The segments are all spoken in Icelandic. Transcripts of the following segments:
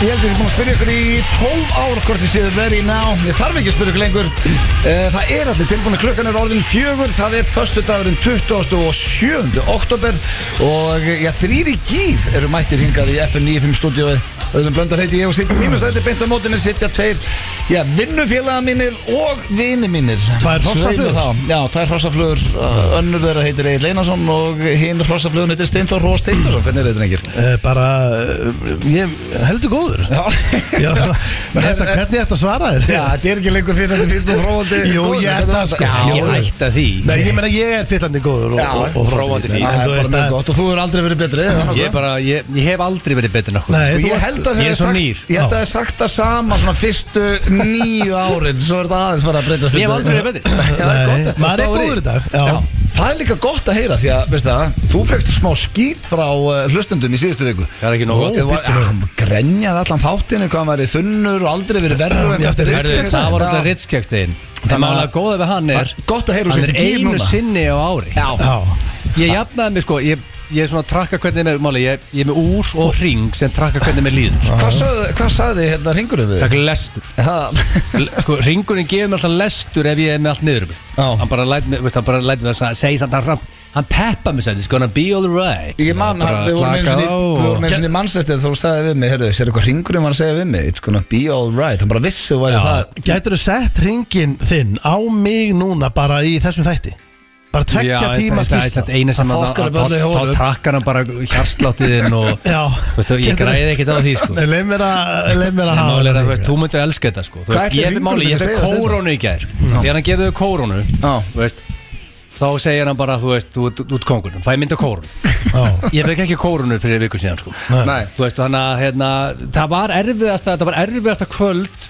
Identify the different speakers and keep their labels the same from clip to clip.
Speaker 1: Ég held að ég er búin að spyrja ykkur í 12 ár hvort þið séðu verið í ná Ég þarf ekki að spyrja ykkur lengur Eh, Það er allir tilbúin klukkan er orðin fjögur Það er föstudagurinn 27. oktober Og eh, já, þrýri gíf eru mættir hingað í FM 95 stúdíói Öðrum blöndar heiti ég og sitt mínu sæti beint á mótinni Sittja tveir, já, vinnufélaga mínir og vini mínir
Speaker 2: Tvær hrossaflugur.
Speaker 1: Svei mér þá. Já, tvær hrossaflugur eh, Önnur þeirra heitir Egil Einarsson Og hinn hrossaflugun heitir Steindor Rós Steindorsson Hvernig er þetta rengir?
Speaker 2: Eh, bara, eh, ég heldur góður
Speaker 1: Já,
Speaker 2: Já, svona, þetta, hvernig þetta svara þér?
Speaker 1: Já, þetta er ekki lengur fyrir þetta fyrir og fróðandi
Speaker 2: Jú, ég er það, sko.
Speaker 1: Já,
Speaker 2: Jú,
Speaker 3: Ég
Speaker 2: jú.
Speaker 3: ætta því
Speaker 2: Nei, ég meina ég er fyllandi góður og,
Speaker 1: Já,
Speaker 2: og, og
Speaker 3: fróandi fín.
Speaker 1: það
Speaker 2: en þú
Speaker 1: er bara
Speaker 2: veist
Speaker 1: mjög
Speaker 2: að-
Speaker 1: gott og þú hefur aldrei verið betri það er nokkuð.
Speaker 3: Ég, er bara, ég, ég hef aldrei verið betur en okkur
Speaker 2: Nei,
Speaker 3: sko.
Speaker 2: þú
Speaker 1: Ég
Speaker 2: ert-
Speaker 1: held að
Speaker 3: ég
Speaker 1: þeir
Speaker 3: er svo nýr.
Speaker 1: sagt, ég held að þeir sagt það sama svona fyrstu nýju árin svo er þetta aðeins verið að breytast
Speaker 3: Ég hef aldrei verið
Speaker 1: betri
Speaker 3: betri.
Speaker 2: Nei, maður er góður í dag Já,
Speaker 1: Það er líka gott að heyra því að, veist það, þú fegst smá skít frá uh, hlustendum í síðustu viku
Speaker 3: Það er ekki nóg gott.
Speaker 1: Þú var-
Speaker 2: Bittu nú.
Speaker 1: hann Grenjaði allan þáttinu, hvað hann væri þunnur og aldrei verið verður
Speaker 2: Já, þetta er
Speaker 3: Herðu,
Speaker 2: Ritskeks-
Speaker 3: Það var alltaf
Speaker 1: Já.
Speaker 3: ritskjækstegin
Speaker 1: Þannig
Speaker 3: Það
Speaker 1: að-
Speaker 3: mála góða við hann er
Speaker 1: Gott að heyra þú
Speaker 3: Hann
Speaker 1: sért
Speaker 3: er
Speaker 1: í gír
Speaker 3: einu
Speaker 1: núna.
Speaker 3: sinni á ári
Speaker 1: Já,
Speaker 2: já
Speaker 3: Ég jafnaði mig sko Ég, ég er svona að trakka hvernig mér máli Ég, ég er með úr og hring sem trakka hvernig mér líður sko.
Speaker 1: Hvað sagði- hvað sagði hérna ringurum við?
Speaker 3: Takk lestur
Speaker 1: Það
Speaker 3: L- sko, ringurinn gefur mér alltaf lestur ef ég er með allt niður um mig.
Speaker 1: Já.
Speaker 3: hann bara læt mig, veist, hann bara læt mig að segja samt hann, hann, hann peppa mig sætti, gonna be alright
Speaker 1: Ég man
Speaker 3: Bara
Speaker 1: að við vorum einu
Speaker 3: slaka
Speaker 1: sinni
Speaker 3: á
Speaker 1: Við vorum
Speaker 3: og-
Speaker 1: einu sinni mannsæstið þú sagði við mig Herðu, sér eitthvað ringurinn var að segja við mig It's gonna be alright Hann bara vissi þú væri
Speaker 3: Já.
Speaker 1: það
Speaker 2: Gætur þú sett ringin þinn á mig núna bara í þessum þætti? Bara
Speaker 3: Já,
Speaker 2: tvekja tíma
Speaker 3: þetta- þetta
Speaker 2: skýrsla
Speaker 3: er eina sem
Speaker 1: Það
Speaker 3: hann-
Speaker 1: fokkar
Speaker 3: hann-
Speaker 1: upp öllu í
Speaker 3: þá-
Speaker 1: honum.
Speaker 3: þá trakkar hann bara hjarsláttiðinn og
Speaker 2: Já
Speaker 3: veistu, ég græði ekkert á því sko
Speaker 2: Nei, leið mér að leið mér að
Speaker 3: En
Speaker 2: hafa
Speaker 3: málið er að,
Speaker 2: þig.
Speaker 3: þú veist, þú myndir elska þetta sko Þú
Speaker 1: Hvað
Speaker 3: veist,
Speaker 1: ætli
Speaker 3: Ég
Speaker 1: hringurinn
Speaker 3: máli, ég
Speaker 1: myndi
Speaker 3: fekk
Speaker 1: segja þetta?
Speaker 3: kórónu í gær sko. Þegar hann gefið þau kórónu
Speaker 1: Já.
Speaker 3: þú veist, Þá segir hann bara, þú veist, þú ert- þú ert kongur Fæ mynd á kórónu
Speaker 2: Já,
Speaker 3: Ég fekk ekki kórónu fyrir viku síðan sko
Speaker 1: Nei
Speaker 3: Þú veist, þannig að hérna, það var erfiðasta, það var erfiðasta kvöld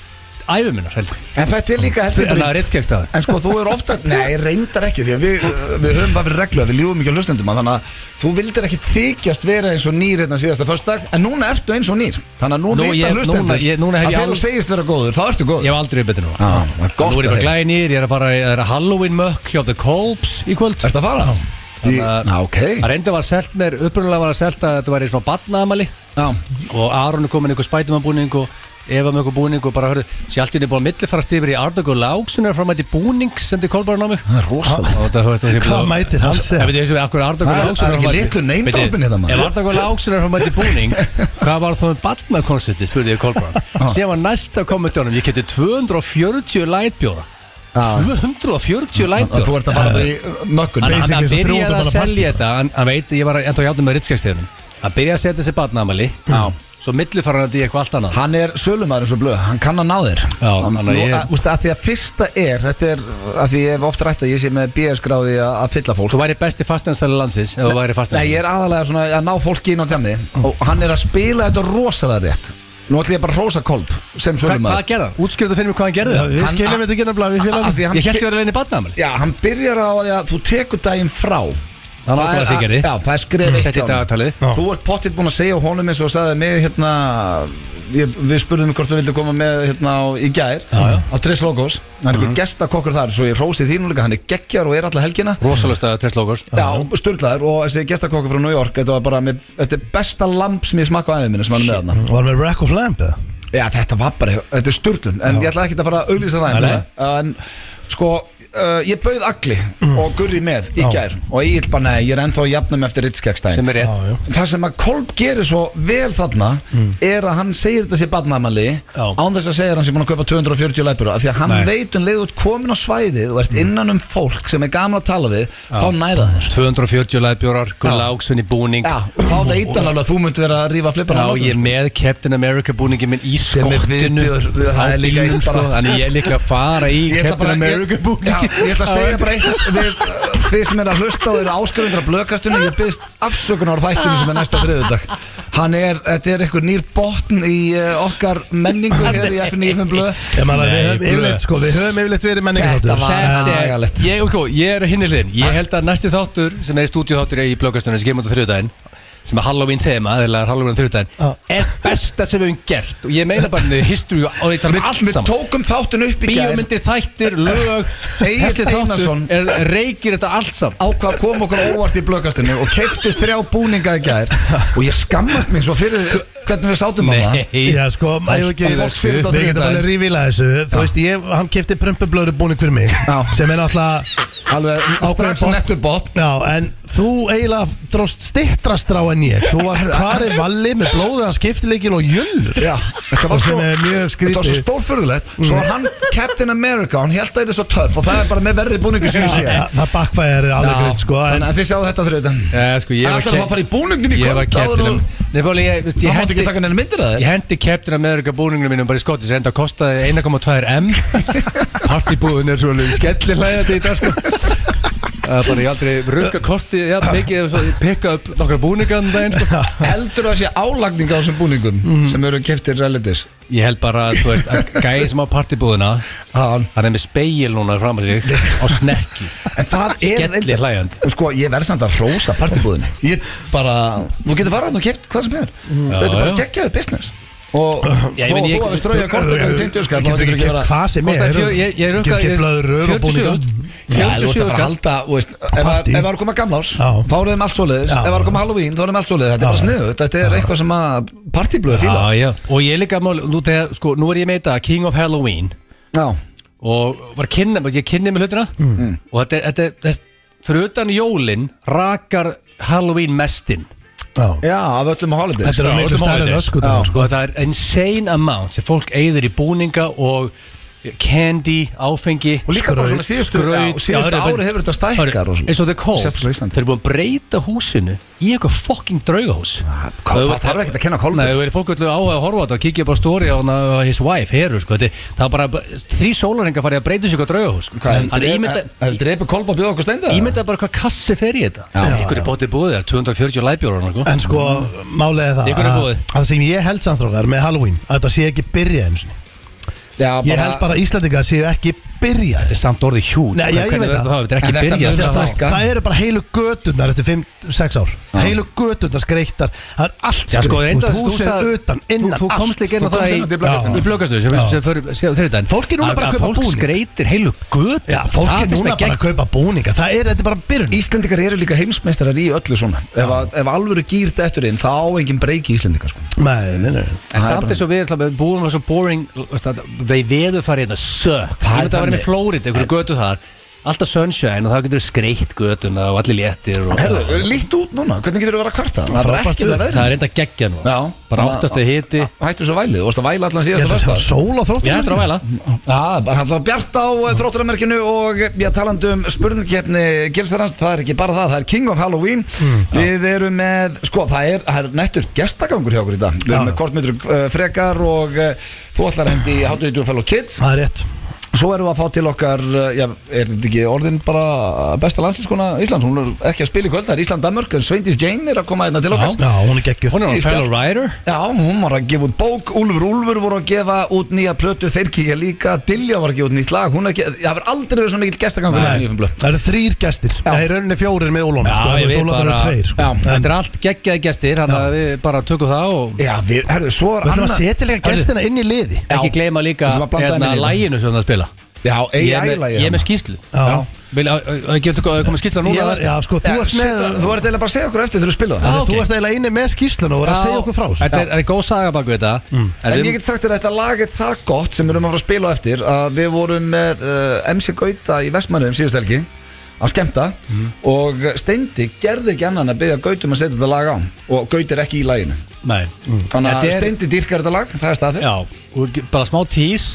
Speaker 3: æfuminnar, heldur ég.
Speaker 1: En þetta er líka þetta er
Speaker 3: Þannig
Speaker 1: bara-
Speaker 3: að rittskjækstaður.
Speaker 1: En sko þú er ofta Nei, reyndar ekki Því að við, við höfum það fyrir reglu að Við ljúum ekki á hlustendum að Þannig að þú vildir ekki þykjast vera eins og nýr Hérna síðasta föstudag En núna ertu eins og nýr Þannig að nú,
Speaker 3: Nú,
Speaker 1: vita
Speaker 3: ég- núna-
Speaker 1: hlustendur
Speaker 3: ég- núna hef
Speaker 1: Að
Speaker 3: ég
Speaker 1: þegar þú
Speaker 3: al-
Speaker 1: segist vera góður Þá ertu góður
Speaker 3: Ég hef aldrei betið núna.
Speaker 1: Já, það er gott
Speaker 3: Nú er ég
Speaker 1: að
Speaker 3: bara
Speaker 1: heyra.
Speaker 3: glæðið nýr, ég er að fara, ég er að Halloween mökk hjá The Colbs í kvöld.
Speaker 1: Ertu að fara? Í-
Speaker 3: Þannig
Speaker 1: Já, ok
Speaker 3: Það reyndi var selt mér, upprunalega var að selta að þetta væri svona batnaðamali
Speaker 1: Já.
Speaker 3: og Aron er komin einhver Spiderman búning og Eva með einhver búning og bara hörðu, sér allt í henni búin að millifarast yfir í Arnók og Láksunar fram að þetta búning sendi Kolbarn á mig.
Speaker 1: Það er rosalega
Speaker 3: Og Ah, þetta, þú veist, þú sé-
Speaker 2: Hvað mætir hann segja?
Speaker 3: Ég veit, ég veist, akkur Arndagur
Speaker 1: Það er-
Speaker 3: Láksson
Speaker 1: það er ekki litlu name dropping hérna, maður.
Speaker 3: Ef Arndagur Láksson er hann mætti búning Hvað var þá með badnakonserti, spurði ég Kolbrán Sem var næsta kommentunum Ég kefti 240 lætbjóra
Speaker 1: Já. Og
Speaker 3: 240
Speaker 1: þú
Speaker 3: lætbjóra
Speaker 1: ert að fara í mökkun
Speaker 3: Hann hann
Speaker 2: eins og
Speaker 3: byrjaði
Speaker 2: 300 manna
Speaker 3: að
Speaker 2: partí
Speaker 3: selja þetta Hann hann veit, ég var ennþá hjáttum með ritskjækstegunum Hann byrjaði að setja þessi badnamali
Speaker 1: Já.
Speaker 3: Svo millifara hann þetta í eitthvað allt annað
Speaker 1: Hann er sölumæður eins og blöð, hann kann að ná þér
Speaker 3: Já,
Speaker 1: hann,
Speaker 3: þannig að
Speaker 1: nú-
Speaker 3: ég-
Speaker 1: að- Þú veist að því að fyrsta er Þetta er, að því ég hef oft rætt að ég sé með BS gráði að, að fylla fólk
Speaker 3: Þú væri besti fastnænsæli landsins Ef þú væri
Speaker 1: Nei, ég
Speaker 3: fastnænsæli
Speaker 1: er aðalega svona að ná fólki inn á tjami Og hann er að spila þetta rosalega rétt Nú ætlum ég bara að hrósa kolb sem
Speaker 3: Hvað hvað
Speaker 1: sölumæður
Speaker 3: gerði hann? Útskjörðu fyrir mig hvað hann gerði
Speaker 2: Já,
Speaker 3: það
Speaker 2: Við
Speaker 1: Hann-
Speaker 2: skiljum þetta ekki nefnilega við
Speaker 1: Af
Speaker 2: félagum
Speaker 1: því að hann,
Speaker 3: Ég held ég verið að leina badnamali
Speaker 1: já, hann byrjar á því að þú tekur daginn frá
Speaker 3: Það var ákveðið
Speaker 1: er
Speaker 3: að segja gerði.
Speaker 1: Já, það er skref eitt
Speaker 3: Setti
Speaker 1: hjá honum.
Speaker 3: dagatalið
Speaker 2: Já.
Speaker 1: Þú ert pottitt búin að segja á honum eins og sagði mig hérna, ég, við spurðum hvort þú vildi koma með hérna á, í gær já, já. á Tres Logos, hann er einhver gestakokkur þar svo ég rósi því nú líka, hann er geggjar og er alla helgina
Speaker 3: Rosalösta Treslókurs
Speaker 1: Já, sturglaður og þessi gestakokkur frá New York þetta var bara, með, þetta er besta lamp sem ég smakka á aðeins minni sem hann er með hann
Speaker 2: Var með Rack of Lamb eða?
Speaker 1: Já, þetta var bara, þetta er sturglun en ég ætla ekki að fara að auglýsa það
Speaker 3: Nei,
Speaker 1: en, en sko, uh, ég bauð agli og gurri með í
Speaker 2: Já.
Speaker 1: gær og ég bara, nei, ég er ennþá að jafna mig eftir Ritskjagstæðin
Speaker 3: sem er rétt
Speaker 2: Já, já.
Speaker 1: Það sem að Kolb gerir svo vel þarna er að hann segir þetta sér badnamali
Speaker 3: Mm. Já.
Speaker 1: án þess að segja að hann sé búin að kaupa 240 læpur af því að hann
Speaker 3: Nei. Mm.
Speaker 1: veit um leið út komin á svæðið og ert innan um fólk sem er gaman að tala við þá næra þér
Speaker 3: 240 læðbjórar, Gull Áksun í búning
Speaker 1: Já, þá veit hann alveg að þú myndi vera að rífa flippan
Speaker 3: Já, ég er með Captain America búningi minn í
Speaker 1: Sem er
Speaker 3: skottinu
Speaker 1: viðbjóður,
Speaker 3: á
Speaker 1: það er líka
Speaker 3: bílnum
Speaker 1: eitt
Speaker 3: sko
Speaker 1: bara-
Speaker 3: Þannig ég er líka að fara í
Speaker 1: Ég ætla
Speaker 3: Captain
Speaker 1: bara-
Speaker 3: America
Speaker 1: ég-
Speaker 3: búningi
Speaker 1: Já, Ég ætla að segja bara eitt við þið sem er að hlusta og eru áskrifundra blökastunni ég byrðist afsökunar á þættinu sem er næsta þriðudag Hann er, þetta er einhver nýr botn í eh, okkar menningu hér í FNF blöð
Speaker 2: Ég man að
Speaker 3: Nei,
Speaker 2: við höfum
Speaker 3: blöð.
Speaker 2: yfirleitt sko, við höfum yfirleitt verið menningaráttur
Speaker 1: Þetta var-
Speaker 3: Þetta
Speaker 1: Já,
Speaker 3: er,
Speaker 1: lagalegt.
Speaker 3: ég, ok, ég er hinni hliðin Ég held að næsti þáttur sem er stúdíu þáttur í blöggastunni sem kemur á þriðdæðin sem er Halloween þema, eða Halloween
Speaker 2: Já.
Speaker 3: þrjóðdæðin er besta sem við höfum gert og ég meina bara með history og þetta er allt
Speaker 1: Við
Speaker 3: saman
Speaker 1: tókum þáttun upp í gær
Speaker 3: bíómyndir, þættir, lög
Speaker 1: Egill
Speaker 3: þessi
Speaker 1: Einarsson.
Speaker 3: þáttur er, reykir þetta allt saman
Speaker 1: ákvað að koma okkur óvart í blökastinu og keipti þrjá búninga í gær og ég skammast mig svo fyrir hvernig við sátum á það
Speaker 2: Já sko, maður ekki,
Speaker 1: Fólk fyrir þetta
Speaker 2: við getum
Speaker 1: þriðjudaginn.
Speaker 2: alveg rífíla þessu Þú veist, ég, hann kefti prömpublöru búning fyrir mig
Speaker 1: Já.
Speaker 2: Sem er náttúrulega
Speaker 1: alveg strax
Speaker 2: botn.
Speaker 1: nettur botn
Speaker 2: Já, en þú eiginlega dróst stittrastrá en ég Þú varst hvar er valli með blóðið hans skiptileikil og jullur
Speaker 1: Já, þetta var
Speaker 2: Og sem
Speaker 1: svo,
Speaker 2: er mjög
Speaker 1: þetta var svo
Speaker 2: skrítið.
Speaker 1: stórfurðulegt Svo var hann Captain America, hann held að þetta er svo töff og það er bara með verði búningu sem ég sé
Speaker 2: Já, Það bakfæðir
Speaker 1: Já,
Speaker 2: alveg greint sko
Speaker 1: Þannig
Speaker 2: en,
Speaker 1: að þið sjáu þetta þrjóðan
Speaker 3: Já, sko, ég
Speaker 1: Hann
Speaker 3: var
Speaker 1: ætlar að
Speaker 3: ke-
Speaker 1: fara að fara í búningnum í
Speaker 3: Ég
Speaker 1: kvöld, áður
Speaker 3: var Captain
Speaker 1: en-
Speaker 3: America Ég, veist, ég
Speaker 1: Hann um- mátti ekki
Speaker 3: hendi-
Speaker 1: taka neina myndir að
Speaker 3: Ég
Speaker 1: þér
Speaker 3: hendi Captain America búningnum mínum bara í skottis enda kostaði 1,2 M Partibúðin er svona skellilægandi í dag sko Það er bara ég aldrei rugga korti Já, mikið ef svo- pikka upp nokkra búningan daginn sko
Speaker 1: Heldur það sé álagning á þessum búningum sem eru keftir realities
Speaker 3: Ég held bara að, þú veist, að gæði sem á partibúðina
Speaker 1: Hann
Speaker 3: Hann er með speil núna fram að sig á snekki
Speaker 1: En það er
Speaker 3: Skellir
Speaker 1: reyndar-
Speaker 3: hlæjandi.
Speaker 1: Sko, ég verð samt að rósa partibúðinni Ég bara, Mm. þú getur farað og keft hvað sem er Þetta er
Speaker 3: Já,
Speaker 1: bara
Speaker 3: já.
Speaker 1: geggjaðu business Og
Speaker 3: Já, ég
Speaker 1: þó
Speaker 3: meina,
Speaker 1: að
Speaker 3: ég-
Speaker 1: þú hafið strauja kort og tindu skall
Speaker 2: Getur ekki keft hvað sem er
Speaker 3: Kostaði fjö- Ég, ég rukkaði
Speaker 2: Getur keft blöður og
Speaker 3: 47
Speaker 2: búninga
Speaker 1: Já, þú veist að fara
Speaker 3: 47
Speaker 1: að
Speaker 3: skall
Speaker 1: halda þú veist, Ef það ef
Speaker 2: partí.
Speaker 1: það var að koma gamlás
Speaker 2: Já.
Speaker 1: Þá eru þeim allt svoleiðis
Speaker 2: Já.
Speaker 1: Ef það var að koma Halloween Þá eru þeim allt svoleiðis Þetta er bara
Speaker 2: Já.
Speaker 1: sniðu Þetta er eitthvað sem að partíblöðu fíla
Speaker 3: Já, já, og ég líka mál, nú, þegar, sko, nú er ég meita King of Halloween
Speaker 1: Já
Speaker 3: og var að kynna, ég kynni með hlutina
Speaker 1: Mm.
Speaker 3: og þetta er, þetta er þess, fyrir utan jólin rakar Halloween mestinn
Speaker 2: Já.
Speaker 1: Já, af öllum á Holidays
Speaker 2: Þetta er á
Speaker 3: Já,
Speaker 2: miklu
Speaker 3: öllum
Speaker 2: stærri
Speaker 3: holidays.
Speaker 2: öskudag,
Speaker 3: Já.
Speaker 2: sko.
Speaker 3: sko, það er insane amount sem fólk eigður í búninga og candy, áfengi
Speaker 1: Og líka bara svona síðustu- já, síðustu ári hefur þetta stækkað rosalega.
Speaker 3: eins og þetta er kóð
Speaker 1: Sérstaklega á Íslandi.
Speaker 3: þeir eru búin að breyta húsinu í eitthvað fucking draugahús
Speaker 1: Ah. hvað- það þarf ekkert að kenna Kolbeinn.
Speaker 3: Nei, þau eru fólk öllu áhuga að horfa á þetta og kíkja upp á story á hana, uh, his wife, heru sko, þetta, er- það er bara þrý sólaringar farið að breyta sig eitthvað draugahús sko.
Speaker 1: Hvað,
Speaker 3: Hann ímynda-
Speaker 1: hefur dreipið kolba að bjóða okkur steinda?
Speaker 3: Ímyndaði bara hvað kassi fer í þetta
Speaker 1: Já,
Speaker 3: Ykkur er bótið búið þar, 240 læbjóra sko.
Speaker 2: En sko, málið er það
Speaker 3: Í hverju
Speaker 2: að-
Speaker 3: búið?
Speaker 2: að Það sem ég held samstrákar með Halloween Að þetta sé ekki byrjað einu sinni
Speaker 1: Já,
Speaker 2: Ég held bara að Íslandingar séu ekki
Speaker 3: Þetta
Speaker 2: byrjað
Speaker 3: er samt orðið sko. hjút
Speaker 2: Nei, já, ég veit það.
Speaker 3: Þetta er ekki
Speaker 1: En þetta
Speaker 3: byrjað sko.
Speaker 1: mun stækka.
Speaker 3: þetta var-
Speaker 2: það, það eru bara heilu göturnar eftir 5-6 ár Heilu göturnar skreittar Það er allt
Speaker 3: Já, sko,
Speaker 2: skreitt
Speaker 3: enda,
Speaker 2: Hús er
Speaker 3: sagði-
Speaker 2: utan, innan,
Speaker 3: Þú, þú komst líka inn
Speaker 1: Þú
Speaker 3: á
Speaker 1: komst inn á
Speaker 3: það
Speaker 1: því
Speaker 3: í
Speaker 1: blöggastu.
Speaker 3: í blöggastu
Speaker 2: Já.
Speaker 3: sem við sem fyrir þriðdæn
Speaker 2: Fólk er núna bara að kaupa
Speaker 3: Fólk
Speaker 2: búning.
Speaker 3: skreitir heilu götu
Speaker 2: Já, fólk
Speaker 3: Það
Speaker 2: er
Speaker 3: finnst
Speaker 2: núna
Speaker 3: mér
Speaker 2: bara
Speaker 3: gegn-
Speaker 2: að kaupa búninga Það er, þetta er bara byrjun
Speaker 1: Íslendingar eru líka heimsmeistarar í öllu svona Ef, að, ef alvöru gýrt eftir inn þá á enginn breyki Íslendingar sko.
Speaker 2: Nei, nei, nei
Speaker 3: En samt þess að við ætla, við búum var svo boring veist það, Við veður farið þetta sök
Speaker 1: Það
Speaker 3: Það
Speaker 1: er
Speaker 3: er það að vera
Speaker 1: þannig.
Speaker 3: með Flórit, einhverju götu þar Alltaf sunshine og það getur skreitt götuna og allir léttir og
Speaker 1: Herðu, lítt út núna, hvernig getur þú verið að kvarta? Það er ekki
Speaker 2: Frábært
Speaker 1: það
Speaker 2: veður.
Speaker 1: verið
Speaker 3: Það er enda geggja nú
Speaker 1: Já.
Speaker 3: Bara áttast að hiti
Speaker 1: Hættu svo vælið, þú varst að væla allan
Speaker 2: Ég
Speaker 1: síðast
Speaker 2: ætla að sjá sól á þróttum
Speaker 3: Ég ætla að væla
Speaker 1: Já, bara hann bjart á þrótturamerkinu og ég talandi um spurningkeppni Gilsarans, það er ekki bara það, það er King of Halloween
Speaker 2: Mm,
Speaker 1: Við erum með, sko það er, það er nettur gestagangur hjá okkur í dag Við
Speaker 2: Já.
Speaker 1: erum með kortmyndur uh, frekar og uh, þú ætlar hendi í How to Do Fellow Kids
Speaker 2: Það er rétt
Speaker 1: Svo erum við að fá til okkar, uh, já, er þetta ekki orðin bara besta landslískona Íslands, hún er ekki að spila í kvöld, það er Ísland-Danmark, en Sveindís Jane er að koma hérna til okkar.
Speaker 2: Já, hún er geggjöð
Speaker 3: Hún er hann fellow rider
Speaker 1: Já, hún var að gefa út bók, Úlfur Úlfur voru að gefa út nýja plötu, þeir kíkja líka, Dilja var að gefa út nýtt lag, hún er ekki, það hefur aldrei verið svo mikill gestagangur í nýjum blöð.
Speaker 2: Það eru þrýr gestir Það er rauninni fjórir með Ólón
Speaker 3: Já,
Speaker 2: sko,
Speaker 3: ég
Speaker 2: þú veist,
Speaker 3: veit
Speaker 2: Ólafur er
Speaker 3: bara-
Speaker 2: tveir, sko.
Speaker 1: Já,
Speaker 2: En-
Speaker 3: Þetta er allt geggjaði gestir Þannig að við bara tökum það og
Speaker 1: Já, við, herru, svo er
Speaker 2: Við ætlum að setja líka gestina inn í liði
Speaker 3: ekki
Speaker 1: Já.
Speaker 3: gleyma líka
Speaker 1: Þú ætlum að blanda
Speaker 3: hérna
Speaker 1: henni líka.
Speaker 3: læginu sem það spila
Speaker 1: Já,
Speaker 3: ég er
Speaker 1: AI
Speaker 3: með,
Speaker 1: lagið.
Speaker 3: ég er með skýslu
Speaker 2: Já.
Speaker 3: Vil- á- á- á- getur komið skýsla
Speaker 2: Ég
Speaker 3: núna
Speaker 2: var- Já, sko, þú
Speaker 1: Já,
Speaker 2: ert með
Speaker 1: setja- Þú ert eiginlega bara að segja okkur eftir þegar þú spila
Speaker 2: Af
Speaker 1: það.
Speaker 2: því
Speaker 3: Já,
Speaker 2: Þú
Speaker 3: ok.
Speaker 2: ert eiginlega inni með skýsluna og er að segja okkur frá þessu
Speaker 3: þetta er, er góð saga bak við þetta
Speaker 1: En
Speaker 3: við-
Speaker 1: ég get sagt þér að þetta lag er það gott sem við erum að fara að spila á eftir að við vorum með uh, MC Gauta í Vestmannum síðust helgi að skemmta
Speaker 3: Mhm.
Speaker 1: og Steindi gerði ekki annan að byggja Gautum að setja þetta lag á og Gaut er ekki í laginu
Speaker 3: Nei.
Speaker 1: Mm. Þannig að
Speaker 3: Þetta er-
Speaker 1: Steindi dýrkar þetta lag, það er staðfest
Speaker 3: já, og ge- bara smá tís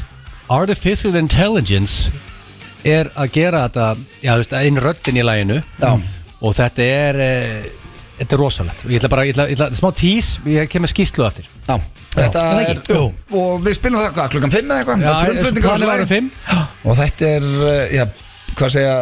Speaker 3: Artificial Intelligence er að gera þetta já, þú veist, inn röddin í læginu
Speaker 1: Já.
Speaker 3: og þetta er eh, þetta er rosalegt ég ætla bara, ég ætla, ég ætla, smá tís, ég kem með skýslu eftir
Speaker 1: Já, þetta
Speaker 3: er það
Speaker 1: er,
Speaker 3: ekki? Jú.
Speaker 1: og við spilum það hvað, klukkan 5 eða eitthvað
Speaker 3: Já,
Speaker 1: Það er frumflutningur á
Speaker 3: planið
Speaker 1: þessu
Speaker 3: var
Speaker 1: lagi.
Speaker 3: um fimm.
Speaker 1: Já, Og þetta er, uh, já, hvað segja,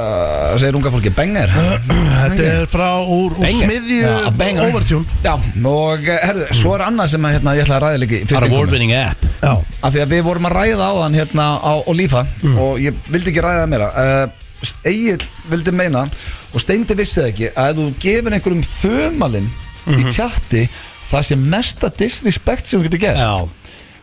Speaker 1: segir unga fólki, bengar
Speaker 2: Þetta er frá úr, úr
Speaker 3: Banger.
Speaker 2: smiðju
Speaker 1: Já, banger.
Speaker 2: Overtune
Speaker 1: Já, og eh, herðu, svo er annað sem að, hérna, ég ætla að ræða líka í
Speaker 3: Our
Speaker 1: fyrst
Speaker 3: award winning app
Speaker 2: Já,
Speaker 1: Af því að við vorum að ræða á hann hérna á Olífa
Speaker 3: Mm.
Speaker 1: og ég vildi ekki ræða það meira uh, Egil vildi meina og Steindi vissi það ekki að ef þú gefur einhverjum þumalinn í
Speaker 3: Mhm.
Speaker 1: chatti það sem mesta disrespect sem þú getur gert
Speaker 3: Já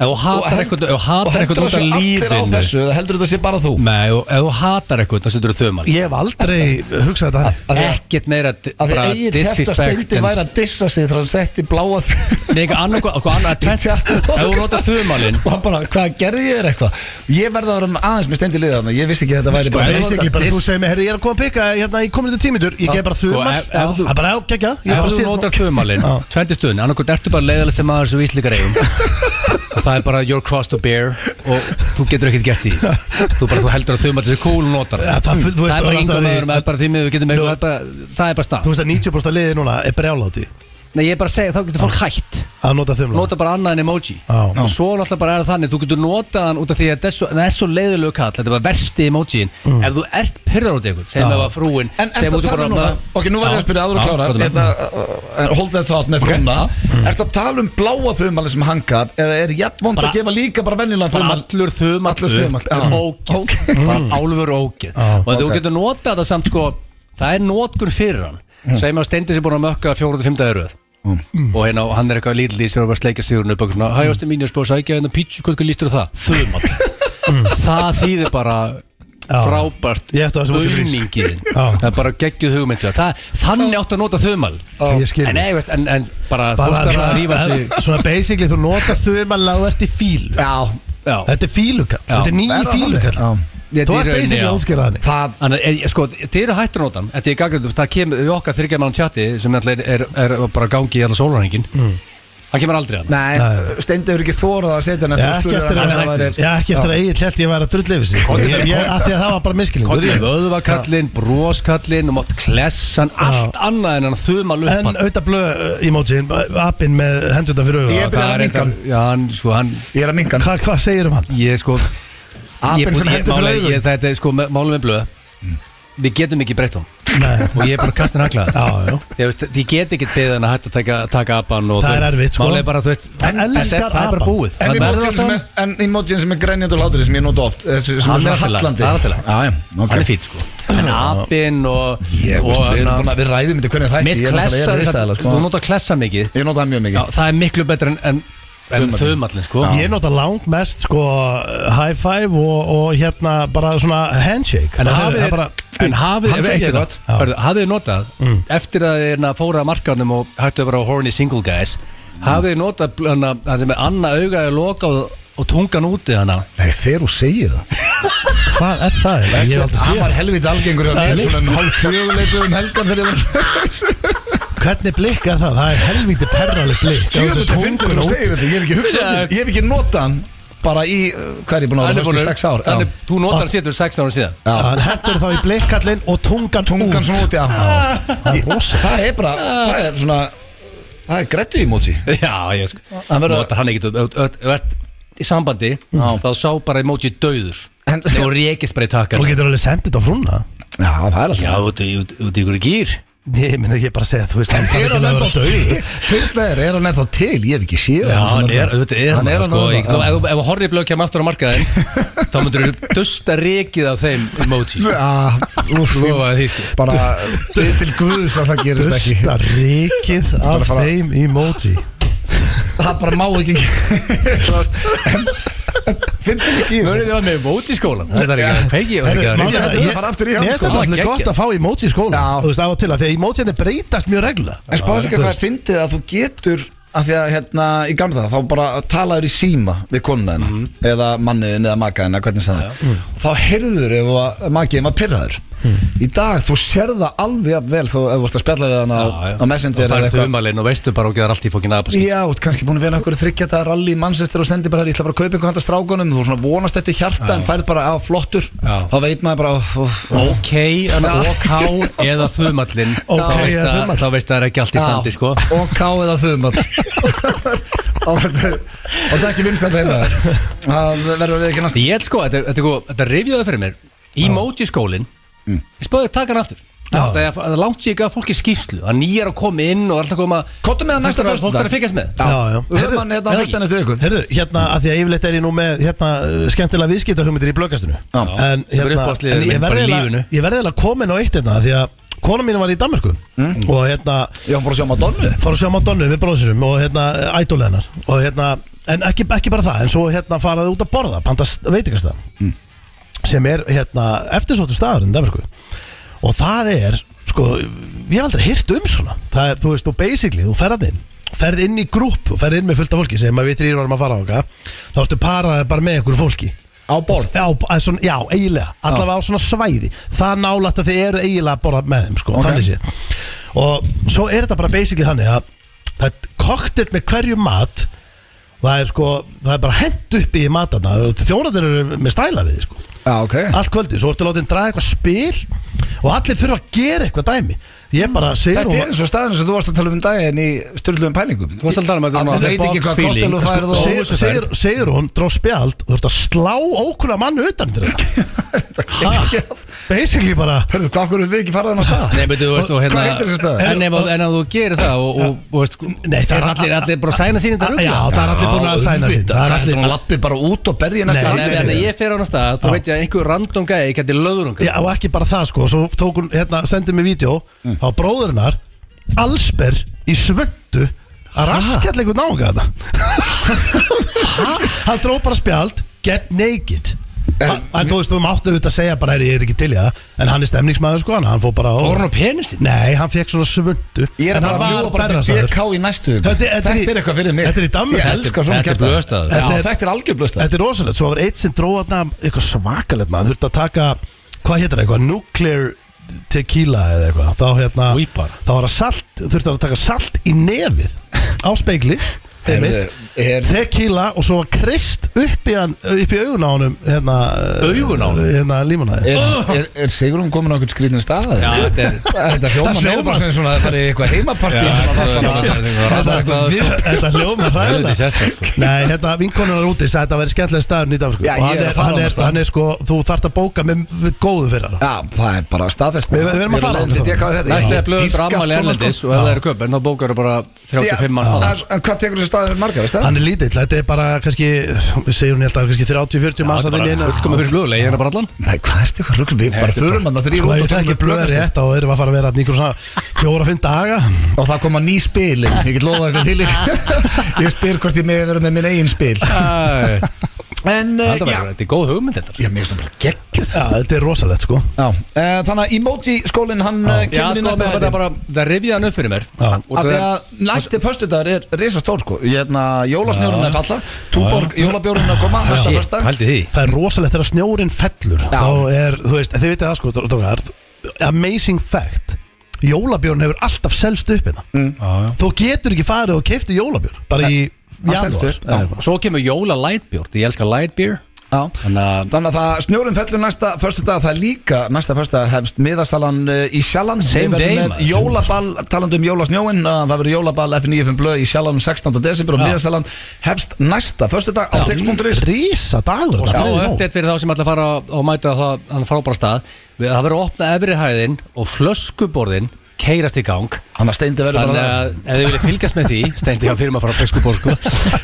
Speaker 3: Ef þú hatar
Speaker 1: held-
Speaker 3: eitthvað Ef þú hatar eitthvað
Speaker 1: og heldur þessu
Speaker 3: út af
Speaker 1: allir á
Speaker 3: lífinu
Speaker 1: þessu eða heldur þetta sé bara þú
Speaker 3: Nei, og ef þú hatar eitthvað þá setur þú þumal
Speaker 2: Ég hef aldrei hugsað þetta hann
Speaker 1: Af því að-
Speaker 3: Ekkert meira di-
Speaker 1: að því
Speaker 3: bara
Speaker 1: eigin þetta
Speaker 3: disrespect
Speaker 1: steindi
Speaker 3: en-
Speaker 1: væri að dissa sig þegar hann setti bláa
Speaker 3: Nei, eitthvað annað Eitthvað annað að
Speaker 1: Já.
Speaker 3: tvent Ef þú notar þumalinn
Speaker 1: og hann bara, hvað gerði ég þér eitthvað ég verði að vera aðeins með steindi liða þannig ég vissi ekki að þetta væri
Speaker 2: Sko,
Speaker 1: bara
Speaker 2: basically, bara þú
Speaker 1: diss.
Speaker 2: segir mig, herri, ég er að koma að pika hérna, ég komin þetta tímitur, ég gef bara þumar
Speaker 3: sko, ef-
Speaker 2: Það
Speaker 3: ef þú-
Speaker 2: er bara, já, geggja, ég er
Speaker 3: Ef
Speaker 2: bara
Speaker 3: þú
Speaker 2: síðan-
Speaker 3: notar þumalinn
Speaker 2: Já.
Speaker 3: Tvendi stund Annarkot ertu bara leiðalegst maður sem íslíkar eigum Og það er bara your cross to bear Og þú getur ekkert gett í Þú bara þú heldur að þumalinn sé cool og notar
Speaker 2: Já, það full- þú
Speaker 3: Það
Speaker 2: veist,
Speaker 3: er
Speaker 2: það
Speaker 3: bara
Speaker 2: er
Speaker 3: yngur
Speaker 2: alltaf
Speaker 3: maður
Speaker 2: því-
Speaker 3: Það er bara því miður við getum eitthvað það er bara- Það er bara
Speaker 2: Þú veist
Speaker 3: stað
Speaker 2: að 90% af liðið núna er brjáláti
Speaker 3: Nei, ég er bara að segja Þá getur fólk hætt
Speaker 2: að nota þumla
Speaker 3: nota bara annað en emoji
Speaker 2: Já.
Speaker 3: og svo náttúrulega bara er það þannig þú getur notað hann út af því að þetta er svo- það er svo leiðilegu kall þetta er bara versti emojiin ef þú ert pyrrar út í eitthvað sem
Speaker 2: Mm. Já.
Speaker 3: það var frúin
Speaker 1: En
Speaker 3: sem
Speaker 1: ertu að tala um núna Ok, nú var ég að spyrja aður og klára hérna, uh, Hold that thought með frúna
Speaker 3: Mm.
Speaker 1: Ertu að tala um bláa þumalinn sem hann gaf Eða er jafnvond
Speaker 3: Bara-
Speaker 1: að gefa líka bara venjulega
Speaker 3: bara
Speaker 1: þumal
Speaker 3: allur þumall
Speaker 1: Allur þumall,
Speaker 3: upp er
Speaker 1: já.
Speaker 3: ógeð bara álfur ógeð
Speaker 2: Já,
Speaker 3: og þú
Speaker 1: ok.
Speaker 3: getur notað það samt sko það er notkun fyrir hann segjum að Steindi sé búin að mökka 4-5 eruð og hérna og hann er eitthvað lítill í sem er bara að sleika sigurinn upp eitthvað svona hæ ástu mínu spóð sækja hérna pítsu hvað lítur það þumall það þýðir bara
Speaker 2: Mm. Já.
Speaker 3: frábært
Speaker 2: Ég ætti á þessu útifrís.
Speaker 3: auðmingið
Speaker 2: Já.
Speaker 3: það er bara geggjuð hugmyndu það, þannig átt að nota þumal
Speaker 2: Ég skil
Speaker 3: en, nei, veist, en, en bara,
Speaker 2: Bara
Speaker 3: fólk þarf að rífa
Speaker 2: svona,
Speaker 3: sig
Speaker 2: svona basically, þú nota þumla að þú ert í fílu
Speaker 3: já, já.
Speaker 2: Þetta er fílukall,
Speaker 3: Já.
Speaker 2: þetta er nýji
Speaker 1: Er það
Speaker 2: fílukall
Speaker 1: þannig?
Speaker 2: Þú
Speaker 3: Já.
Speaker 2: ert
Speaker 3: Þetta er í
Speaker 2: basically
Speaker 3: rauninni,
Speaker 2: að
Speaker 3: já.
Speaker 2: útskýra þannig
Speaker 1: Það
Speaker 3: Þannig, eh, sko, þið eru hættur notan Þetta er gangrættum, það kemur við okkar þryggja mann tjatti sem alltaf er, er, er bara gangi í alla sólarhengin Það kemur aldrei hann
Speaker 1: Mm. Nei, Steindi hefur ekki þórað að setja hann
Speaker 2: Já,
Speaker 1: eftir að
Speaker 2: ekki
Speaker 1: spurði
Speaker 2: eftir
Speaker 1: hann
Speaker 2: að,
Speaker 1: að það væri-
Speaker 2: já, ekki eftir að Egil held ég væri að drull yfir sig Ég- ég- af Því að það var bara miskilningur
Speaker 3: Kollin, vöðvakallin, broskallin og mátt klessan, allt annað en hann þuma
Speaker 2: En
Speaker 3: lupan
Speaker 2: auðvitað blöð uh, emojiðin, appin með hendurna fyrir auðvitað
Speaker 1: Ég er byrjaður að minka hann.
Speaker 3: Já, hann, sko, hann,
Speaker 1: Ég er að minka hann
Speaker 2: Hvað hva segir um hann?
Speaker 3: ég, sko
Speaker 1: Apinn
Speaker 3: ég-
Speaker 1: sem
Speaker 3: ég-
Speaker 1: heldur fyrir
Speaker 3: málega-
Speaker 1: augun. Mm.
Speaker 3: ég- Þetta er, sko, með- málum með blöð Við getum ekki breytt hann
Speaker 2: Nei,
Speaker 3: og ég er bara kastin haklaða
Speaker 2: já, já
Speaker 3: Ég, veist, ég get ekki beðið hann að hætta að taka, taka apan og
Speaker 2: Það
Speaker 3: þú-
Speaker 2: er erfitt, sko.
Speaker 3: Málið er bara, þú veist,
Speaker 2: Hann
Speaker 3: þetta er-
Speaker 2: elskar
Speaker 3: Það er
Speaker 2: apann.
Speaker 3: bara búið
Speaker 1: En
Speaker 3: Það verður
Speaker 1: emojín
Speaker 3: alltaf
Speaker 1: sem
Speaker 3: hann.
Speaker 1: er- En emojín sem er grænjandi og hláturinn sem ég nota oft eh, sem sem er
Speaker 3: Hann er
Speaker 1: svona
Speaker 3: allt í lagi,
Speaker 1: hallandi
Speaker 3: það er allt í lagi.
Speaker 1: Já, já, ok.
Speaker 3: hann er fýtt sko en apinn og,
Speaker 1: Ég
Speaker 3: og
Speaker 1: veist, við erum
Speaker 3: hann-
Speaker 1: búin að- við ræðum þetta hvernig þætti
Speaker 3: Miss
Speaker 1: ég er náttúrulega- ég
Speaker 3: klessa
Speaker 1: er
Speaker 3: þess að-
Speaker 1: risaðilega, sko.
Speaker 3: þú notar klessa mikið
Speaker 1: Ég nota það mjög
Speaker 3: já,
Speaker 1: mikið
Speaker 3: það er miklu betra en, en, en
Speaker 1: Þumallinn.
Speaker 3: þumallin sko
Speaker 2: Ég nota langt mest sko high five og, og hérna bara svona handshake
Speaker 3: en
Speaker 2: bara, það
Speaker 3: hafið
Speaker 2: er bara,
Speaker 3: en hafið
Speaker 1: Hann
Speaker 3: ef-
Speaker 1: segir Mm.
Speaker 3: eitt er
Speaker 1: það.
Speaker 3: gott. Hörðu, hafið þið notað eftir að þið hérna, fóra að markanum og hættu bara á horny single guys hafið þið notað bl- hana, það sem er annað auga er lokað og, og tungan úti hana
Speaker 1: Nei, þegar þú segir það
Speaker 2: Hvað er það? Ég hef aldrei
Speaker 1: Hann
Speaker 2: séð
Speaker 1: var helviti algengur hjá
Speaker 2: Það er
Speaker 1: mér Svona um hálf fjöguleitu um helgan þegar ég var
Speaker 2: Hvernig blikk er það? Það er helviti perraleg blikk
Speaker 1: Ég veit að fyndi
Speaker 2: Tunguna
Speaker 1: þú
Speaker 2: út.
Speaker 1: segir þetta Ég hef ekki hugsað um
Speaker 3: Já.
Speaker 1: þetta. Ég hef ekki notað hann Bara í, uh, hvað er ég búin að vera höst í sex ár
Speaker 3: Þannig-
Speaker 1: Já.
Speaker 3: þú notar hann sétur 6 ára síðan
Speaker 2: Já, Hann hendur þá í blikkallinn og tungan,
Speaker 1: Tungan
Speaker 2: út
Speaker 1: svona út í afn
Speaker 2: Það er rosa
Speaker 1: Það er bara, það er svona Það er grættu emoji
Speaker 3: Já, ég sko
Speaker 1: Hann verður-
Speaker 3: Notar hann ekkert Ef þú ert í sambandi Þá sá bara emoji döður
Speaker 1: En-
Speaker 3: Nei, og rekist bara í
Speaker 2: Þú
Speaker 3: takkan
Speaker 2: getur alveg sendið þetta á frúna
Speaker 1: Já, það er
Speaker 3: Já,
Speaker 1: alltaf
Speaker 3: út í út- út í ykkur gýr
Speaker 2: Ég minna ég er bara að segja þú veist Hann þarf
Speaker 1: Er
Speaker 2: ekki
Speaker 1: hann
Speaker 2: að vera
Speaker 1: ennþá
Speaker 2: döið
Speaker 1: til? Fyrir það er hann ennþá til, ég hef ekki séð
Speaker 3: Já,
Speaker 1: hann
Speaker 3: hann
Speaker 1: svona
Speaker 3: er, auðvitað er hann,
Speaker 1: Hann er
Speaker 3: sko,
Speaker 1: hann
Speaker 3: ég,
Speaker 1: alveg,
Speaker 3: ef, ef horri blöð kemur aftur á markaðin þá myndur þú dusta rekið af þeim emoji
Speaker 1: Já, úf,
Speaker 3: Lofaði því, sko.
Speaker 1: Bara, bið til guðs að það gerist ekki
Speaker 2: Dusta rikið
Speaker 1: að
Speaker 2: af
Speaker 1: fara-
Speaker 2: þeim emoji
Speaker 1: Það bara má ekki Finnir ekki í þessu
Speaker 3: Mörðið var með emoji skólan Þetta er ekki að pegi og ekki að
Speaker 1: málið
Speaker 3: rekið
Speaker 1: er- að fara aftur í hann,
Speaker 2: Mér
Speaker 1: sko.
Speaker 2: finnst það
Speaker 3: Það er
Speaker 2: alveg gott
Speaker 3: geggjað.
Speaker 2: að fá emoji í skóla
Speaker 1: Já.
Speaker 2: Þú veist af og til að því að emojiðinni breytast mjög reglulega
Speaker 1: En spáðu líka hvað er fyndið að þú getur að því að hérna í gamla það þá bara talaður í síma við konuna þina eða manniðin eða makaðin eða hvernig sem það er og þá heyrður ef að makiðin var pyrraður í dag þú sér það alveg jafn vel þú ef þú vorst að spjalla við hann á, á Messenger
Speaker 3: og
Speaker 1: eða
Speaker 3: það er
Speaker 1: eitthvað.
Speaker 3: þumalinn og veistu bara og geðar allt í fókin aðpa
Speaker 1: Já, þú ert kannski búin að vera einhverju þryggjata rally í Manchester og sendir bara, ég ætla bara að kaupa einhver handa strákunum þú svona vonast eftir hjarta en færð bara á flottur
Speaker 3: Já.
Speaker 1: þá veit maður bara óf, óf, óf.
Speaker 3: Ok, hann OK eða þumallinn
Speaker 2: Ok
Speaker 3: Þá veist
Speaker 2: eða
Speaker 3: að-
Speaker 2: þumall.
Speaker 3: Þá veist það er ekki allt í standi sko
Speaker 1: og káið að þumall og þetta er ekki minnst að reyna það verður við ekki næst
Speaker 3: Því Ég held sko, þetta, þetta, þetta, þetta rifjaði fyrir mér Emoji skólin
Speaker 2: Mm.
Speaker 3: Ég spöði að taka hann aftur Það er það er langt sér ekki að fólki skýrslu Að nýjar að koma inn og alltaf koma
Speaker 1: Kottum með það næsta
Speaker 3: Fólk þarf að- Fólk
Speaker 1: föstudag.
Speaker 3: þarf að fylgjast með
Speaker 2: Já, já.
Speaker 1: Við höfum hann hérna
Speaker 3: Nei.
Speaker 1: fyrst enn eftir ykkur
Speaker 2: Herðu, hérna, að því að yfirleitt er ég nú með hérna, uh, skemmtilega viðskiptahugmyndir í blöggastinu
Speaker 1: Já.
Speaker 2: en,
Speaker 3: Sem er
Speaker 2: hérna,
Speaker 3: uppáhaldsliðurinn
Speaker 2: en ég
Speaker 3: minn bara í
Speaker 2: verði
Speaker 3: lífinu.
Speaker 2: eiginlega- ég verði eiginlega komin á eitt hérna, því að kona mín var í Danmarku
Speaker 3: Mm.
Speaker 2: og hérna
Speaker 1: Já, hann fór að sjá Madonnu
Speaker 2: fara að sjá Madonnu með bróðsirum og hérna ædol hennar og hérna, en ekki, ekki bara það en svo hérna faraði út að borða panta veitingastæð sem er hérna eftirsóttu staður en Danmarku og það er, sko, ég hef aldrei hýrt um svona, það er, þú veist, þú basically þú ferð inn, ferð inn í grúp og ferð inn með fullt af fólki sem að við þrýr varum að fara á okkar þá ertu paraði bara með einhverju fólki
Speaker 1: Á borð
Speaker 2: Já, að svona, já, eiginlega, allavega á svona svæði Það nálægt að þið eru eiginlega að borða með þeim sko,
Speaker 1: Ok.
Speaker 2: Þannig sé Og svo er þetta bara basically þannig að Það er koktel með hverju mat og Það er sko, það er bara hent upp í matana Þjónatir eru með stæla við því, sko
Speaker 1: Já, ok
Speaker 2: Allt kvöldið, svo ertu látið að draga eitthvað spil Og allir þurfa að gera eitthvað dæmi Ég bara segir
Speaker 1: Þetta er eins og staðinu sem þú varst að tala um um daginn í styrluðum pælingum
Speaker 3: Þú varst að tala um að þetta
Speaker 1: Að
Speaker 3: var
Speaker 1: þú
Speaker 3: the
Speaker 1: veit
Speaker 3: box
Speaker 1: ekki hvað
Speaker 3: feeling,
Speaker 1: kottel þú
Speaker 3: sko.
Speaker 1: færð og
Speaker 2: Sigur, sigur, sigur hún dró spjald og þurft að slá ókunna mannu utan til þetta Ha, Basically bara
Speaker 1: Hörðu, hvað okkur við ekki farað hann á stað?
Speaker 3: Nei, betur, þú veist, og hérna
Speaker 1: Hvað heitir þessi staður?
Speaker 3: En ef að- en að þú gerir það og, og, og veist,
Speaker 2: Nei, það
Speaker 3: er
Speaker 2: er-
Speaker 3: allir, allir bara að sæna sín þetta
Speaker 2: Já,
Speaker 3: rugla
Speaker 2: það er allir búin að sæna sín Það er allir
Speaker 1: að lappi bara út og berja
Speaker 2: Nei,
Speaker 1: næsta
Speaker 3: En ef en ef ég fer á hann stað, þú
Speaker 2: Já.
Speaker 3: veit ég að einhver random gæði gæti um löðrunga
Speaker 2: Já, og ekki bara það sko Svo tók hún, hérna, sendið mér vídeo
Speaker 1: Mm.
Speaker 2: á bróðurinnar Allsber í svöndu að raskall einhvern náunga þetta Hann dró bara spjald Get naked En, en þú veist, þú máttu auðvitað að segja bara "Heyrðu, Ég er ekki til í það, en hann er stemningsmaður sko hann- Hann fór bara á
Speaker 3: Fór hann á penisinn?
Speaker 2: Nei, hann fekk svona svöndu
Speaker 1: Ég er bara
Speaker 2: En hann
Speaker 1: að
Speaker 2: var
Speaker 1: fljúa bara til
Speaker 2: berrasaður.
Speaker 1: BK í næstu viku.
Speaker 2: Þetta er- þetta er í-
Speaker 1: Þetta er eitthvað fyrir mig
Speaker 2: þetta er í Danmörku.
Speaker 1: Ég elska svona
Speaker 3: Þetta er
Speaker 1: kjaftaði.
Speaker 3: blöðstaður.
Speaker 1: Já,
Speaker 2: Þetta er-
Speaker 1: Þetta er algjör blöðstað
Speaker 2: Þetta er rosalegt, svo var eitt sem dróða þarna eitthvað svakalegt maður, þurfti að taka hvað hétt er eitthvað, nuclear tequila eða eitthvað, þá hérna
Speaker 3: Új, bara.
Speaker 2: þá var að salt, þurfti að taka salt í nefið á speigli einmitt,
Speaker 1: er-
Speaker 2: tequila og svo var krist upp í, hann, upp í augun á honum hérna,
Speaker 3: Augun á honum?
Speaker 2: hérna límanæði
Speaker 1: Er, er, er Sigurum komin á einhvern skrýtnin stað?
Speaker 3: Já, þetta er-
Speaker 1: Þetta
Speaker 2: Það
Speaker 1: hljóma
Speaker 2: hljómar-
Speaker 1: hljóma sem svona að það er eitthvað heimapartí
Speaker 3: Já,
Speaker 1: sem að
Speaker 3: þetta-
Speaker 1: þarf að-
Speaker 3: þetta
Speaker 1: Þetta er
Speaker 3: var rannsakað.
Speaker 1: eitthvað við-
Speaker 2: Þetta hljóma
Speaker 3: Þetta er
Speaker 2: hræðilega
Speaker 3: sérstakt, sko.
Speaker 2: Nei, hérna vinkonunar úti sagði að þetta væri skemmtilega staður nýtt af sko.
Speaker 1: Já,
Speaker 2: og
Speaker 1: ég
Speaker 2: hann
Speaker 1: er að
Speaker 2: er,
Speaker 1: fara á
Speaker 2: hann, er,
Speaker 1: þennan stað.
Speaker 2: hann er sko, þú þarft að bóka með með góðu fyrir hann
Speaker 1: Já, það er bara staðfest
Speaker 2: Við- við erum að fara á
Speaker 1: Þetta er
Speaker 2: þetta.
Speaker 1: eitthvað þetta
Speaker 3: Næstu
Speaker 1: Ég
Speaker 3: er blöður
Speaker 1: dýrka
Speaker 3: drammali
Speaker 1: svona, sko.
Speaker 3: erlendis og ef það eru köp, en þá bókar bara 35 mann
Speaker 1: Já,
Speaker 3: það
Speaker 1: En hvað tekur þessi staður margar, veist það?
Speaker 2: Hann er lítill, þetta er bara kannski við segjum hérna kannski 30-40 manns að þinn
Speaker 3: Fullkomu fyrir blöðu, leiði hennar bara allan
Speaker 1: Nei, hvað er þetta eitthvað rugl? Við bara förum hann að þrýra
Speaker 2: Sko, ef það ekki blöður rétt þá erum við að fara að vera þarna í einhverjum svona fjóra-fimm daga
Speaker 1: Og það koma ný spil, ég get lofa eitthvað til ykkur. Ég spyr hvort ég með vera með minn eigin spil En, eh, já
Speaker 3: Þetta verður- þetta er góð hugmynd þetta
Speaker 1: Ég mér finnst það bara geggjur
Speaker 2: Já, þetta er rosalegt, sko
Speaker 1: Já, eh, þannig að emoji skólinn hann eh,
Speaker 3: Já,
Speaker 1: kemur í
Speaker 3: sko,
Speaker 1: næsta
Speaker 3: það
Speaker 1: þætti.
Speaker 3: er bara, það rifjaði hann upp fyrir mér
Speaker 2: Já.
Speaker 3: Og
Speaker 1: Af því að
Speaker 3: það-
Speaker 1: næsti föstudagur er risastór sko Hérna, jólasnjórun er falla Túborg, jólabjórun að koma Næsta
Speaker 3: Shit,
Speaker 1: föstudag
Speaker 3: Pældi því
Speaker 2: Það er rosalegt þegar snjórin fellur þá er, þú veist, þið vitið það, sko drókar, amazing fact Jólabjörn hefur alltaf selst upp hérna
Speaker 1: Mm.
Speaker 3: Já, já.
Speaker 2: Þú getur ekki farið og keifti jólabjörn bara í
Speaker 1: hann
Speaker 2: janúar
Speaker 1: selst upp, já.
Speaker 2: eða eitthvað.
Speaker 3: Svo kemur jóla lightbjörn, ég elska lightbjörn
Speaker 1: Já.
Speaker 3: Þannig að
Speaker 1: Þannig að það snjórun fellur næsta föstudag Það er líka næsta föstudag hefst miðasalan eh, í Sjallan
Speaker 3: Same
Speaker 1: Við verðum
Speaker 3: day,
Speaker 1: með
Speaker 3: maður.
Speaker 1: Jólaball, talandi um jólasnjóin að Það verður jólaball F95 blöð í Sjallan 16. desember og miðasalan hefst næsta föstudag á text.is
Speaker 2: Rísa dagur
Speaker 3: Og
Speaker 2: þetta,
Speaker 3: svo
Speaker 2: þriðji nótt.
Speaker 3: uppdætt fyrir þá sem ætla að fara og mæta það, þann frábæra stað Við- Það verður að opna efri hæðin og flöskuborðin keirast í gang
Speaker 1: Þannig að steindi verður
Speaker 3: Þannig
Speaker 1: bara
Speaker 3: að ef þið viljið fylgjast með því stendi ég á fyrir maður að fara á flöskuborð sko,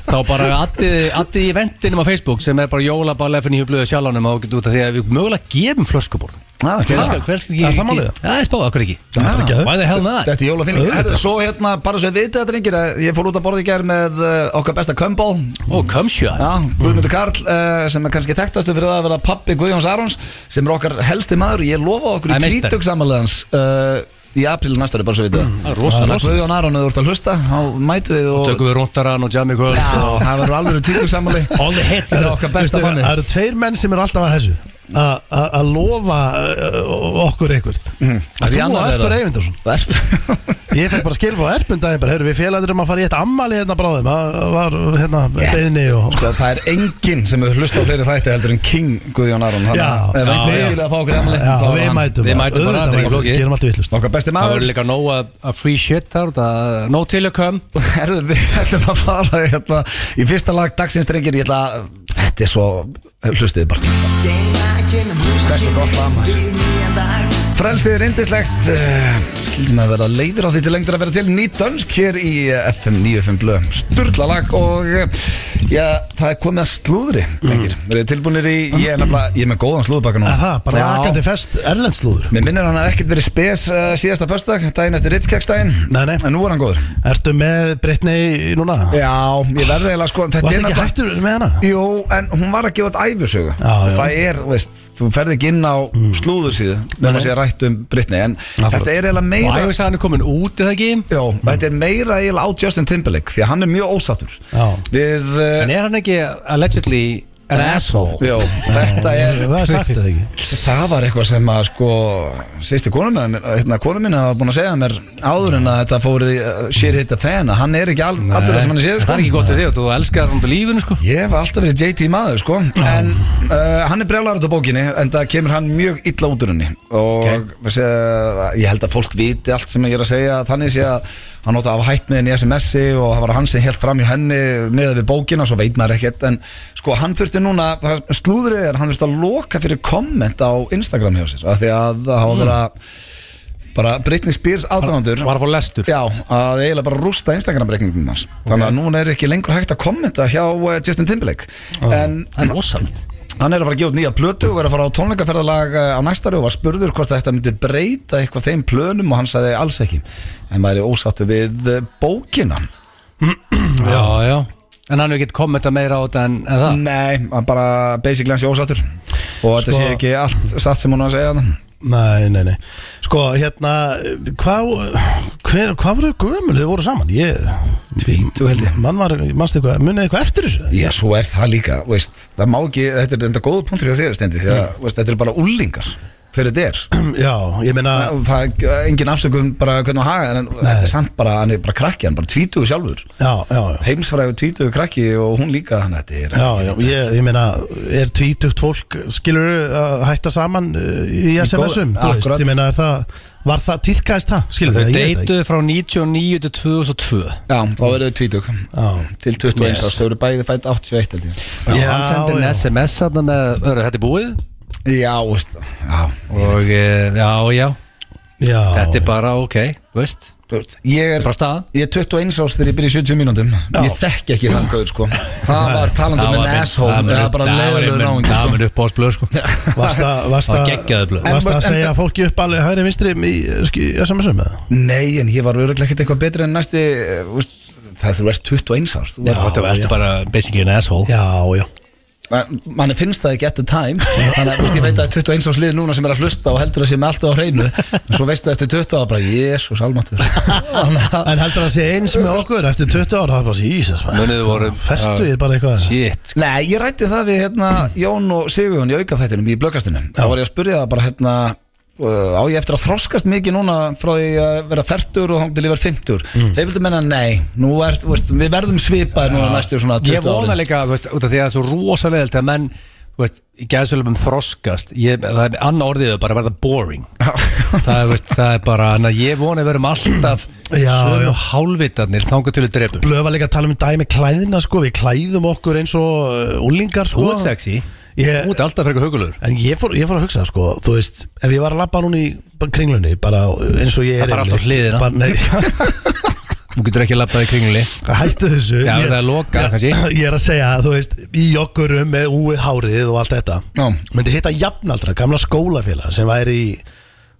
Speaker 3: þá bara addið í eventinum á Facebook sem er bara jólaball FN í hjöfluðu sjálfanum og getur út af því að við mögulega gefum flöskuborð
Speaker 1: Ah, ok.
Speaker 3: Hver skal- hver skal
Speaker 2: Er
Speaker 3: ekki
Speaker 2: það málið?
Speaker 3: Já, ég spáði okkur ekki Ah,
Speaker 2: Það er ekki að-
Speaker 3: Why the hell not?
Speaker 1: Þetta er jólafinning
Speaker 2: Auðvitað.
Speaker 1: Herðu, Svo hérna, bara svo við vitið þetta reyngir Ég fór út að borða í gerð með uh, okkar besta kömbál
Speaker 3: Ó, kumshot
Speaker 1: Já, Guðmundur Karl uh, sem er kannski þekktastu fyrir það að vera pappi Guðjóns Arons sem er okkar helsti maður Ég lofa okkur í
Speaker 3: Það er meistari.
Speaker 1: tvítugsamalegans uh, í apríl næsta ári, bara svo við þetta
Speaker 3: Það er rosa-
Speaker 1: Þannig að Guðjón Aron, ef þú ert að hlusta þá mætu þið og
Speaker 3: Tökum við rúntaran og jammi kvöld
Speaker 1: Já,
Speaker 3: og
Speaker 1: það verður alveg tvítugsamali
Speaker 3: All the hits
Speaker 1: Þetta er okkar besta
Speaker 2: Veistu,
Speaker 1: manni
Speaker 2: Það eru tveir menn sem eru alltaf að þessu a- a- að lofa uh, okkur eitthvað
Speaker 1: Mhm.
Speaker 2: Það er þú
Speaker 1: Rihanna
Speaker 2: og
Speaker 1: er
Speaker 2: Erpur
Speaker 1: það.
Speaker 2: Eyvindarsson
Speaker 1: Ver-
Speaker 2: Ég fekk bara skilfa á Erpun daginn bara, heyrðu, við félagur um að fara í eitt ammali hérna bráðum það var hérna beðni og
Speaker 1: Sko, Það er enginn sem hefur hlustað á fleiri þætti heldur en King Guðjón Aron Þannig
Speaker 2: Já.
Speaker 1: að ef einhver
Speaker 2: Já, já.
Speaker 1: skilur að fá okkur afmæli,
Speaker 2: Já,
Speaker 1: þá er
Speaker 2: við
Speaker 1: hann.
Speaker 2: mætum
Speaker 3: við
Speaker 2: bara.
Speaker 3: mætum
Speaker 2: Auðvitað
Speaker 3: bara, þetta er ekki
Speaker 2: mætum,
Speaker 3: flókið.
Speaker 2: gerum alltaf villust
Speaker 1: Okkar besti
Speaker 3: Það
Speaker 1: maður
Speaker 3: voru líka nóg að að free shit þar það- No til að kom
Speaker 1: Herðu, við ætlum að fara hérna, í fyrsta lag dagsins drengir, ég ætla að þetta er svo, hlustið bara
Speaker 4: Hversu
Speaker 1: Hversu gott lag, maður.
Speaker 4: maður
Speaker 1: Frelsið er eh, indislegt Skilin að vera leiður á því til lengdur að vera til Ný dönsk hér í eh, FM 95 blö Sturla lag og eh, Já, það er komið að slúðri
Speaker 2: Mm.
Speaker 1: Mengir, verið þið tilbúinir í Ég er nefnilega, ég er með góðan slúðbakka nú
Speaker 2: Aha, bara
Speaker 1: Já.
Speaker 2: rakandi fest erlendslúður
Speaker 1: Mér minnir hann að ekkert verið spes uh, síðasta föstudag Daginn eftir Ritskjagsdaginn
Speaker 2: Nei, nei.
Speaker 1: En nú er hann góður
Speaker 2: Ertu með Brittany núna?
Speaker 1: Já, ég verði eiginlega sko þetta
Speaker 2: Varst
Speaker 1: er
Speaker 2: ekki
Speaker 1: náttúrulega-
Speaker 2: hættur með hana?
Speaker 1: Jú, en hún var að gefa þetta æfisögu
Speaker 2: Já, já.
Speaker 1: Það er, þú veist, þú ferð ekki inn á mm. slúðursíðu Nefnum að sé rætt um Britney En þetta er eiginlega
Speaker 3: Og
Speaker 1: meira
Speaker 3: æfis að hann er komin út, eða ekki?
Speaker 1: Já, þetta er meira eiginlega á Justin Timberlake Því að hann er mjög ósáttur
Speaker 2: Já.
Speaker 1: Við eh,
Speaker 3: En er hann ekki allegedly an asshole?
Speaker 1: Jó, þetta er
Speaker 2: Það er sagt eða ekki
Speaker 1: Það var eitthvað sem að sko Sýsti konum minna, hérna, konum minna var búin að segja mér áður en að þetta fór í uh, shit hit the fan að hann er ekki all, allur það sem hann er séð
Speaker 3: Það
Speaker 1: sko.
Speaker 3: er ekki gott við þig og þú elskar hann til lífinu, sko
Speaker 1: Ég hef alltaf verið JT maður sko En uh, hann er brjálar út á bókinni En það kemur hann mjög illa út úr henni Og uh, ég held að fólk viti allt sem ég er að segja Þannig sé að hann átti að hafa hætt með henni í SMS-i Og það var hann sem held fram í henni Með við bókina, svo veit maður ekkert En sko hann þurfti núna, það slúðrið er Hann þurfti að loka fyrir komment á Instagram hjá sér af Því að það hafa verið að Bara Britney Spears aðdánandur
Speaker 3: Var að fá lestur
Speaker 1: Já, að eiginlega bara rústa Instagram-reikningum hans Þannig að núna er ekki lengur hægt að kommenta hjá eh, Justin Timberlake
Speaker 3: Ah.
Speaker 1: En
Speaker 3: Það er rosalegt
Speaker 1: hann er að fara að gefa út nýja plötu og er að fara á tónleikaferðalag eh, á næstari og var spurður hvort þetta myndi breyta eitthvað þeim plönum og hann sagði alls ekki En maður er ósattu við eh, bókina
Speaker 3: Já, já En hann hefur ekkert kommentað meira á þetta en, en það
Speaker 1: Nei, hann bara basically hans er ósattur Og þetta
Speaker 2: Sko-
Speaker 1: sé ekki allt satt sem hún var að segja það
Speaker 2: Nei, nei, nei Sko, hérna, hvað hver, Hvað voru gömul þið voru saman? Ég,
Speaker 1: Tvítu held ég
Speaker 2: mann var, mannstu eitthvað, munið eitthvað eftir þessu?
Speaker 1: Já, svo er það líka, veist, það má ekki, þetta er enda góðu punktur hjá þér, Stendi, því
Speaker 3: Mm.
Speaker 1: að, veist, þetta er bara úlingar, þegar þetta er.
Speaker 2: Já, ég meina
Speaker 3: Ah.
Speaker 1: Og það er engin afsökum bara hvernig að haga en þetta er samt bara, hann er bara krakki hann bara tvítuðu sjálfur,
Speaker 2: Já, já, já
Speaker 1: heimsfræðu tvítuðu krakki og hún líka hann þetta er
Speaker 2: Já, já, ég, ég meina, er tvítugt fólk skilur að hætta saman uh, í SMS-um, þú veist,
Speaker 1: akkurat.
Speaker 2: ég meina, er það, var það, týðkaðist það, skilur
Speaker 3: Þau
Speaker 2: það, ég veit það
Speaker 3: deytuðu frá 99 til 2002
Speaker 1: Já, þá verður þau tvítug
Speaker 2: Já.
Speaker 1: til 21
Speaker 3: Ah. Yes.
Speaker 1: árs, þau eru bæði fætt 81 held ég
Speaker 3: Já,
Speaker 2: Já,
Speaker 3: hann sendir en
Speaker 2: já.
Speaker 3: SMS þarna með, "Hörðu, þetta er búið
Speaker 1: Já, veist, já,
Speaker 3: Og eh, já, já,
Speaker 2: ekki Já,
Speaker 3: þetta er bara ok, veist
Speaker 1: þú veist, ég er
Speaker 3: Bara staðan
Speaker 1: Ég er 21 árs þegar ég byrja í 70 mínúndum Ég þekki ekki þann gauður sko Það var
Speaker 3: Það
Speaker 1: talandum
Speaker 3: var
Speaker 1: en
Speaker 3: minn-
Speaker 1: asshole
Speaker 3: það
Speaker 1: Það
Speaker 3: var
Speaker 1: var
Speaker 3: minn-
Speaker 1: bara
Speaker 3: það var
Speaker 1: leiðurlega
Speaker 3: minn-
Speaker 1: náingi
Speaker 3: Það
Speaker 1: sko
Speaker 3: var upp á blöð sko
Speaker 2: varst það, varst
Speaker 3: Það var
Speaker 2: það
Speaker 3: geggjaðu blöð.
Speaker 1: En
Speaker 2: Varst það
Speaker 1: veist,
Speaker 2: að
Speaker 1: en-
Speaker 2: segja fólki upp alveg hægri vinstri í uh, ski- SMS-um eða?
Speaker 1: Nei, en ég var öruglega ekkert eitthvað betri en næsti eh, þú veist, Það þú ert 21 árs þú ert-
Speaker 3: Þetta var
Speaker 2: já.
Speaker 3: ertu bara basically an asshole
Speaker 2: Já, já
Speaker 1: Man- manni finnst það ekki at the time þannig að þú veist, ég veit að 21 árs lið núna sem er að hlusta og heldur að sé með alltaf á hreinu en svo veistu eftir 20 ára bara, jésus almatur
Speaker 2: En heldur það að sé eins með okkur eftir 20 ára, það er bara sér, Jesus, maður
Speaker 3: Munið þið voru-
Speaker 2: Festu ég bara eitthvað
Speaker 3: Shit
Speaker 1: Nei, ég rætti það við hérna, Jón og Sigurjón í aukaþættinum í blökkastinu þá var ég að spurja það bara hérna Uh, á ég eftir að þroskast mikið núna frá því að vera færtur og hangið til ég vera 50 þeir vildu menna nei, nú er, þú veist, við verðum svipaðir núna næstu svona 20
Speaker 3: Ég vona
Speaker 1: árin.
Speaker 3: líka, þú veist, út af því að það er svo rosalega að menn, þú veist, í gæðsvöldum þroskast, ég, það er annað orðið er bara að verða boring það, er, veist, það er bara, en að ég vona að verum alltaf
Speaker 2: Já, já.
Speaker 3: sömu hálfvitarnir þangar til að drefum
Speaker 2: Blöð var líka að tala um dæmi klæðina sko Við klæðum okkur eins og úlingar
Speaker 3: Þú
Speaker 2: sko
Speaker 3: ert sexy,
Speaker 2: Ég-
Speaker 3: þú ert alltaf frekar hugulur
Speaker 2: En ég fór, ég fór að hugsa sko, þú veist, ef ég var að labba núna í b- kringlunni, bara eins og ég er
Speaker 3: Það fara allt á
Speaker 2: yfirleitt,
Speaker 3: hliðina.
Speaker 2: bara- Nei,
Speaker 3: Þú getur ekki að labba í kringlunni
Speaker 2: hættu þessu
Speaker 3: Já,
Speaker 2: Ég-
Speaker 3: það er lokað,
Speaker 2: ég-
Speaker 3: kannski.
Speaker 2: Ég er að segja, þú veist, í joggurum með úið hárið og allt þetta
Speaker 1: Já.
Speaker 2: Myndi hitta jafnaldra, gamla skólafélag sem væri í,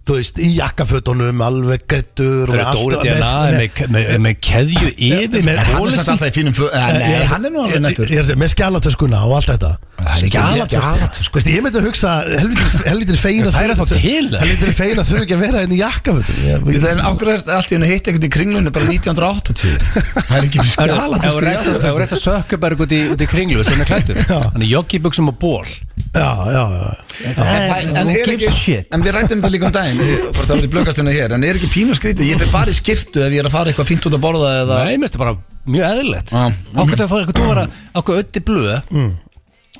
Speaker 2: þú veist, í jakkafötunum, alveg grettur
Speaker 3: Það eru Dóri DNA með, með, með keðju yfir
Speaker 2: með-
Speaker 1: hann er
Speaker 3: bólustík.
Speaker 1: samt alltaf í fínum flöð nei, hann er nú alveg nettur
Speaker 2: Ég ég er að segja, með skjálatöskuna og allt þetta
Speaker 1: Það er ekki skjálatösku.
Speaker 2: Sko, veist, ég myndi að hugsa helvitir, helvitir feina
Speaker 3: Það er þá til.
Speaker 2: Helvitir feina þurfi ekki að vera hérna í jakkafötum
Speaker 1: Við
Speaker 2: Ég-
Speaker 1: það er ágræðast allt í hennu hitt einhvern í kringlunni bara 1980 Það er ekki
Speaker 3: Ef þú reynst- ef þú reynt að sökka bara út í, út í kringlu, veist, hann er klættur Hann er joggibuxum og ból
Speaker 2: Já, já, já
Speaker 1: En, en,
Speaker 3: Who
Speaker 1: er
Speaker 3: gives a
Speaker 1: ekki,
Speaker 3: shit?
Speaker 1: en við rættum þetta líka um daginn hvort það var í blökastunni hér, en er ekki pínu skrítið ég fer bara í skiptu ef ég er að fara eitthvað fínt út að borða eða
Speaker 3: Nei, mér finnst það bara mjög eðlilegt
Speaker 1: Já. Mm.
Speaker 3: Ákveð að fá eitthvað, þú var að ákveð ötti blöð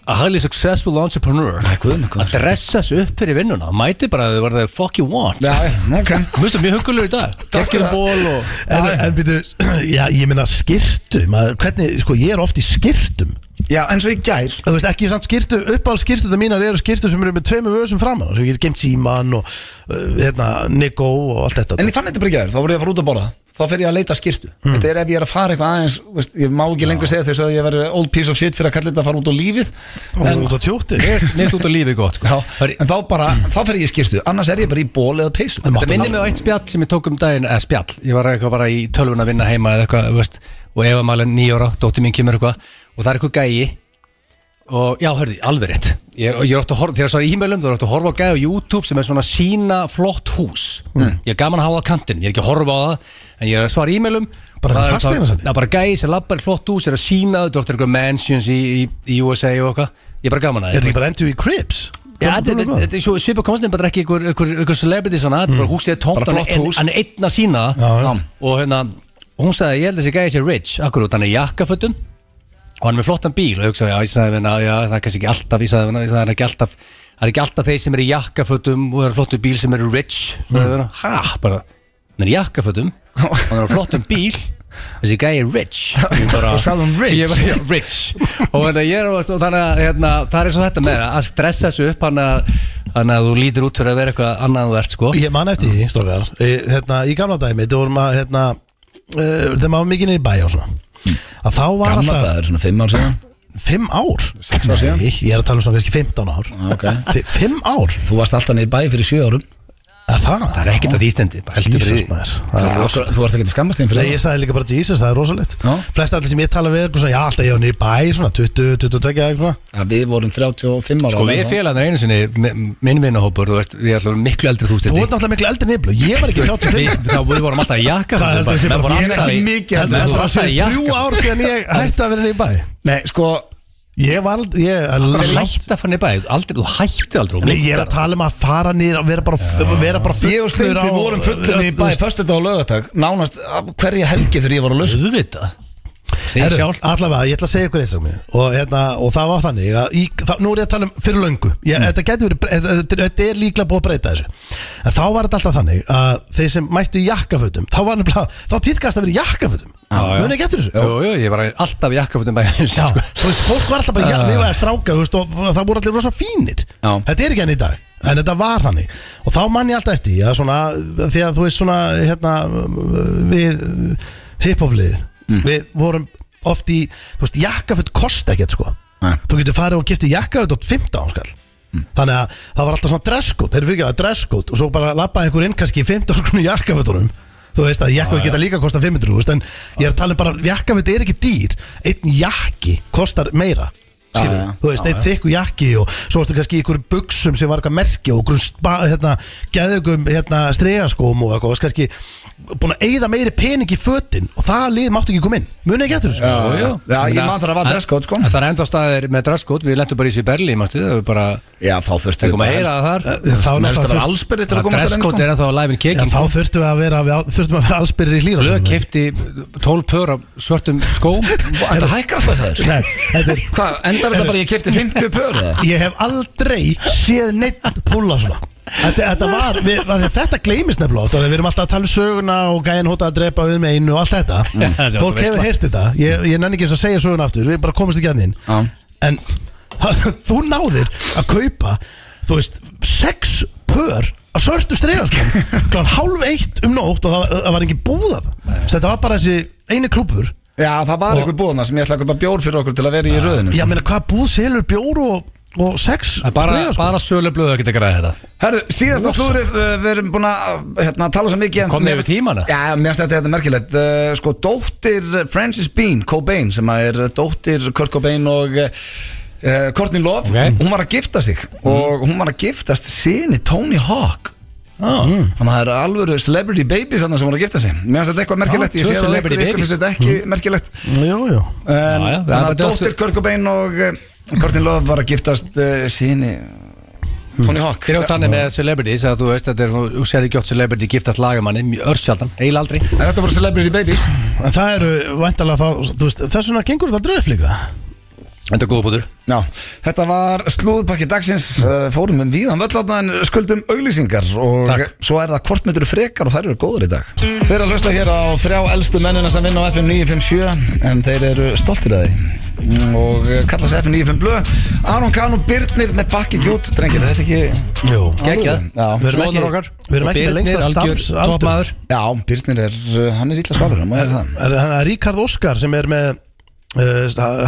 Speaker 3: a highly successful entrepreneur
Speaker 1: Nei, guð minn góður.
Speaker 3: að dressa sig upp fyrir vinnuna mæti bara að þau var það fuck you want
Speaker 1: Já, ok
Speaker 3: Mér finnst það mjög hugulegur í dag Dekkjum ból og
Speaker 2: En, en byrju, já, ég minna skirtum að, Hvernig, sko, ég er oft í skirtum
Speaker 1: Já, eins og í gær
Speaker 2: Þú veist, ekki samt skirtu, uppáhald skirtu Það mínar eru skirtu sem eru með tveimur vöðsum framan Svo ég get gemt síman og uh, hérna, Nikko og allt þetta
Speaker 1: En ég fann þetta bara í gær, þá voru ég að fara út að borða Þá fer ég að leita skýrtu Þetta er ef ég er að fara eitthvað aðeins veist, Ég má ekki lengur segja þess að ég verið old piece of shit Fyrir að kalla þetta að fara út á lífið
Speaker 2: Og út á tjótti
Speaker 3: Neitt út á lífið gott sko.
Speaker 1: Já,
Speaker 3: Það er-
Speaker 1: en þá bara, þá fer ég í skýrtu Annars er ég bara í ból eða peysu
Speaker 2: En
Speaker 3: Það
Speaker 2: máttu-
Speaker 3: minnir mig á eitt spjall sem ég tók um daginn eða spjall, ég var eitthvað bara í tölvun að vinna heima eða eitthvað, þú veist, og Eva Malin nýjóra, dóttir mín kemur eitthvað og það er eitthvað gæi og já, hörðu, alveg rétt ég er, og ég er ofta að horfa, þegar það er e-mailum, þú er ofta að horfa á gæi á YouTube sem er svona sína flott hús
Speaker 2: Mm.
Speaker 3: ég er gaman að hafa það á kantinn, ég er ekki að horfa á það en ég er að svara e-mailum
Speaker 2: Bara
Speaker 3: og það er
Speaker 2: fasteignasali?
Speaker 3: Já, bara gæi sem lappar flott hús, er að sína þetta er ofta eitthvað mansions í, í, í USA og eitthvað ég er bara gaman að
Speaker 2: Er þetta ekki bara MTV Cribs?
Speaker 3: Já,
Speaker 2: Hvað-
Speaker 3: þetta
Speaker 2: hvað- Mm.
Speaker 3: þetta-
Speaker 2: hvað?
Speaker 3: þetta er svo svipa konstant bara ekki ykkur, ykkur, ykkur celebrity svona, þetta er bara húsið er tómt
Speaker 1: Bara
Speaker 3: hann
Speaker 1: flott
Speaker 3: er ein-
Speaker 1: hús.
Speaker 3: hann er einn að sína það
Speaker 2: Já, já.
Speaker 3: og hérna, og hún sagði ég held að þessi gæði sér rich, akkur út, hann er í jakkafötum og hann er með flottan bíl og ég hugsaði, já, ég sagði hérna, já, það er kannski ekki alltaf ég sagði hérna, það er ekki alltaf það er ekki alltaf þeir sem eru í jakkafötum og eru flottu bíl sem eru rich, mm. hérna, ha, bara hann er í jakkafötum, hann er á flottum bíl þessi gæði er rich Ég bara,
Speaker 1: Og sagði hún rich?
Speaker 3: Ég bara, já, rich og hérna, ég er á- og þannig að hérna, það er svo þetta með að dressa þessu upp hann að þannig að þú lítir út fyrir að vera eitthvað annað en þú ert sko
Speaker 2: Ég man eftir því, strókar hérna, Í gamla dæmi, þetta vorum að hérna, uh, Þegar maður var mikið niður í bæ og svona Að þá var
Speaker 1: Gamla
Speaker 2: alltaf
Speaker 1: dagur, svona fimm ár síðan
Speaker 2: Fimm ár?
Speaker 1: Sex ár síðan.
Speaker 2: Nei, ég er að tala um svona kannski 15 ár
Speaker 1: ok.
Speaker 2: Fi- Fimm ár?
Speaker 1: Þú varst alltaf niður í bæ fyrir sjö árum
Speaker 2: Er það?
Speaker 3: það er ekkert að Íslandi, bara heldur
Speaker 2: Jesus,
Speaker 3: fyrir því
Speaker 2: maður. Það er
Speaker 1: Þú
Speaker 2: rosalegt.
Speaker 1: varst ekki til skammast þín
Speaker 2: Nei,
Speaker 1: fyrir
Speaker 2: ég sagði líka bara Jesus, það er rosalegt
Speaker 1: Já.
Speaker 2: Flest allir sem ég tala við er eitthvað svona, já, alltaf ég var niður í bæ, svona 20, 22 eða eitthvað
Speaker 1: það Að Við vorum 35 ára
Speaker 3: sko við félagarnir einu sinni, mi- minn vinnahópur þú veist, við ætlum miklu eldri þú
Speaker 2: Þú
Speaker 3: stið
Speaker 2: ert náttúrulega miklu eldri nýblu, ég var ekki 35
Speaker 3: við, þá við vorum alltaf í
Speaker 2: Hvað heldur þessi bara,
Speaker 3: jakkafötum
Speaker 2: ég er
Speaker 3: bara, menn voru alltaf
Speaker 2: ekki
Speaker 3: í-
Speaker 2: mikið
Speaker 3: menn
Speaker 2: heldur
Speaker 3: voru
Speaker 2: Það er
Speaker 3: alltaf í
Speaker 2: þrjú
Speaker 3: jakkafötum
Speaker 2: ár síðan ég hætti að vera niður í bæ
Speaker 1: Nei, sko
Speaker 2: Ég var aldrei, ég er
Speaker 3: Þú
Speaker 2: langt
Speaker 3: hætti að fann í bæ, aldrei, þú hætti aldrei og
Speaker 2: Nei, ég er
Speaker 3: minnkar.
Speaker 2: að tala um að fara niður að vera bara, vera bara fullur
Speaker 1: Ég og Steindi
Speaker 2: á-
Speaker 1: vorum fullir í bæ Föstudag og lögatag Nánast af hverja helgi þegar ég var að lausa
Speaker 3: auðvitað segir
Speaker 2: Herru,
Speaker 3: sjálf
Speaker 2: allavega, ég ætla að segja ykkur eitt sem mér og, hérna, og það var þannig að í, það, Nú er ég að tala um fyrir löngu ég, þetta, getur verið, þetta, þetta- þetta er líklega búið að breyta þessu En þá var þetta alltaf þannig að þeir sem mættu í jakkafötum Þá var nefnilega, þá týðkast að vera í jakkafötum Muna ekki eftir þessu?
Speaker 3: jú, jú, ég var alltaf í jakkafötum bæ
Speaker 2: Já,
Speaker 3: sko.
Speaker 2: þú veist, fólk var alltaf bara, já, við varum stráka, þú veist, og það voru allir rosa fínir
Speaker 1: Já.
Speaker 2: Þetta er ekki enn í dag, en þetta var þannig Og þá mann ég alltaf eftir, því að svona, því að þú veist svona, hérna, við hiphoplið mm. Við vorum oft í, þú veist, jakkaföld kosta ekkert, sko
Speaker 1: Nei. Mm.
Speaker 2: Þú getur farið og giftið jakkaföld á 15 skall Þannig að það var alltaf svona dresskót, þeir eru fyrir ekki að dresskót Og svo bara labbaði einhver inn kannski í 15 skrunni jakkaföldunum Þú veist að jakkaföld geta líka kosta 500 þú veist, En ég er að tala um bara, jakkaföld er ekki dýr Einn jakki kostar meira skilur,
Speaker 1: Já, já.
Speaker 2: þú veist, einn þykku jakki og svo varstu kannski í einhverjum buksum sem var eitthvað merki og einhverjum spa, hérna, geðugum hérna, stregaskóm og eitthvað, varst kannski búin að eyða meiri pening í fötin og það lið mátti ekki koma inn, munið ekki eftir þessu
Speaker 1: Já, já. Já, ég man þegar það var
Speaker 3: En-
Speaker 1: dresscode, sko.
Speaker 3: en Það er ennþá staðir með dresskót, við lentum bara í sér berli, mannstu, það var bara,
Speaker 1: Já, þá þurftu
Speaker 3: það kom að heyra það
Speaker 2: Eh, Þá
Speaker 1: Mér finnst
Speaker 2: náttúrulega
Speaker 3: þar.
Speaker 1: það var
Speaker 2: þurft-
Speaker 1: allsbyrði til að
Speaker 3: Það
Speaker 1: komast að
Speaker 3: dresskót er ennþá live in
Speaker 2: Já,
Speaker 3: kicking.
Speaker 2: þá þurftum við að vera, við þurftum að vera allsbyrðir í hlýra
Speaker 3: Blöð kefti 12 pör af svörtum skóm.
Speaker 1: Þetta hækkar alltaf það
Speaker 2: Nei, þetta er
Speaker 1: Hvað, endar þetta bara ég kefti 50 pör eða?
Speaker 2: ég hef aldrei séð neitt púla svona Þetta, þetta var, við, að því þetta gleymist nefnilega oft, af því við erum alltaf að tala um söguna og gæðin hóta að drepa við með einu og allt þetta
Speaker 3: Mm. Það er
Speaker 2: Fólk
Speaker 3: veistla.
Speaker 2: hefur heyrst þetta, ég, ég nenni ekki eins að segja söguna aftur, við bara komumst ekki að þín
Speaker 1: Já.
Speaker 2: En þú náðir að kaupa, þú veist, sex pör af svörtu stregaskon Kláðan hálf eitt um nótt og það, það var engin búða það Þetta var bara þessi eini klúpur
Speaker 1: Já, það var ykkur búðna sem ég ætla að köpa bjór fyrir okkur til að vera í röðinu
Speaker 2: Ég meina hvað búð selur bjór og, og sex
Speaker 3: Það er bara,
Speaker 2: strigaskó?
Speaker 3: bara sölu blöð að geta græðið þetta.
Speaker 1: Herru, síðasta slúrið, uh, við erum búin að hérna, tala svo mikið en-
Speaker 3: Komnir
Speaker 1: Mér
Speaker 3: yfir tímana?
Speaker 1: finnst- Já, mér finnst þetta þetta merkilegt uh, Sko, dóttir Frances Bean Cobain sem að er dóttir Kurt Cobain og uh, Courtney Love
Speaker 3: Ok.
Speaker 1: Hún var að gifta sig og hún var að giftast sinni Tony Hawk
Speaker 2: Ah,
Speaker 3: Mm.
Speaker 1: Þannig að það eru alvöru celebrity babies þarna sem voru að gifta sig Mér finnst þetta eitthvað merkilegt,
Speaker 3: Já,
Speaker 1: ég
Speaker 3: tvö
Speaker 1: sé það á
Speaker 3: celebrity
Speaker 1: ykkur, ykkur
Speaker 3: babies. Mm.
Speaker 1: finnst þetta ekki merkilegt En
Speaker 2: Jú, jú
Speaker 3: Já, já, það
Speaker 1: þannig að
Speaker 3: er bara-
Speaker 1: dóttir Kurt Cobain og eh, Courtney Love var að giftast uh, síni Tony Hawk
Speaker 3: mm. Þeir eru þannig með celebrities að þú veist, þetta er, þú sér ekki oft celebrity giftast lagamanni, örsjaldan, eil aldrei.
Speaker 1: En þetta voru celebrity babies
Speaker 2: En það eru væntalega þá, þú veist, þess vegna gengur það dröf líka
Speaker 3: Þetta er góða bútur
Speaker 1: Já, þetta var slúðpakki dagsins uh, Fórum um víðan völlatna en skuldum auglýsingar Og
Speaker 3: Takk.
Speaker 1: svo er það hvort myndur frekar og þær eru góður í dag Þeir eru að hlusta hér á þrjá elstu mennina sem vinna á FM 957 En þeir eru stoltir að því Mm, Og uh, kalla sig FM 95 blöð Aron Kahn og Birnir með pakki gjút Drengir, er þetta ekki
Speaker 2: Jú
Speaker 1: Geggjað. Já.
Speaker 2: Við erum
Speaker 3: Sonur
Speaker 2: ekki-
Speaker 3: okkar.
Speaker 2: við erum
Speaker 3: Og
Speaker 2: ekki með
Speaker 3: Birnir,
Speaker 2: lengsta
Speaker 3: algjör
Speaker 2: starfsaldur.
Speaker 3: toppmaður.
Speaker 1: Já, Birnir er, uh, hann er ítla svarur Hann má vera það
Speaker 2: Er það Ríkard Óskar sem er með uh,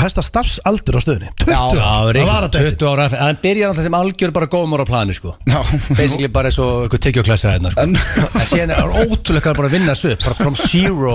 Speaker 2: Hæsta starfsaldur á stöðunni 20
Speaker 1: Já,
Speaker 3: Já,
Speaker 2: það var
Speaker 3: Ríkard,
Speaker 2: að þetta
Speaker 3: 20 ára eftir. Hann byrjar alltaf sem algjör bara góðmór á plani sko
Speaker 1: Já,
Speaker 3: Basically bara eins og eitthvað tyggjóklæsa hérna sko
Speaker 1: En-
Speaker 3: En síðan er hann ótrúlega bara að vinna þessu upp Bara from zero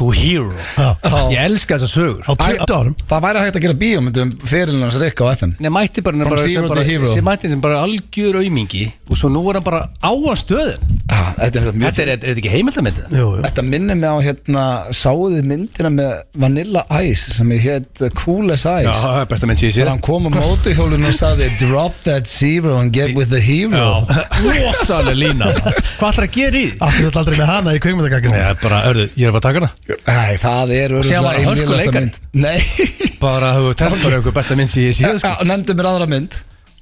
Speaker 3: to hero
Speaker 2: Já.
Speaker 3: Ég elska þessar sögur
Speaker 2: Á 20 árum
Speaker 1: það væri hægt að gera bíómyndum Fyrirlunars Rikka á FM
Speaker 3: Nei, mætti bara,
Speaker 1: From
Speaker 3: bara,
Speaker 1: zero
Speaker 3: sem
Speaker 1: to
Speaker 3: bara
Speaker 1: hero.
Speaker 3: sem mætti sem bara algjör aumingi og svo nú er hann bara á að stöðum
Speaker 1: ah, Þetta er mjög
Speaker 3: Þetta er, er, er þetta ekki heimildamindið?
Speaker 2: Jú, jú
Speaker 1: Þetta minnir mig á hérna Sáuðu myndina með Vanilla Ice sem ég hétt Cool as Ice Já.
Speaker 3: er besta mynd síðan
Speaker 1: Þegar hann kom á mótuhjólun og sagði Drop that zero and get with the hero
Speaker 3: Rósalega lína Hvað ætlar að gera í því?
Speaker 2: Akkur þetta aldrei með hana í kveikmyndagakinu
Speaker 3: er bara, örðu, ég er að fara að taka hana
Speaker 1: Nei, það er
Speaker 3: síðan
Speaker 1: örugglega
Speaker 3: var hann
Speaker 1: ein
Speaker 3: hörku
Speaker 1: lélegasta
Speaker 3: leikari.
Speaker 1: mynd. Nei,
Speaker 3: Bara, þú telur bara einhver besta mynd sem ég séð sko.
Speaker 1: Já, nefndu mér aðra mynd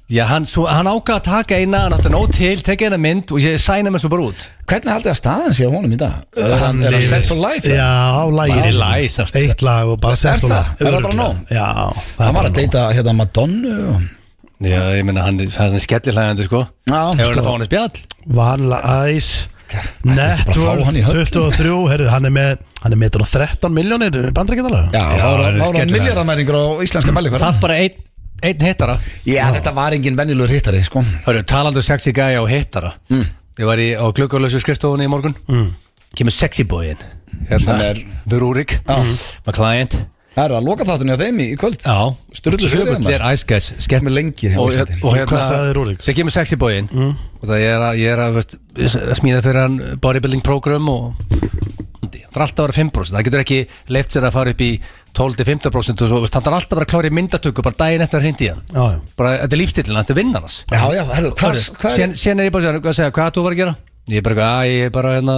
Speaker 3: Já, hann, svo, hann ákvað að taka eina, hann átti nóg til, teka eina mynd og ég sæna mér svo bara út
Speaker 1: Hvernig haldið að staðan sé á honum í dag? Er hann er hann
Speaker 2: lifir.
Speaker 1: set for life?
Speaker 2: Já,
Speaker 1: eða?
Speaker 2: á lægir
Speaker 3: Bara læs, næst.
Speaker 2: Eitt lag og bara set for
Speaker 1: það?
Speaker 2: life,
Speaker 1: Er það bara
Speaker 2: örugglega.
Speaker 1: nóg?
Speaker 2: Já það
Speaker 1: Hann
Speaker 2: er
Speaker 1: var
Speaker 2: bara
Speaker 1: að
Speaker 2: nóg.
Speaker 1: deyta hérna Madonnu og...
Speaker 3: Já, ég meina, hann, hann er skellihlægandi, sko
Speaker 1: Já,
Speaker 3: Hefur hann
Speaker 1: sko.
Speaker 3: að fá hann í spjall?
Speaker 2: Vanilla Ice
Speaker 1: bara fá
Speaker 2: Network
Speaker 1: hann í höllina.
Speaker 2: 23 Herðu, hann er með Hann er með 13 miljónir Bandrækjadala
Speaker 1: Já, þá var
Speaker 3: það er
Speaker 1: þá var hann
Speaker 3: skellilegt.
Speaker 1: miljardamæringur á íslenska mælikvara
Speaker 3: Það bara einn, einn hittara
Speaker 1: Já, þetta var engin venjulegur hittari, sko
Speaker 3: Hörru, talandu sexy gæja og hittara Ég var í, á gluggalösu skrifstofunni í morgun mm. Kemur sexy boyin Hérna
Speaker 1: Sem
Speaker 3: er
Speaker 1: er-
Speaker 3: Verúrik My client
Speaker 1: Það eru að loka þáttunni á þeim í í kvöld
Speaker 3: Já
Speaker 1: Sturlu fyrir þeim,
Speaker 3: Sjöfull er Ice Guys Skemmt
Speaker 1: Með lengi þeim á
Speaker 3: og,
Speaker 1: Íslandi.
Speaker 3: og hérna
Speaker 2: Hvað sagði Rúrik?
Speaker 3: Sem kemur sexy boyin
Speaker 1: Mm.
Speaker 3: Og það ég er að, ég er að veist, smíða fyrir hann bodybuilding program og Það er alltaf að vera 5% Það getur ekki leift sér að fara upp í 12-15% og svo, veist, hann er alltaf að vera að klára í myndatöku bara daginn eftir að hindi hann
Speaker 2: Já, já
Speaker 3: bara, þetta er lífstillin, þetta er vinnan hans
Speaker 1: Já, já, herðu, hvað er
Speaker 3: Sén, sén er ég bara að segja, hvað, segja, hvað þú var að gera? Ég er bara, eitthvað, að ég er bara hérna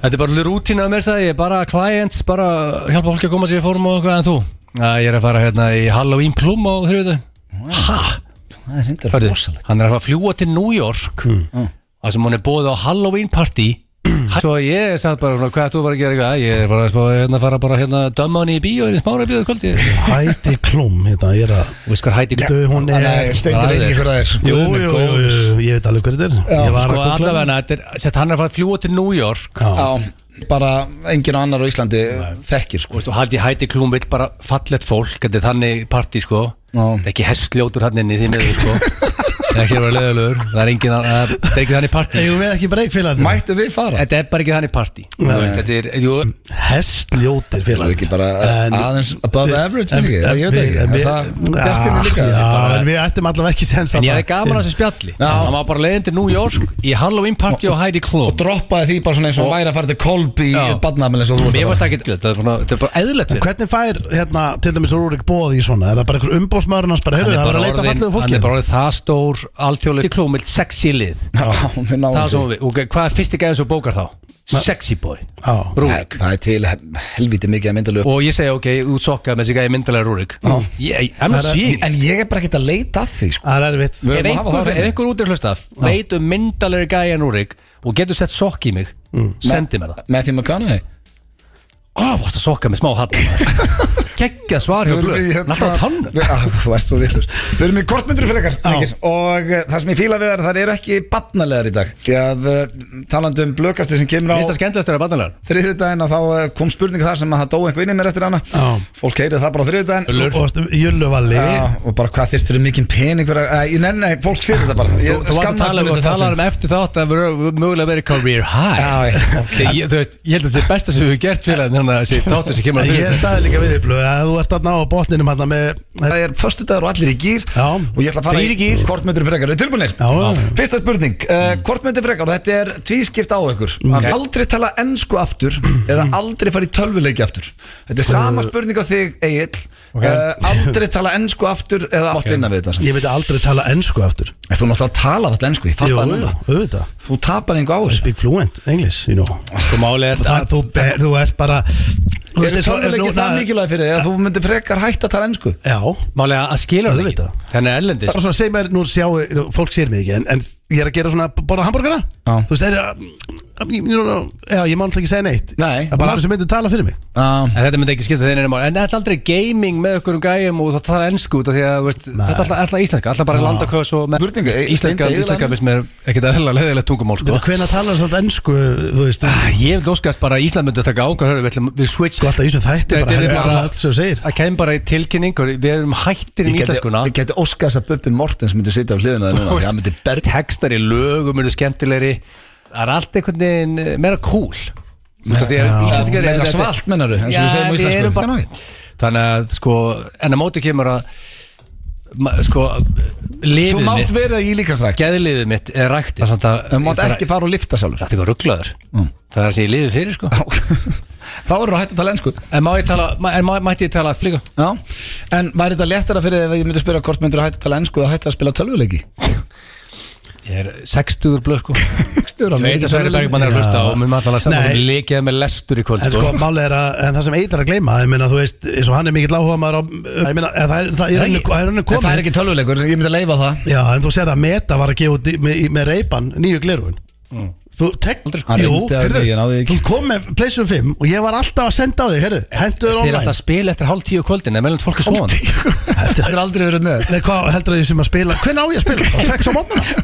Speaker 3: Þetta er bara rútína mér sagði, ég er bara clients, bara hjálpa fólki að koma sér í form og eitthvað en þú að ég er að fara hérna í Halloween plum á þriðu Hæ?
Speaker 1: Það er hendur
Speaker 3: Hörðu, hann er að fara að fljúa til New York
Speaker 2: Mm.
Speaker 3: þar sem hún er búið á Halloween party Svo ég sagði bara, svona, hvað þú var að gera eitthvað, ég er bara að spá, hérna, fara bara hérna döma hann í bíó, í smára bíó kvöldi
Speaker 2: Heidi Klum Hérna, ég er að
Speaker 3: Þú veist hvað hætti
Speaker 2: Þú, hún er
Speaker 1: Nei,
Speaker 3: Það
Speaker 1: steindir
Speaker 3: eh, er-
Speaker 1: eh, veit ekki hver það er
Speaker 2: Jú,
Speaker 3: Guð
Speaker 2: jú,
Speaker 3: minn
Speaker 2: jú,
Speaker 3: góður.
Speaker 2: jú, ég veit alveg hverju þetta er Ég var
Speaker 3: Sko
Speaker 2: að googla
Speaker 3: allavega, þetta er, sett, hann er að fara að fljúa til New York
Speaker 2: Já.
Speaker 1: Já, bara enginn annar á Íslandi þekkir, sko
Speaker 3: og haldi hætti klúm vill bara fallett fólk þetta er þannig partí sko
Speaker 1: Já.
Speaker 3: það er ekki hestljótur hann inni í því miður sko það er ekki að vera leðalögur það er, engin, að, það er ekki þannig partí
Speaker 2: Eigum við ekki breyk félaginu?
Speaker 1: Mættu við fara?
Speaker 3: þetta er bara ekki þannig partí Þú veist, þetta er, jú,
Speaker 2: Hestljótir
Speaker 1: Það er ekki
Speaker 2: félaginu
Speaker 1: bara
Speaker 2: En-
Speaker 1: aðeins above average, ekki?
Speaker 2: En-
Speaker 1: Ég veit ekki,
Speaker 2: en
Speaker 1: en
Speaker 2: við-
Speaker 1: það
Speaker 2: Já,
Speaker 1: bjartinni líka
Speaker 2: Já,
Speaker 1: Bara-
Speaker 2: en við ættum allavega ekki sens
Speaker 3: en ég
Speaker 2: þarna.
Speaker 3: hafði gaman að þessu spjalli
Speaker 1: Já.
Speaker 3: hann var bara leiðin til New York í Halloween partí og hætti
Speaker 1: Og
Speaker 3: klúm
Speaker 1: droppaði því bara svona eins og hann væri að fara til Kolb í
Speaker 3: Já.
Speaker 1: badnafnil eins og þú
Speaker 3: mér
Speaker 1: varst
Speaker 3: varst ekki þetta er svona- þetta er bara eðlert fyrir
Speaker 2: Hvernig fær, hérna, til dæmis Rúrik bóð í svona? Er það bara einhver umbóðsmaðurinn hans bara, heyrðu, það var að leita fallegu
Speaker 3: hann
Speaker 2: fólki?
Speaker 3: er bara orðin það stór alþjóðlega klúmild sexy lið
Speaker 1: Já, við náum
Speaker 3: það
Speaker 1: því.
Speaker 3: sem við, og hvað er fyrsti gæðin sem þú bókar þá? sexy boy
Speaker 2: Já.
Speaker 1: Það
Speaker 3: Rúrik
Speaker 1: það er til he- helviti mikið að myndalög
Speaker 3: og ég segi ok, út sokka með þessi gæði myndalega Rúrik ég, I'm not
Speaker 2: Það er-
Speaker 3: seeing it
Speaker 1: En ég er bara ekkert að leita að því, sko
Speaker 2: Það er erfitt
Speaker 1: Við-
Speaker 3: ef
Speaker 1: erum að hafa
Speaker 3: einhver,
Speaker 1: það á
Speaker 3: ef
Speaker 1: hreinu.
Speaker 3: einhver út er hlusta veit um myndalega gæði en Rúrik og getur sett sokk í mig sendi mér það
Speaker 1: Matthew McConaughey
Speaker 3: á, varst að sokka með smá hatt geggja svar hjá
Speaker 1: Við erum í
Speaker 3: blöð
Speaker 1: hérna-
Speaker 3: alltaf á tannum
Speaker 1: Við- á, Þú veist þú villur Við erum í kortmyndur fyrir ekkert Og eh, það sem ég fíla við er Það eru ekki batnalegar í dag Því að eh, talandi um blökasti sem kemur á
Speaker 3: Vist að skemmtilegast er að barnalega
Speaker 1: Þriðjudaginn að þá eh, kom spurning þar sem að það dó einhver inn í mér eftir hana
Speaker 2: Já.
Speaker 1: Fólk heyrið það bara á þriðjudaginn
Speaker 2: Og veistu, Jölluvalli
Speaker 1: Já, og bara hvað þyrst fyrir mikinn pening fyrir að, Æ, nei, nei, fólk sér þetta bara
Speaker 3: Þú, þú varst að tala um, tala um eftir þátt að vera mögulega verið career high
Speaker 1: Já, já.
Speaker 3: Þegar ég, þú veist, ég held að þetta sé besta sem við hefur gert fyrir þannig að þessi þáttur sem kemur að
Speaker 2: Ég sagði líka við þig, Blöð, að þú ert aðna á botninum hérna með
Speaker 1: Það er förstu dagur og allir í gýr
Speaker 2: Já.
Speaker 1: Og ég ætla að fara
Speaker 3: Þrír í gír.
Speaker 1: Kortmyndur fyrir ekkert, við tilbúinir
Speaker 2: Já, já.
Speaker 1: Fyrsta spurning, uh, hvort myndi frekar og þetta er tvískipt á ykkur aldrei tala ennsku aftur eða aldrei fara í tölvuleiki aftur þetta er
Speaker 2: Eh.
Speaker 1: sama spurning á þig Egil uh, aldrei tala ennsku aftur eða átt vinna við þetta samt.
Speaker 2: Ég veit aldrei tala ennsku aftur
Speaker 1: En þú náttúrulega tala alltaf ennsku, ég fatt
Speaker 2: Jú,
Speaker 1: það núna
Speaker 2: auðvitað
Speaker 1: þú tapar einhver á þessu
Speaker 2: Speak fluent, English, you know
Speaker 3: Þú máli Sko, er
Speaker 2: Það, þú, ber, þú ert bara Þú Þú veist,
Speaker 5: Er
Speaker 2: eins og-
Speaker 5: tölvuleiki
Speaker 2: nú-
Speaker 5: það
Speaker 2: það-
Speaker 5: mikilvæg fyrir þig að þú myndir frekar hætt að tala ennsku?
Speaker 2: Já,
Speaker 3: Málega að skilur það ekki
Speaker 2: Auðvitað.
Speaker 3: Þannig er erlendist
Speaker 2: bara svona segi mér, nú sjáu, nú, fólk sér mig ekki en, en ég er að gera svona, borða hambúrgara
Speaker 1: Já.
Speaker 2: Þú veist, það er um, að ég- ég- ég- Já, ég má alltaf ekki segja neitt
Speaker 1: Nei.
Speaker 2: Það er bara aðeins sem myndi tala fyrir mig
Speaker 1: Já,
Speaker 3: En þetta myndi ekki skipta þeirnir mál En þetta er aldrei gaming með okkur um gæjum og það tala ennsku út af því að þú veist, þetta er alltaf, alltaf íslenska Alltaf bara landaköðs og með-
Speaker 5: Spurninga, e-
Speaker 3: Íslenska, íslenska,
Speaker 5: steindi
Speaker 3: íslenska finnst mér ekkert eðlilega leðilegt tungumál sko.
Speaker 2: Veitu, Hvenær talar það ennsku, þú veist
Speaker 3: Ah, Ég vil óskast bara að Ísland myndi taka ákvæður við, ætlum- við switch
Speaker 2: Sko alltaf í þessu þætti
Speaker 3: Þetta
Speaker 2: bara,
Speaker 3: er
Speaker 2: þetta
Speaker 3: bara-
Speaker 2: er bara allt sem þú segir
Speaker 3: Það kemur bara í tilkynning og Við erum hættir í
Speaker 1: Ég geti,
Speaker 3: íslenskuna
Speaker 1: ég geti óskast að Bubbi Mortens myndi sitja á hliðina það núna því hann myndi berg
Speaker 3: textar í lögum eru skemmtilegri það er allt einhvern veginn eh, meira cool Þú veist að því að Íslandingar
Speaker 1: Meira
Speaker 3: eru þetta-
Speaker 1: svalt, meinarðu, eins og
Speaker 3: Já,
Speaker 1: við segjum á
Speaker 3: við
Speaker 1: íslensku.
Speaker 3: erum bara Þannig að sko, en að móti kemur að ma- sko,
Speaker 1: Þú
Speaker 3: liðið
Speaker 1: mátt
Speaker 3: mitt
Speaker 1: vera í líkansrækt
Speaker 3: geðliðið mitt er ræktið Það
Speaker 1: Þú mátt ekki fara Mm. og lifta sjálfur
Speaker 3: Það er eitthvað rugglaður Það er það sem ég liðið fyrir sko
Speaker 1: Þá eru að hætta að tala ennsku
Speaker 3: En má ég tala, ma- en má, mætti ég tala flika?
Speaker 1: Já, en væri þetta léttara fyrir ef ég myndi spyrja hvort myndir að hætta að tala ennsku eða hætta að spila tölvuleiki?
Speaker 3: Ég er 60 blöð sko
Speaker 1: Stöður
Speaker 3: Ég veit að Sverri Bergmann er að hlusta og mun alltaf að
Speaker 2: Nei.
Speaker 3: saman líkjað með lestur í kvöld
Speaker 2: En sko, málið er að, en það sem eitir að gleyma Ég meina, þú veist, eins og hann er mikill áhuga maður á Ég meina, eh, það er- það er henni- það er henni
Speaker 1: Það er
Speaker 2: komið
Speaker 1: ekki tölvuleikur, ég myndi að leifa það
Speaker 2: Já, en þú sér að Meta var að gefa út í- með, í- með reypan nýju glerun Þú tek,
Speaker 1: Mm. sko, Hann
Speaker 2: jú,
Speaker 1: reyndi að því, ég náði því
Speaker 2: heyrðu
Speaker 1: ekki.
Speaker 2: Þú kom með PlayStation 5 og ég var alltaf að senda á þig, heyrðu Hentu þér
Speaker 3: Þeir er alltaf
Speaker 2: online
Speaker 3: að spila eftir hálf tíu á kvöldin En meðlum fólk er svona
Speaker 1: Það er aldrei verið með
Speaker 2: Nei, hvað heldur að ég sem að spila Hvernig á ég að spila? Á 6 á mótnana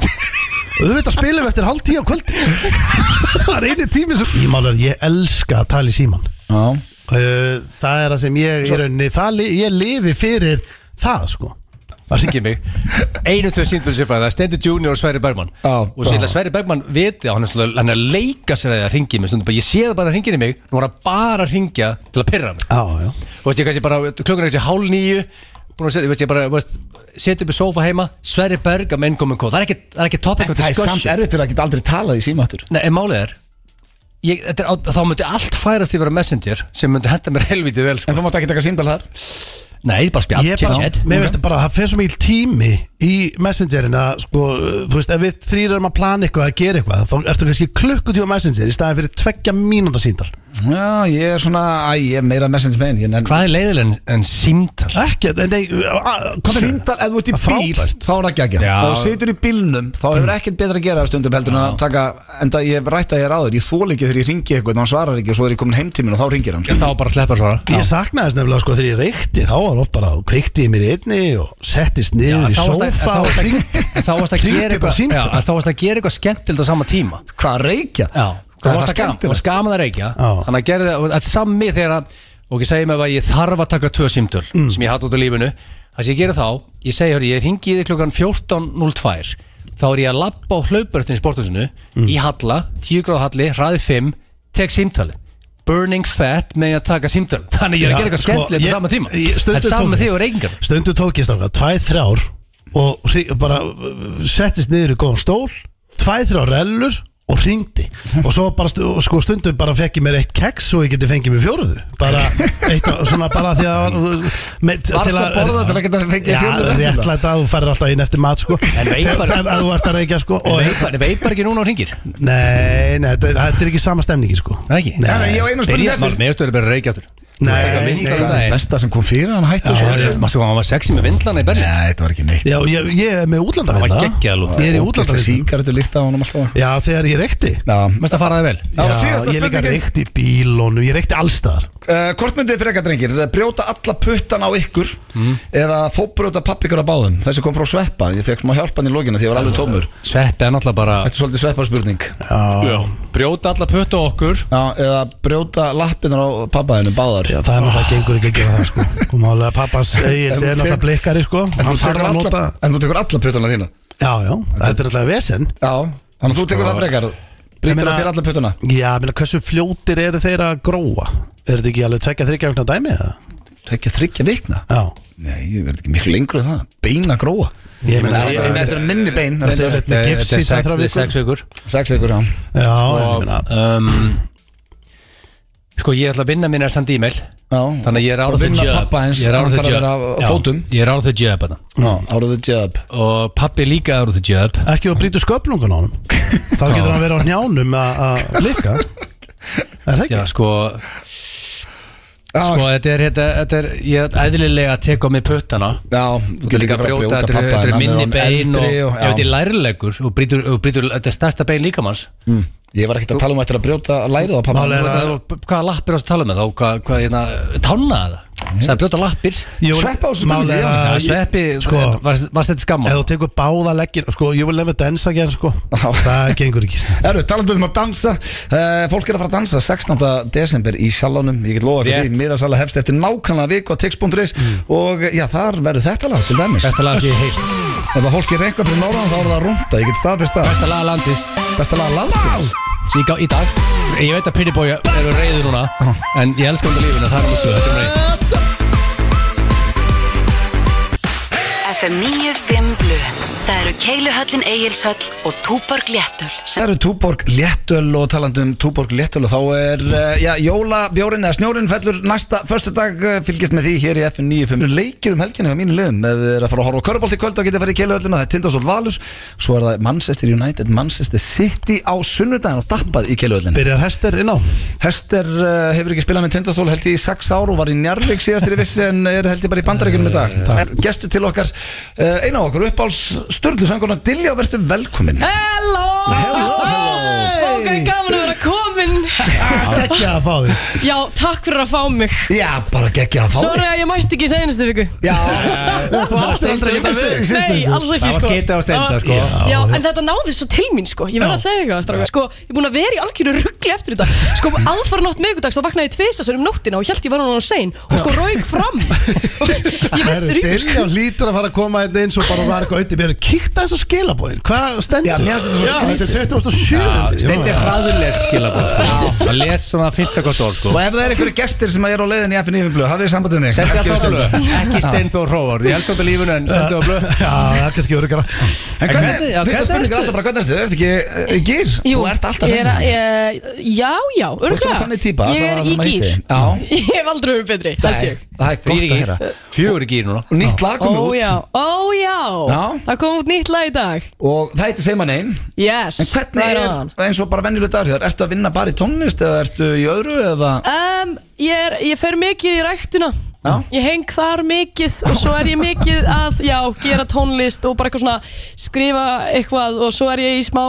Speaker 2: Þú veit að spila við eftir hálf tíu á kvöld Það er einu tími sem Ég málar, ég elska að tala í síman
Speaker 1: Já,
Speaker 2: Uh, það er það sem ég er unni það, li- ég lifi fyrir það sko
Speaker 3: Það ringið mig Einu tvö síndfjölu sérfræði Það er Stendi Junior og Sverri Bergmann
Speaker 1: Já,
Speaker 3: Og svo ég ætla að Sverri Bergmann viti að Hann er, svolítið, hann er að leika sér að það ringið mig stundum bara, Ég sé það bara að ringið í mig Nú er hann bara að ringja til að pirra mig
Speaker 2: Já, já
Speaker 3: Þú veist ég kannski bara Klukkan er kannski hálf nýju Búin að setja, þú veist ég bara þú veist, Setja upp í sófa heima Sverri Berg með innkomin kóð Það er ekki, það er ekki topic of
Speaker 1: það er samt
Speaker 3: discussion
Speaker 1: erfitt fyrir að geta aldrei talað í símáttur
Speaker 3: Nei, en málið er Ég, þetta er, á- þá myndi allt færast yfir að messenger sem myndi henda mér helvítið vel sko.
Speaker 1: En þú mátt ekki taka símdal þar
Speaker 3: Nei, bara spjall,
Speaker 2: Ég er bara,
Speaker 3: chit-chat.
Speaker 2: mér veist bara, það fer svo mikil tími í messengerin að sko, þú veist, ef við þrýr erum að plana eitthvað að gera eitthvað, þá ertu kannski klukkutíu á messenger í staðin fyrir tveggja mínúnda síndal
Speaker 1: Já, ég er svona, æ, ég er meira message man ég nenn-
Speaker 3: Hvað er leiðileg en, en símtal?
Speaker 2: Ekki, nei, a- a- hvað er
Speaker 1: Síndal, ef þú ert í
Speaker 2: Það er
Speaker 1: bíl,
Speaker 2: frábært. Mm.
Speaker 1: þá er það geggja
Speaker 3: Já.
Speaker 1: Ef þú situr í bílnum, þá hefur ekkert betra að gera stundum heldur en að taka, enda ég hef rætt að ég er áður ég þól ekki þegar ég ringi eitthvað, en hann svarar ekki og svo er ég komin heimtímin og þá ringir hann
Speaker 3: Þá bara sleppar svara
Speaker 2: Ég saknaði þess nefnilega sko þegar ég reykti þá var oft bara, kveikti ég mér í einni og settist niður í
Speaker 3: En þá
Speaker 2: sófa og
Speaker 3: varst að- en þá varst
Speaker 2: hringdi
Speaker 3: að- en þá varst að
Speaker 2: Hringdi
Speaker 3: gera
Speaker 2: bara
Speaker 3: eitthvað
Speaker 2: símtal.
Speaker 3: já, en þá varst að gera eitthvað skemmtild á sama tíma
Speaker 1: Hvað reykja?
Speaker 3: þá
Speaker 1: Hvað er
Speaker 3: varst
Speaker 1: það
Speaker 3: að gaman, varst
Speaker 1: skemmtilegt?
Speaker 3: gaman að reykja
Speaker 2: Já.
Speaker 3: þannig að gerði það, þetta sami þegar að og ég segi mig að ég þarf að taka tvö símtöl sem ég hatt út á lífinu, það sem ég gera þá ég segi, hörru, ég ringi í þig klukkan 14.02 þá er ég að labba á hlaupbörðinu í sporthúsinu, í halla 10 gráð halli, hraði 5 tek símtalið Burning fat með að taka símtöl Þannig ég
Speaker 2: Já,
Speaker 3: er að gera eitthvað
Speaker 2: sko,
Speaker 3: skemmtilegt
Speaker 2: ég-
Speaker 3: á sama tíma
Speaker 2: ég-
Speaker 3: Þetta
Speaker 2: stundum
Speaker 3: er sama
Speaker 2: tók
Speaker 3: með
Speaker 2: ég-
Speaker 3: því og reykingar
Speaker 2: stundu tók ég stráka tvæð þrjár og hri- bara uh, settist niður í góðan stól tvæð þrjár rellur og ringdi og svo bara stu, og sko stundu bara fekk ég mér eitt keks og ég geti fengið mér fjóruðu bara eitt og svona bara því að var- uh, með,
Speaker 1: Varstu að borða til að geta fengið
Speaker 2: Já,
Speaker 1: fjóluðu eftir það?
Speaker 2: réttlæta að þú færir alltaf inn eftir mat sko
Speaker 3: En veipar-
Speaker 2: Þegar að þú ert að reykja sko og,
Speaker 3: Veipar, veipar ekki núna og ringir
Speaker 2: Nei, nei, þetta er- þetta er ekki sama stemningi sko
Speaker 3: Það ekki?
Speaker 2: Nei,
Speaker 1: Nei, ég á eina spurningu
Speaker 3: Mér
Speaker 1: eftir.
Speaker 3: finnst þetta bara að reykja aftur
Speaker 2: Nei,
Speaker 3: Nei,
Speaker 2: nei,
Speaker 1: Hvað er
Speaker 3: nei.
Speaker 1: um það besta sem kom fyrir hann hættu
Speaker 2: Já,
Speaker 1: svo?
Speaker 2: já.
Speaker 3: Mástu hvað, hann var sexy með vindlana í Berlín
Speaker 1: Nei, þetta var ekki neitt
Speaker 2: Já, ég, ég er með
Speaker 3: Það
Speaker 2: útlandavilla
Speaker 3: var geggjað lúk.
Speaker 2: Ég er í útlandavilla
Speaker 1: Síkartu líkt á honum alltaf
Speaker 2: Já, þegar ég reykti
Speaker 1: Já,
Speaker 3: Mest að fara það vel
Speaker 2: Já,
Speaker 1: var síðasta
Speaker 2: ég líka
Speaker 1: spurningin.
Speaker 2: reykti í bílónu, ég reykti allstaðar
Speaker 1: Uh, hvort myndið þið freka drengir, brjóta alla puttan á ykkur
Speaker 2: Mm.
Speaker 1: eða fóbrjóta pappikar á báðum þessi kom frá sveppa, ég fekk smá hjálpan í lógina því ég var alveg tómur þetta
Speaker 3: Sveppi er náttúrulega bara
Speaker 1: er svolítið sveppa spurning
Speaker 2: Já,
Speaker 3: Brjóta alla pötta okkur
Speaker 1: Já, eða brjóta lappinar á pappaðinu báðar
Speaker 2: já það er náttúrulega gengur ekki að gera það sko Og málega pappas eigin
Speaker 1: En
Speaker 2: segir
Speaker 1: þú
Speaker 2: náttúrulega
Speaker 1: tek-
Speaker 2: blikkari sko
Speaker 1: en, þú
Speaker 2: Hann
Speaker 1: tekur
Speaker 2: þarf að
Speaker 1: alla-
Speaker 2: nota
Speaker 1: en þú tekur alla puttana þína
Speaker 2: Já, já, þetta er alltaf vesen
Speaker 1: Já, þannig að þú tekur það frekar
Speaker 2: Ég
Speaker 1: brýtur
Speaker 2: meina-
Speaker 1: það fyrir alla puttana
Speaker 2: Já, ég meina, hversu fljótir eru þeir að gróa? Er þetta ekki alveg tvekja þryggja vegna dæmi eða?
Speaker 1: Tekja þryggja vikna
Speaker 2: Já
Speaker 1: Nei, ég verði ekki miklu lengur en það Beina gróa
Speaker 2: Ég meina,
Speaker 1: Ég- ég- Þetta er minni bein
Speaker 2: Þetta er-
Speaker 1: þetta
Speaker 2: Með gifs í tvær, þrjár
Speaker 3: Eh, Þetta er
Speaker 2: vikur.
Speaker 3: sex vikur
Speaker 1: er Sex ykkur, já
Speaker 2: Já, en ég
Speaker 3: Og
Speaker 2: meina
Speaker 3: um, Sko ég ætla að vinna minna samt e-mail
Speaker 1: Já.
Speaker 3: Þannig að ég er
Speaker 1: Og
Speaker 3: out of the
Speaker 1: vinna
Speaker 3: job
Speaker 1: pabba hans,
Speaker 3: Ég er out
Speaker 1: hann
Speaker 3: of the
Speaker 1: þarf að
Speaker 3: job
Speaker 1: vera á
Speaker 3: Já,
Speaker 1: fótum.
Speaker 3: Ég er out of the job hérna.
Speaker 1: Já, Out of the job
Speaker 3: Og pappi líka out of the job
Speaker 2: Ekki að brýtu sköflungan á hann Þá getur hann
Speaker 1: sko.
Speaker 2: verið á njánum að- að blikka Er það ekki?
Speaker 3: Já sko Sko, þetta er, þetta, þetta er, ég er æðlilega að teka á mig puttana
Speaker 1: Já,
Speaker 3: Þú getur líka að brjóta, þetta eru- þetta
Speaker 1: hérna,
Speaker 3: er minni bein og, og ef þetta er lærlegur og brýtur, og brýtur þetta er stærsta bein líkamanns
Speaker 1: mm. Ég var ekkert að tala um eftir að brjóta lærið á pappa
Speaker 2: Málið er að-
Speaker 3: Hvað- Hvaða lappir ástu að tala með þá, hvað, hvað, hérna, tanna það Sæði brjóta lappir
Speaker 1: Sveppa á þessu
Speaker 2: Mál
Speaker 1: spurningu,
Speaker 2: er
Speaker 1: já.
Speaker 2: að-
Speaker 3: Ja, Sveppi,
Speaker 2: Sko,
Speaker 3: varst varst þetta skamma?
Speaker 2: Ef þú tekur báða leggir Sko, ég vil lefa dansa gern sko
Speaker 1: Já.
Speaker 2: Það gengur ekki
Speaker 1: Erðu, talandi um að dansa uh, Fólk er að fara að dansa 16. desember í salónum Ég get lofa
Speaker 3: Rétt. Mm.
Speaker 1: ykkur því, miðasala hefst eftir nákvæmlega viku á tix.is Og já, þar verður þetta lag til dæmis
Speaker 3: Besta lag sem ég heilt
Speaker 1: Ef það fólk er eitthvað fyrir norðan þá er það rúnda Ég get staðfist það
Speaker 3: Besta lag landsins
Speaker 1: Besta lag landsins
Speaker 3: sem ég gá í dag Ég veit að Pretty Boy eru reyður núna En ég elska um þetta lífinu, það er mjög tvö, þetta er reyð
Speaker 6: FM 95 Blu Það eru Keiluhöllin Egilshöll og Túborg Léttul
Speaker 1: Það eru Túborg Léttöl og talandi um Túborg Léttöl og þá er, eh, já, jólabjórin eða snjórin fellur næsta förstu dag fylgist með því hér í FN 95 leikir um helginu á mínu liðum ef þið er að fara að horfa á körbólt í kvöld og geta að fara í keiluhöllina það er Tindasól Valus, svo er það Manchester United Manchester City á sunnudagin og dappað í keiluhöllina
Speaker 2: Byrjar hester inn á
Speaker 1: Hester eh, hefur ekki spilað með Tindasól held ég í 6 ár og var í Njarvík síðast er ég vissi en er held ég bara í bandaríkunum í dag
Speaker 2: Takk.
Speaker 1: Gestur til okkar, eh, eina af okkur uppáls Sturlu Söngurna Dilja, verður velkomin
Speaker 7: Eh? Hello!
Speaker 1: Hello, hello.
Speaker 7: Ok, gaman að vera komin
Speaker 2: Ekki að fá þig
Speaker 7: Já, takk fyrir að fá mig
Speaker 1: Já, bara geggja að fá þig.
Speaker 7: Sorry að ég mætti ekki í seinustu viku
Speaker 1: Já, þú átti aldrei að geta verið
Speaker 7: Nei, alls
Speaker 3: Það
Speaker 7: ekki
Speaker 3: var
Speaker 7: sko
Speaker 3: skeyti á steinda,
Speaker 7: Það var-
Speaker 3: sko.
Speaker 7: Já, en þetta náði svo til mín sko Ég verð að segja eitthvað strákar. Sko, ég er búin að vera í algjöru ruggli eftir þetta Sko, aðfara nótt miðgudags þá vaknaði ég tvisa um nóttina og held ég var hann á sein og sko rauk fram Ég sko. verð
Speaker 2: Herru,
Speaker 7: rýmur
Speaker 2: Dilljá hlýtur að fara að koma hérna eins og bara var eitthvað auðvitað Byrjar, kíkta þess að skilabóðin Hvað stendur?
Speaker 1: Já, mér finnst þetta svo
Speaker 2: Já, þetta er 27.
Speaker 3: Steindi er hraðurles skilabóð, sko Það les svona 15 gott orð, sko
Speaker 1: Og ef það er einhverju gestir sem eru á leiðin í FNF blöð, hafið þið sambandið mig
Speaker 3: Sendi
Speaker 1: Ekki
Speaker 3: alltaf á
Speaker 1: við
Speaker 3: blöð,
Speaker 1: Steindór.
Speaker 3: ekki Steinþór Hróvar Ég elska um þetta lífinu en sendi á blöð
Speaker 2: Já, það er kannski öryggara
Speaker 1: En hvernig,
Speaker 3: hvernig- já,
Speaker 1: fyrsta
Speaker 3: hvernig
Speaker 1: spurning er
Speaker 3: ertu?
Speaker 1: alltaf bara hvernig erstu, ertu ekki uh, í gýr?
Speaker 7: Jú,
Speaker 1: Þú ert alltaf
Speaker 7: ég er að-
Speaker 1: þessi
Speaker 7: ég- Já, já,
Speaker 1: Þú ert
Speaker 7: örgulega
Speaker 1: svona þannig típa
Speaker 7: Ég
Speaker 1: allavega
Speaker 7: er í
Speaker 1: þannig að
Speaker 7: gýr
Speaker 1: hitti. Já,
Speaker 7: Ég hef aldrei verið betri, held ég
Speaker 1: Nei, það er gott
Speaker 3: Þrýr í
Speaker 1: að
Speaker 3: gýr,
Speaker 1: heyra
Speaker 3: fjögur í gýr núna
Speaker 1: Nýtt lag komið
Speaker 7: Ó
Speaker 1: út
Speaker 7: já, ó já
Speaker 1: Já.
Speaker 7: Það kom út nýtt lag í dag
Speaker 1: og það heitir Seyma Neyn
Speaker 7: Yes
Speaker 1: En
Speaker 7: það
Speaker 1: hvernig
Speaker 7: hann.
Speaker 1: er, eins og bara venjuleg dagur, ertu að vinna bara í tónlist eða ertu í öðru eða
Speaker 7: Um, ég, er, ég fer mikið í ræktuna
Speaker 1: Já.
Speaker 7: Ég heng þar mikið og svo er ég mikið að já, gera tónlist og bara eitthvað svona skrifa eitthvað og svo er ég í smá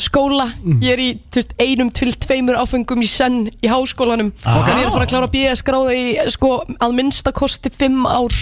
Speaker 7: skóla
Speaker 1: Mm.
Speaker 7: Ég er í þú veist, einum til tveimur áfengum í senn í háskólanum
Speaker 1: Ah.
Speaker 7: og ég er að fara að klára BS gráðu í sko, að minnsta kosti fimm ár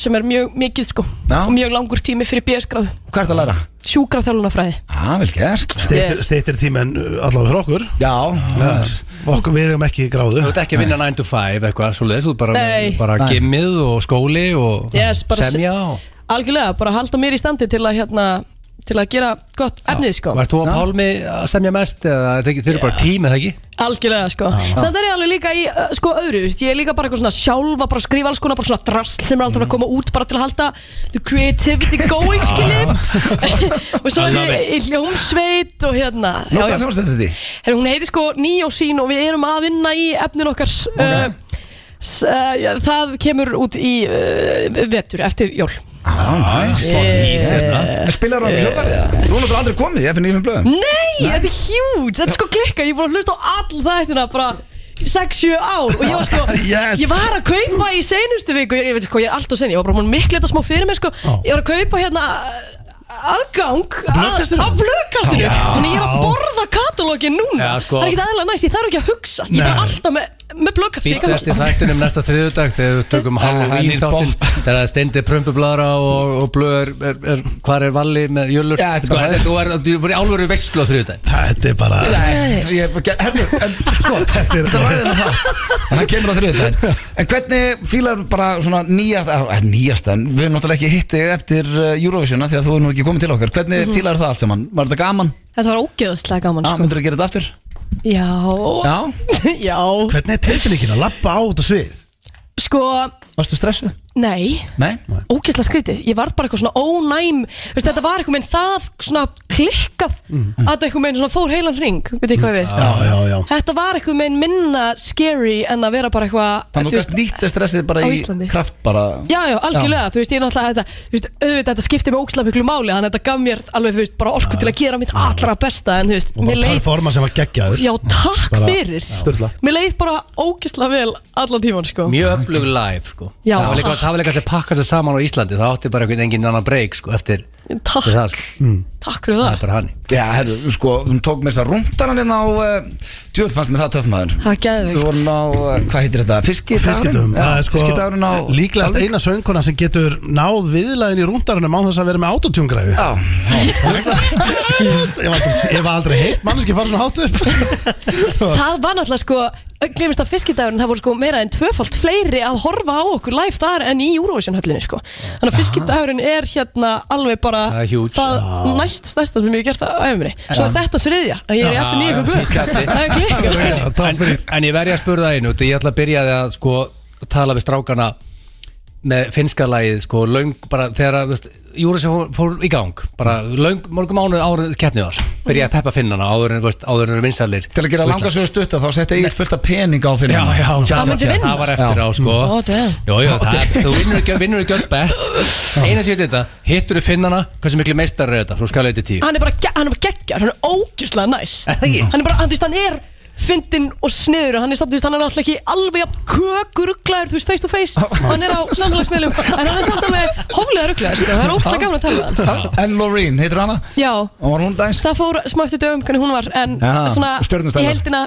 Speaker 7: sem er mjög mikið sko
Speaker 1: Mm. Já.
Speaker 7: og mjög langur tími fyrir BS gráðu
Speaker 1: hvað ertu að læra?
Speaker 7: sjúkraþjálunafræði
Speaker 3: Ah,
Speaker 1: Já, vel gert
Speaker 2: Steytir,
Speaker 7: Yes.
Speaker 2: steytir tíma en uh, allavega fyrir okkur
Speaker 1: Já,
Speaker 2: Það er- okkur við hefum ekki gráðu
Speaker 3: Þú ert ekki að vinna 9 to 5 eitthvað svo þú ert bara,
Speaker 7: Nei.
Speaker 3: bara
Speaker 1: Nei.
Speaker 3: gimmið og skóli og
Speaker 7: Yes, bara se-
Speaker 3: semja og
Speaker 7: Algjörlega, bara halda mér í standi til að hérna til að gera gott efnið sko
Speaker 3: Varst þú að Pálmi að semja mest eða þeir þeir eru bara tím eða ekki?
Speaker 7: Algjörlega sko Samt er ég alveg líka í uh, sko öðru veist. Ég er líka bara eitthvað svona sjálfa bara að skrifa alls konar bara svona drasl sem er alltaf að koma út bara til að halda the creativity going skilin Og
Speaker 3: I
Speaker 7: svo er
Speaker 3: love
Speaker 7: ég í hljómsveit og hérna
Speaker 1: nú
Speaker 7: já,
Speaker 1: hvað
Speaker 7: já.
Speaker 1: hljómsveit þetta í?
Speaker 7: Her, Hún heiti sko Nýjósín og við erum að vinna í efnin okkar uh, s- uh, já, Það kemur út í uh, vetur eftir jól
Speaker 1: Já, næs
Speaker 3: Yeah.
Speaker 1: En spilar hann hljóðfærið? eða? Þú er náttúrulega aldrei komið í FNF blöðum
Speaker 7: Nei, þetta er huge, þetta er sko klikka Ég er búin að hlusta á all þættina bara 6-7 ár og ég var sko
Speaker 1: Yes.
Speaker 7: Ég var að kaupa í seinustu viku Ég, ég veit sko, ég er alltaf sen, ég var bara búin að mikla þetta smá fyrir mig sko Ég var að kaupa hérna uh, aðgang að- á blöðkastinu Þannig ég er að borða katalógin núna
Speaker 3: Já, sko.
Speaker 7: Það er ekki aðeins næst, ég þarf ekki að hugsa Ég er bara alltaf með, með
Speaker 3: Býta eftir
Speaker 7: blöðkastinu
Speaker 3: þættinum næsta þriðudag þegar við tökum Halloween
Speaker 1: nýr
Speaker 3: þáttin þegar það stendir prumpublara og, og blöður er, er, hvar er valli með jölur
Speaker 1: Já, þetta er
Speaker 3: sko,
Speaker 1: bara-
Speaker 3: þetta- Þú er, þú er álveru veistlu á þriðudag
Speaker 2: Þetta er bara
Speaker 1: Herru, en sko, þetta ræðir um það Það kemur á þriðutæðin En hvernig fílar bara svona nýjasta eh, Nýjasta, en við höfum náttúrulega ekki hitti eftir eh, Eurovisiona Því að þú er nú ekki komið til okkar Hvernig fílar það allt saman? Var þetta gaman?
Speaker 7: Þetta var ógeðslega gaman
Speaker 1: Já,
Speaker 7: sko
Speaker 1: myndur þú gera þetta aftur?
Speaker 7: Já,
Speaker 1: Já,
Speaker 7: já
Speaker 2: Hvernig er tilfinningin að lappa á þetta svið?
Speaker 7: Sko,
Speaker 1: varstu stressuð?
Speaker 7: Nei,
Speaker 1: Nei?
Speaker 7: ógæslega skrítið Ég varð bara eitthvað svona ónæm Vist, Þetta var eitthvað meginn það svona klikkað Að þetta eitthvað meginn svona fór heilan ring Veit ekki hvað við
Speaker 2: Mm. Já, já, já
Speaker 7: Þetta var eitthvað meginn minna scary En að vera bara eitthvað
Speaker 1: Þannig að
Speaker 7: þú veist,
Speaker 1: þú nýtti stressið bara
Speaker 7: á
Speaker 1: í
Speaker 7: Íslandi.
Speaker 1: kraft bara
Speaker 7: Já, já, algjörlega, þú veist, ég náttúrulega þetta, þú veist, auðvitað þetta skipti mig ókslega miklu máli, þannig að þetta gaf mér alveg, þú veist, bara orku til að gera mitt allra besta, en þú veist,
Speaker 2: Og
Speaker 7: mér
Speaker 2: bara
Speaker 7: leið,
Speaker 2: performa sem var geggjaður
Speaker 7: já, takk
Speaker 2: Bara-
Speaker 7: fyrir,
Speaker 2: Sturla.
Speaker 7: mér leið bara ókslega vel allan tíman, sko.
Speaker 3: Mjög öflug live sko
Speaker 7: Já,
Speaker 3: Það var líka,
Speaker 7: takk.
Speaker 3: það var líka sem pakka sér saman á Íslandi Það átti bara einhvern engin annan break sko Eftir
Speaker 7: Takk,
Speaker 3: eftir það sko
Speaker 1: Mm.
Speaker 7: takk fyrir
Speaker 3: Það er
Speaker 7: það.
Speaker 3: bara hann
Speaker 1: Já, herru, sko, hún tók með þess að rúndan hann inn á uh, Djúr fannst mér það töfmaður
Speaker 7: Það er
Speaker 1: Við
Speaker 7: geðveikt.
Speaker 1: vorum á, uh, hvað heitir þetta, fiskidagurinn?
Speaker 2: Fiskidöfum Það er sko
Speaker 1: fiskidagurinn á
Speaker 2: líklegast
Speaker 1: Dalvík.
Speaker 2: eina söngkona sem getur náð viðlæðin í rúndarunum án þess að vera með autotjungræfi
Speaker 1: Já,
Speaker 2: Ég var aldrei- ég var aldrei heitt mannski fara svona hátt upp
Speaker 7: Það var náttúrulega, sko, glemist að fiskidagurinn, það voru sko meira en tvöfalt fleiri að horfa á okkur live þar en í Eurovision-höllinni, sko. Þannig að fiskidagurinn er hérna alveg bara
Speaker 3: Það er huge.
Speaker 7: það næst stærsta sem ég hef gert á æfumri. Svo er þetta þriðja, að ég er í F9
Speaker 3: Já,
Speaker 7: ykkur glögg. Það er klikkað.
Speaker 2: takk
Speaker 3: en, en ég verði að spurða einu Því ég ætla að byrja því að sko Tala við strákana Með finska lagið sko Löng bara þegar að Júri sem fór, fór í gang Bara löng mörgum mánuð árið keppnið var Byrja að peppa finnana áður en, þú veist, áður en vinsalir
Speaker 1: til að gera langa sögur stutta þá setti ég fullt af pening á fyrir
Speaker 3: Já,
Speaker 1: hana.
Speaker 3: já,
Speaker 7: Það myndi vinna.
Speaker 3: það var eftir á sko
Speaker 7: Ó, damn.
Speaker 3: Jó, jó, það, þú vinnur ekki, vinnur ekki öll bett Eina sér þetta, hittur þú finnana Hversu miklu meistar er þetta, svo skal þetta tíu
Speaker 7: hann er bara, ge- hann er bara geggjar, hann er ógjörslega næs hann er bara, hann, þú veist, hann er fyndinn og sniður, hann er samt, þú veist, hann er alltaf ekki alveg jafn kökuruglaður, þú veist, face to face og hann er á samfélagsmiðlum en hann er samt alveg hóflega ruglaður, sko, það er ógjörslega gaman að tala við hann
Speaker 1: En Loreen, heitir hana?
Speaker 7: já,
Speaker 1: Og var hún dænsk?
Speaker 7: það fór smá eftir dögum hvernig hún var, en
Speaker 1: Já, og
Speaker 7: svona
Speaker 1: stjörnustælar.
Speaker 7: í heldina,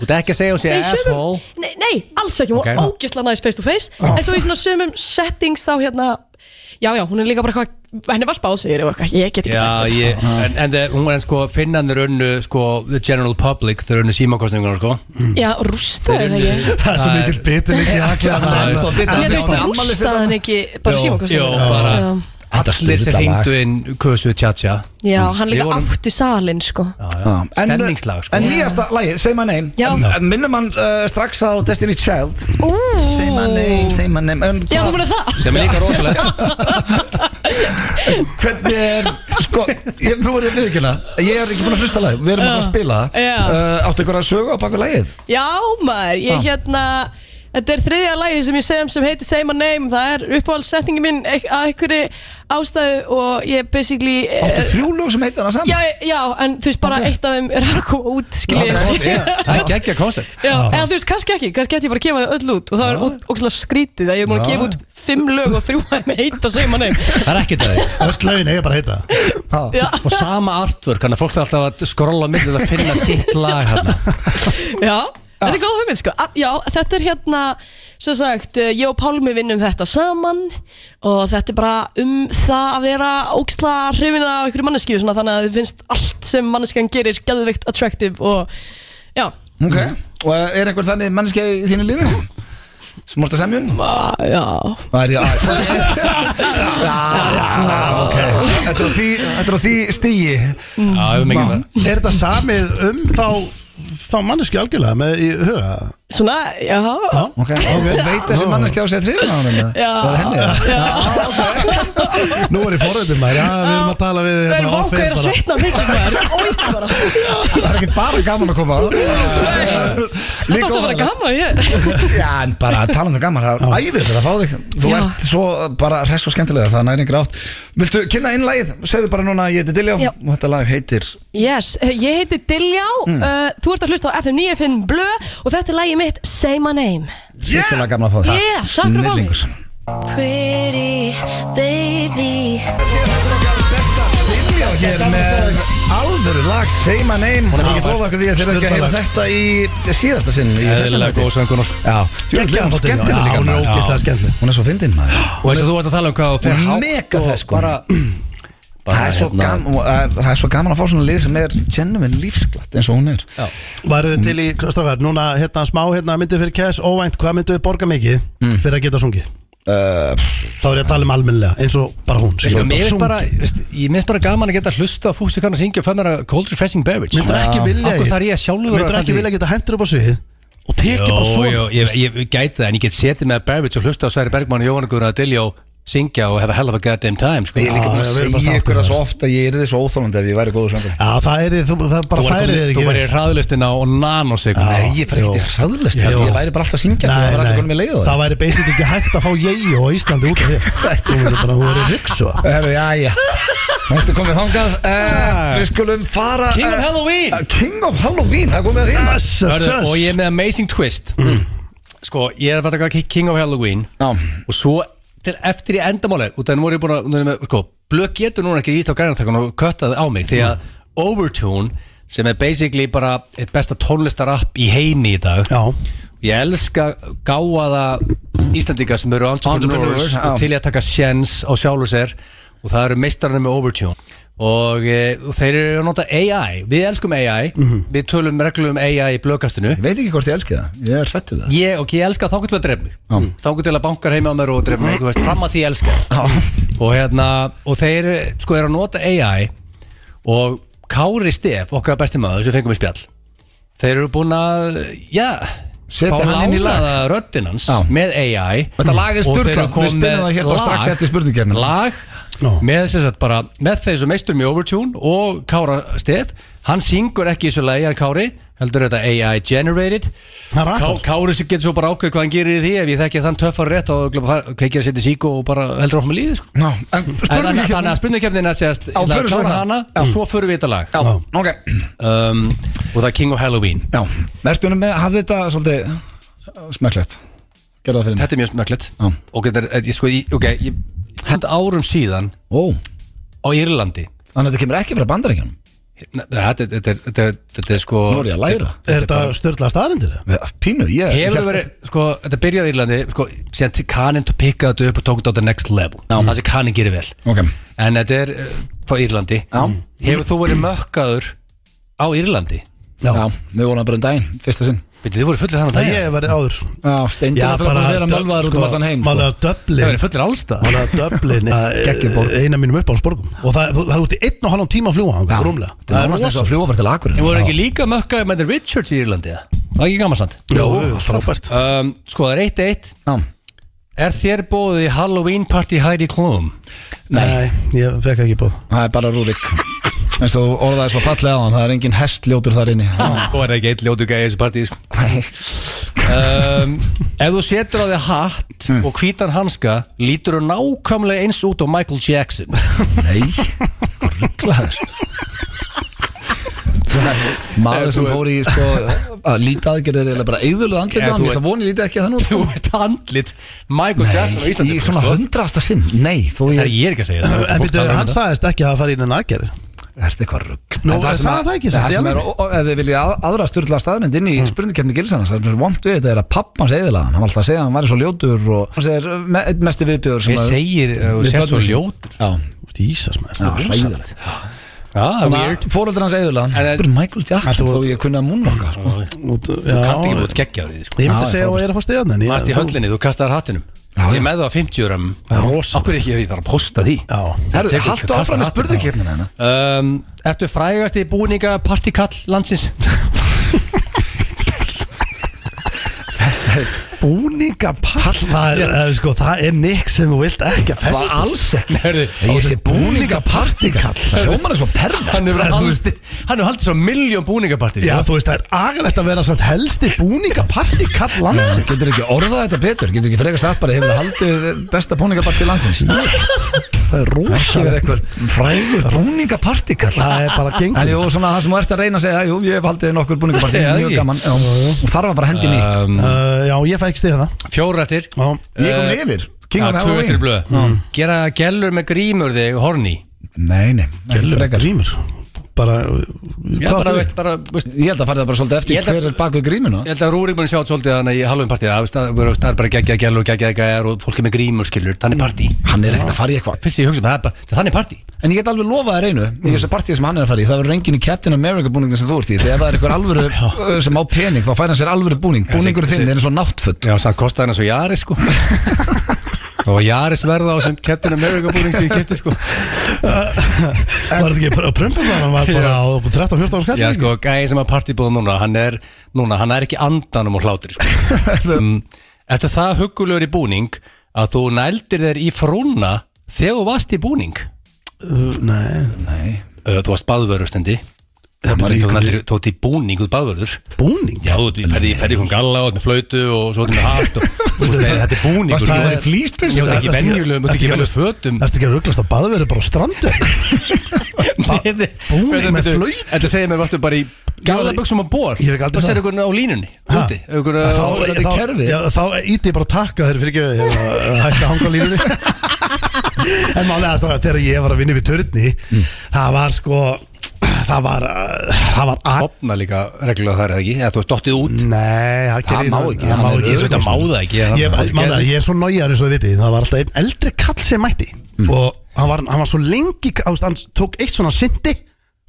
Speaker 3: Þú ert ekki að segja hún sé
Speaker 7: nei, í
Speaker 3: asshole
Speaker 7: sumum nei, nei, alls ekki, hún
Speaker 3: Ok.
Speaker 7: var ógjörslega næs face to face en svo í svona sömum settings þá hérna, já, já, hún er líka bara eitthvað henni var spásir og eitthvað, ég get ekki
Speaker 3: Já,
Speaker 7: dæmt þetta.
Speaker 3: ég, en, en, þeir- hún, en sko finnanir unnu sko, the general public, þeir unnu símakostningunar sko.
Speaker 7: já, rústaði það ekki
Speaker 2: Það er svo mikill bitur ekki
Speaker 3: Það er
Speaker 2: haklega
Speaker 3: svo
Speaker 1: bitur. Þannig
Speaker 7: Þannig að þú
Speaker 1: að
Speaker 7: veist,
Speaker 1: afmælisdagurinn-
Speaker 7: rústaði hann ekki bara
Speaker 3: Jó,
Speaker 7: símakostinu
Speaker 3: jó, bara.
Speaker 1: Allir
Speaker 3: allir sem
Speaker 1: þetta lag.
Speaker 3: hengdu inn kösu tjátja
Speaker 7: Já, hann
Speaker 3: Við
Speaker 7: líka
Speaker 3: vorum-
Speaker 7: átti salin sko
Speaker 1: Já. En- uh,
Speaker 3: stemningslag sko.
Speaker 1: En nýjasta lagi, Say My Name
Speaker 7: Já.
Speaker 1: En- en Minnum hann uh, strax á Destiny Child
Speaker 7: Ú.
Speaker 1: Say My Name, Say My Name en,
Speaker 7: Já, þú
Speaker 1: svona-
Speaker 7: munið það
Speaker 3: sem er líka rosalega
Speaker 1: Hvernig er, sko, ég, nú er ég viðkjöna Ég er ekki búin að hlusta lagi, við erum að fara að spila
Speaker 7: Já.
Speaker 1: uh, Áttu ykkur að sögu á baku lagið?
Speaker 7: Já, maður, ég hérna Þetta er þriðja lagi sem ég segjum sem heitir Say My Name Það er uppáhaldssetningi minn ek- að einhverju ástæðu og ég basically
Speaker 1: Áttu
Speaker 7: eh,
Speaker 1: þrjú lög sem heitir hana saman?
Speaker 7: Já, e- já, en þú veist bara eitt af þeim er að koma út skiljið
Speaker 3: það er geggja koncept
Speaker 7: Já, eða þú veist, kannski ekki, kannski ætti ég bara að gefa þau öll út og það er ókslega skrítið að ég er múin að gefa út fimm lög og þrjú að þeim heita Say My Name
Speaker 3: það er ekkert að því
Speaker 2: Öll lögin eiga bara að heita það.
Speaker 7: Já,
Speaker 3: og sama artwork, hann er fólk alltaf að skrolla á myndið að finna sitt lag hann
Speaker 7: Já, þetta er góð hugmynd sko A Já, þetta er hérna sem sagt, eh, ég og Pálmi vinnum þetta saman og þetta er bara um það að vera óksla hrifin af einhverju manneskju svona, þannig að þið finnst allt sem manneskjan gerir geðvikt attractive og já,
Speaker 1: Ok, og er einhver þannig mannskja í þínu lífi? Sem vorst að semjun?
Speaker 7: a, já
Speaker 1: Það er ég að Ah, Þetta er á því- þetta er á því stíi
Speaker 7: Mm.
Speaker 3: já, ef við mikið það
Speaker 2: Er þetta samið um þá þá mannesku algjörlega með í huga
Speaker 7: svona, já já,
Speaker 1: Ok, veit þessi mannskja á sig að þrifna á hann
Speaker 7: já,
Speaker 2: Nú er ég forveitin maður, já við erum að tala við
Speaker 7: það er
Speaker 2: hérna, off-air
Speaker 7: vákaðir að
Speaker 2: bara.
Speaker 7: svitna mikið maður, ói bara
Speaker 1: Það er ekki bara gaman að koma á
Speaker 7: þetta átti að vera gaman ég
Speaker 1: Já, en bara að tala um það gaman Það er æðis að fá þig Þú
Speaker 7: Já.
Speaker 1: ert svo bara hress og skemmtilega Það er næringur átt Viltu kynna inn lagið? Segðu bara núna að ég heiti Diljá
Speaker 7: Já.
Speaker 1: Og þetta lag heitir
Speaker 7: Yes, eh, ég heiti Diljá, uh, þú ert að hlusta á FM 95 Blö og þetta er lagið mitt Say My Name
Speaker 1: Sikkulega gaman að fá þig
Speaker 7: Yeah, takk fyrir að fá mig.
Speaker 1: Snillingur.
Speaker 8: pretty baby
Speaker 1: Diljá hér með alvöru lag Say My Name Hún er ekki lofa okkur því að þeir eru ekki að heyra þetta í síðasta sinn í þessu
Speaker 3: eðlilega
Speaker 1: þætti.
Speaker 3: góð söngun og
Speaker 1: Já,
Speaker 2: Geggjað að fá til,
Speaker 1: skemmtilega
Speaker 2: já,
Speaker 1: líka
Speaker 2: Hún er
Speaker 1: maður.
Speaker 2: ógeðslega skemmtileg
Speaker 1: Hún er svo fyndin maður
Speaker 3: þess að þú varst að tala um hvað og fer
Speaker 1: Hún er
Speaker 3: hátt
Speaker 1: mega
Speaker 3: og
Speaker 1: hress, sko.
Speaker 3: bara-
Speaker 1: Það er, svo
Speaker 3: hérna-
Speaker 1: gaman, og það er- það er svo gaman að fá svona lið sem er genuine lífsglatt eins og hún er
Speaker 2: Værið þið til í, strákar, núna hérna smá hérna myndið fyrir Cash, óvænt, hvað myndið þið borga mikið fyrir að geta sungið?
Speaker 1: uh,
Speaker 2: Þá er ég að tala um almennilega, eins og bara hún
Speaker 3: Veistu,
Speaker 2: skilur,
Speaker 3: mér finnst
Speaker 2: sungið.
Speaker 3: bara, veistu, ég minnst bara gaman að geta hlusta á fúsi kannar syngja og fæða mér að cold refreshing beverage
Speaker 2: Myndir ekki vilja
Speaker 3: Akkur þar Ah, ég sjálfur að
Speaker 2: Myndir
Speaker 3: standa
Speaker 2: ekki
Speaker 3: í-
Speaker 2: vilja geta hendur upp á svið og tekið bara
Speaker 3: Jó,
Speaker 2: svona
Speaker 3: jó, ég, ég, ég gæti það en ég get setið með Barrage og hlusta á Sværi Bergman og Jóhann Guður að Diljó syngja og hefa hell of a goddamn time sko.
Speaker 1: Ég er líka búin
Speaker 2: Já,
Speaker 1: að
Speaker 2: já, við erum bara
Speaker 1: segja
Speaker 2: sáttir
Speaker 1: ykkur
Speaker 2: með
Speaker 1: það svo oft að ég er þið svo óþólandi ef ég væri góður söngur
Speaker 2: Já, það er þið, þú, það bara
Speaker 3: Þú
Speaker 2: færið þér
Speaker 3: væri-
Speaker 2: ekki Ah,
Speaker 3: Þú væri hraðlistina og nanosekund
Speaker 2: Já.
Speaker 1: Nei, ég fær
Speaker 2: Jú.
Speaker 1: ekkert í hraðlist Ég
Speaker 2: Jú.
Speaker 1: ég væri bara alltaf syngjandi og það var allir konum í leið á
Speaker 2: það væri basic ekki hægt að fá ég á Íslandi út af því Þú veitir bara, þú verður ryksu
Speaker 1: Herru, já, já Þetta er komið þangað uh, Við skulum fara
Speaker 3: King of
Speaker 1: eh,
Speaker 3: Halloween
Speaker 1: eh, King of Halloween, það er komið að því maður.
Speaker 2: Hörðu,
Speaker 3: Hörðu, Og ég er með amazing twist
Speaker 2: Mm.
Speaker 3: Sko, ég er að fara að taka King of Halloween
Speaker 1: Já,
Speaker 3: og svo til eftir í endamáli út af nú er ég búin að nú er ég með- sko, blökk getur núna ekki ít á grænartakun og köttaði á mig því
Speaker 2: Mm.
Speaker 3: að Overtune sem er basically bara eitt besta tónlistarapp í heimi í dag
Speaker 2: Já.
Speaker 3: ég elska gáaða Íslandinga sem eru entrepreneurs
Speaker 1: Entrepreneurs, já.
Speaker 3: og til í að taka sjens á sjálfu sér og það eru meistararnir með Overtune og, e, og þeir eru að nota AI við elskum AI,
Speaker 1: Mhm.
Speaker 3: við tölum reglum um AI í blökastinu
Speaker 1: ég veit ekki hvort ég elski það Ég er hrættu það
Speaker 3: Ég, ok, ég elska þá til að dref mig Þá til að bankar heima á mér og dref mig Þú veist, fram að því ég elska Og hérna, og þeir sko er að nota AI Og Kári Stef, okkar besti maður sem fengum í spjall Þeir eru búin að, já
Speaker 1: Setja
Speaker 3: fá
Speaker 1: hann inn í lag.
Speaker 3: lánaða röddinn hans
Speaker 1: Já.
Speaker 3: með AI
Speaker 1: Þetta lag er
Speaker 3: Og þeir
Speaker 1: sturglað,
Speaker 3: eru komin
Speaker 1: við spilum
Speaker 3: með
Speaker 1: það hér bara
Speaker 3: lag-
Speaker 1: strax eftir spurningakeppnina.
Speaker 3: Lag,
Speaker 2: Nó.
Speaker 3: með þess að bara með þeir sem meisturum í Overtune og Kára Stef Hann syngur ekki í þessu lagi, hann Kári heldur þetta AI generated
Speaker 2: Það er
Speaker 3: Ká,
Speaker 2: akkur
Speaker 3: Kári sem getur svo bara ákveð hvað hann gerir í því ef ég þekki að þann töffar rétt og kveikir að setja síku og bara heldur áfram að líði sko.
Speaker 1: Ná, en
Speaker 3: En
Speaker 1: spurningakeppnin-
Speaker 3: þannig þannig að spurningkefnin er sérst ég ætla að
Speaker 1: förum svo
Speaker 3: klára
Speaker 1: það.
Speaker 3: hana og svo förum við í þetta lag
Speaker 1: Já, ok
Speaker 3: um, og það er King of Halloween
Speaker 1: Já, verðstunum með, hafði þetta svolítið smekklegt Gerða það fyrir mig
Speaker 3: Þetta er mjög smöklet
Speaker 1: Já.
Speaker 3: og þetta er, eh, ég, sko, ég, ok, ég hend árum síðan
Speaker 1: Ó,
Speaker 3: á Írlandi
Speaker 1: þannig að þetta kemur ekki frá bandaríkjum
Speaker 3: Nei, Hérna, Þetta er- þetta er- þetta er þetta er sko
Speaker 1: Nú er ég að læra
Speaker 2: Er þetta störðlega staðarindir það?
Speaker 1: Pínu, ég
Speaker 3: Hefur verið, sko, þetta byrjaði í Írlandi sko, síðan til Kanin pikkaði þetta upp og tók þetta á the next level, það sem Kanin gerir vel
Speaker 1: Ok,
Speaker 3: En þetta er uh, frá Írlandi
Speaker 1: Já.
Speaker 3: Hefur þú verið mökkaður á Írlandi?
Speaker 2: Já.
Speaker 1: já, við vorum bara um daginn, fyrsta sinn
Speaker 3: Veitir, þið voru fullir þannig
Speaker 2: Það
Speaker 3: að
Speaker 2: ég hef verið áður
Speaker 1: Já, steindir að fyrir að vera mölvaður út um allan heim
Speaker 2: Málega
Speaker 1: sko.
Speaker 3: Það
Speaker 2: döblin
Speaker 3: verið fullir allstað
Speaker 2: Málega döblin
Speaker 1: Geggjuð borg.
Speaker 2: eh, Eina mínum uppáhaldsborgum Og það þú- það er út í einn og halvan tíma að fljúa hann
Speaker 1: Já,
Speaker 2: Rúmlega
Speaker 1: Þetta er náttúrulega eins og að fljúa bara til
Speaker 3: Þið
Speaker 1: Akureyri
Speaker 3: voru ekki líka mökkaður með The Richards í Írlandi eða? Það er ekki gaman sant
Speaker 2: Jó, frábært
Speaker 3: um, Sko, það er 1-1
Speaker 1: Já,
Speaker 3: Er þér bóðið í Halloween party Heidi Klum?
Speaker 2: Nei, ég fekk ekki bóð
Speaker 1: það er bara Rúrik En svo orðaði svo fallega á hann, það er engin hestljótur þar inni Já.
Speaker 3: Þú Sko, er ekki eitt ljótu gæði í þessu partí sko.
Speaker 1: Nei.
Speaker 3: um, Ef þú setur á þig hatt
Speaker 1: Mm.
Speaker 3: og hvítan hanska lítur þú nákvæmlega eins út á Michael Jackson
Speaker 1: Nei, hvað rugglaður Maður sem fór í sko, að líta aðgerðir er eiginlega bara eðurlega
Speaker 3: Ef
Speaker 1: andlitið hann,
Speaker 3: þú
Speaker 1: ég ætla
Speaker 3: ert-
Speaker 1: að voni lítið ekki að hann
Speaker 3: Þú ert handlit Michael Jackson á
Speaker 1: Í
Speaker 3: Íslandi sko,
Speaker 1: svona
Speaker 3: sko.
Speaker 1: hundrasta sinn, nei þó
Speaker 3: Það er
Speaker 1: ég
Speaker 3: ég er ekki að segja þetta
Speaker 2: En
Speaker 3: Fólk
Speaker 2: býttu,
Speaker 3: talar um
Speaker 2: hann
Speaker 3: þetta.
Speaker 2: sagðist ekki að fara inn en aðgerði
Speaker 1: Ertu eitthvað rugg
Speaker 2: Nú,
Speaker 1: En sem
Speaker 2: sagði
Speaker 1: að-
Speaker 2: það ekki,
Speaker 1: Það
Speaker 2: samt í
Speaker 1: sem er,
Speaker 2: alvöru?
Speaker 1: og- ef þið vilja að- aðra styrla staðnind inn í mm. spurningkefni Gilsarnas Það sem er vond við þetta er að pappans eðilaðan Hann var alltaf að segja að hann væri svo ljótur og hann segir me, einn mesti viðbjöður sem
Speaker 3: Ég
Speaker 1: að-
Speaker 3: segir, uh, þú
Speaker 1: Við
Speaker 3: sér svo
Speaker 1: börnum sín.
Speaker 3: ljótur
Speaker 1: Já,
Speaker 2: Ísas maður
Speaker 1: ræðilegt
Speaker 3: Já, weird
Speaker 1: Fóröldur hans eðilaðan,
Speaker 3: En-
Speaker 1: bara Michael Jackson þó ég kunni að múnvaka sko.
Speaker 2: Út-
Speaker 3: Þú
Speaker 2: já,
Speaker 3: kannt ekki búið geggja á því
Speaker 2: Ég
Speaker 3: sko.
Speaker 2: myndi
Speaker 1: Já, frábært.
Speaker 2: segja að ég er að fá stegjan en ég-
Speaker 3: Varst í
Speaker 2: þú-
Speaker 3: höllinni, þú kastaðar hattinum
Speaker 1: Já,
Speaker 3: Ég
Speaker 1: já.
Speaker 3: er með það á 50 gram
Speaker 2: Það er rosalegt.
Speaker 3: Okkur ekki, ég þarf að posta því
Speaker 2: Já,
Speaker 1: Herru,
Speaker 3: Tekur-
Speaker 1: haltu
Speaker 3: kastar
Speaker 1: áfram með hérna.
Speaker 3: hattinum.
Speaker 1: spurningkefnina hennar
Speaker 3: um, Ertu frægast í búninga partikall landsins?
Speaker 2: búningapall það er, eh, sko, það er nikk sem þú vilt ekki að festa
Speaker 1: ekki
Speaker 3: Herðu,
Speaker 1: Ég sé búningapartikall Sjóman er svo
Speaker 3: hann
Speaker 1: pervert
Speaker 3: hefur haldið Hann hefur haldið svo miljón búningapartí
Speaker 2: Já,
Speaker 3: sko.
Speaker 2: þú veist, það er agalegt að vera samt helsti búningaparti kall
Speaker 1: Nei,
Speaker 2: landsins
Speaker 1: Getur ekki orðað þetta betur Getur ekki frekar sagt bara Hefur haldið besta búningapartí landsins
Speaker 2: Það er
Speaker 1: Ekki verið
Speaker 2: rosalegt
Speaker 1: eitthvað frægur búningapartikall
Speaker 2: Það er bara gengur
Speaker 1: En jú, svona það sem þú ert að reyna að segja Jú, ég hef haldið nokkur búningapartí
Speaker 3: Já,
Speaker 1: Mjög
Speaker 3: ekki.
Speaker 1: gaman Já, Og þarf að bara hendi nýtt
Speaker 3: um,
Speaker 2: uh, Já, ég fæk stegja það
Speaker 3: Fjóra eftir
Speaker 2: Já,
Speaker 1: Ég kom yfir King
Speaker 3: Uh, Já,
Speaker 1: of
Speaker 3: 200
Speaker 1: Halloween Mm.
Speaker 3: blöð Gera gælur með grímur þig, horni
Speaker 1: Nei, nei ekki
Speaker 2: gellur,
Speaker 1: frekar.
Speaker 2: grímur Bara, uh, hvað
Speaker 3: Já, bara,
Speaker 2: áttu við?
Speaker 3: veist, bara, veist
Speaker 1: Ég held að farið það bara svolítið
Speaker 3: Ég
Speaker 1: eftir
Speaker 3: held að-
Speaker 1: Hver er baku grímuna
Speaker 3: Ég held að Rúrik mun sjá þetta svolítið þannig í Halloween partíð að það er það er bara geggja gælur og geggja gæjar og fólk er með grímur skilur, þannig partí
Speaker 1: Hann er ekkert að fara í eitthvað
Speaker 3: Fyrst sem ég hugsa um það, er bara- það er þannig partí
Speaker 1: En ég get alveg lofað þér einu Í þessu partíu sem hann er að fara í Það verður engin í Captain America búningin sem þú ert í Þegar það er einhver alvöru ö, sem á pening Þá fær hann sér alvöru búning Búningur
Speaker 3: þessi-
Speaker 1: þinn er eins og náttfutt
Speaker 3: Já, sann kostaði hann svo jari sko Það var Jaris verða á sem Captain America búning sem ég kefti sko
Speaker 2: Var þetta ekki bara að prumpa það Hann var bara á 13-14 skall
Speaker 3: Já sko, gæði sem að partybúð núna hann er, núna, hann er ekki andanum og hlátri sko. um, Ertu það hugulegur í búning að þú nældir þér í frúna þegar þú varst í búning
Speaker 2: Uh, Nei,
Speaker 1: Nei
Speaker 3: uh, Þú varst baðvörustendi
Speaker 2: Já,
Speaker 3: Þú
Speaker 2: bara í-
Speaker 3: ert í búning út baðvörður
Speaker 2: búning
Speaker 3: Já, þú ferði í hún galla og með flautu og svo ert með hatt og, og, og, Þetta er búning
Speaker 2: Varstu
Speaker 3: sko.
Speaker 2: það í flýspins?
Speaker 3: Ég veit ekki venjulegum, þú ert ekki venjulegum fötum
Speaker 2: Ertu ekki að rugglast á baðveru bara á strandu?
Speaker 3: Búning
Speaker 2: búning með flautu?
Speaker 3: Þetta segir mér vartu bara í gala buksum á bor
Speaker 2: Ég hef ekki aldrei
Speaker 3: Og
Speaker 2: það.
Speaker 3: sér einhvern á línunni úti Einhvern á
Speaker 2: Þá-
Speaker 3: þetta
Speaker 2: þá-
Speaker 3: kerfi
Speaker 2: já, Þá íti ég bara að takka þeir fyrir ekki að hætta að hanga á línunni En málega að þegar ég var að vinna upp í törni Það var sko Það var uh, Það var að
Speaker 3: Opna líka reglulega þar eða ekki Eða þú ert dottið út
Speaker 2: Nei, það,
Speaker 1: Það
Speaker 2: gerir-
Speaker 1: má ekki,
Speaker 2: það
Speaker 1: hann
Speaker 2: má
Speaker 1: er-
Speaker 2: ekki sko.
Speaker 3: Ég veit að má það ekki en
Speaker 2: ég,
Speaker 3: það- það
Speaker 2: man það,
Speaker 3: gerðist.
Speaker 2: ég er svo nájar eins og þið vitið Það var alltaf einn eldri kall sem mætti
Speaker 3: Mm.
Speaker 2: Og hann var, hann var svo lengi á, Hann tók eitt svona syndi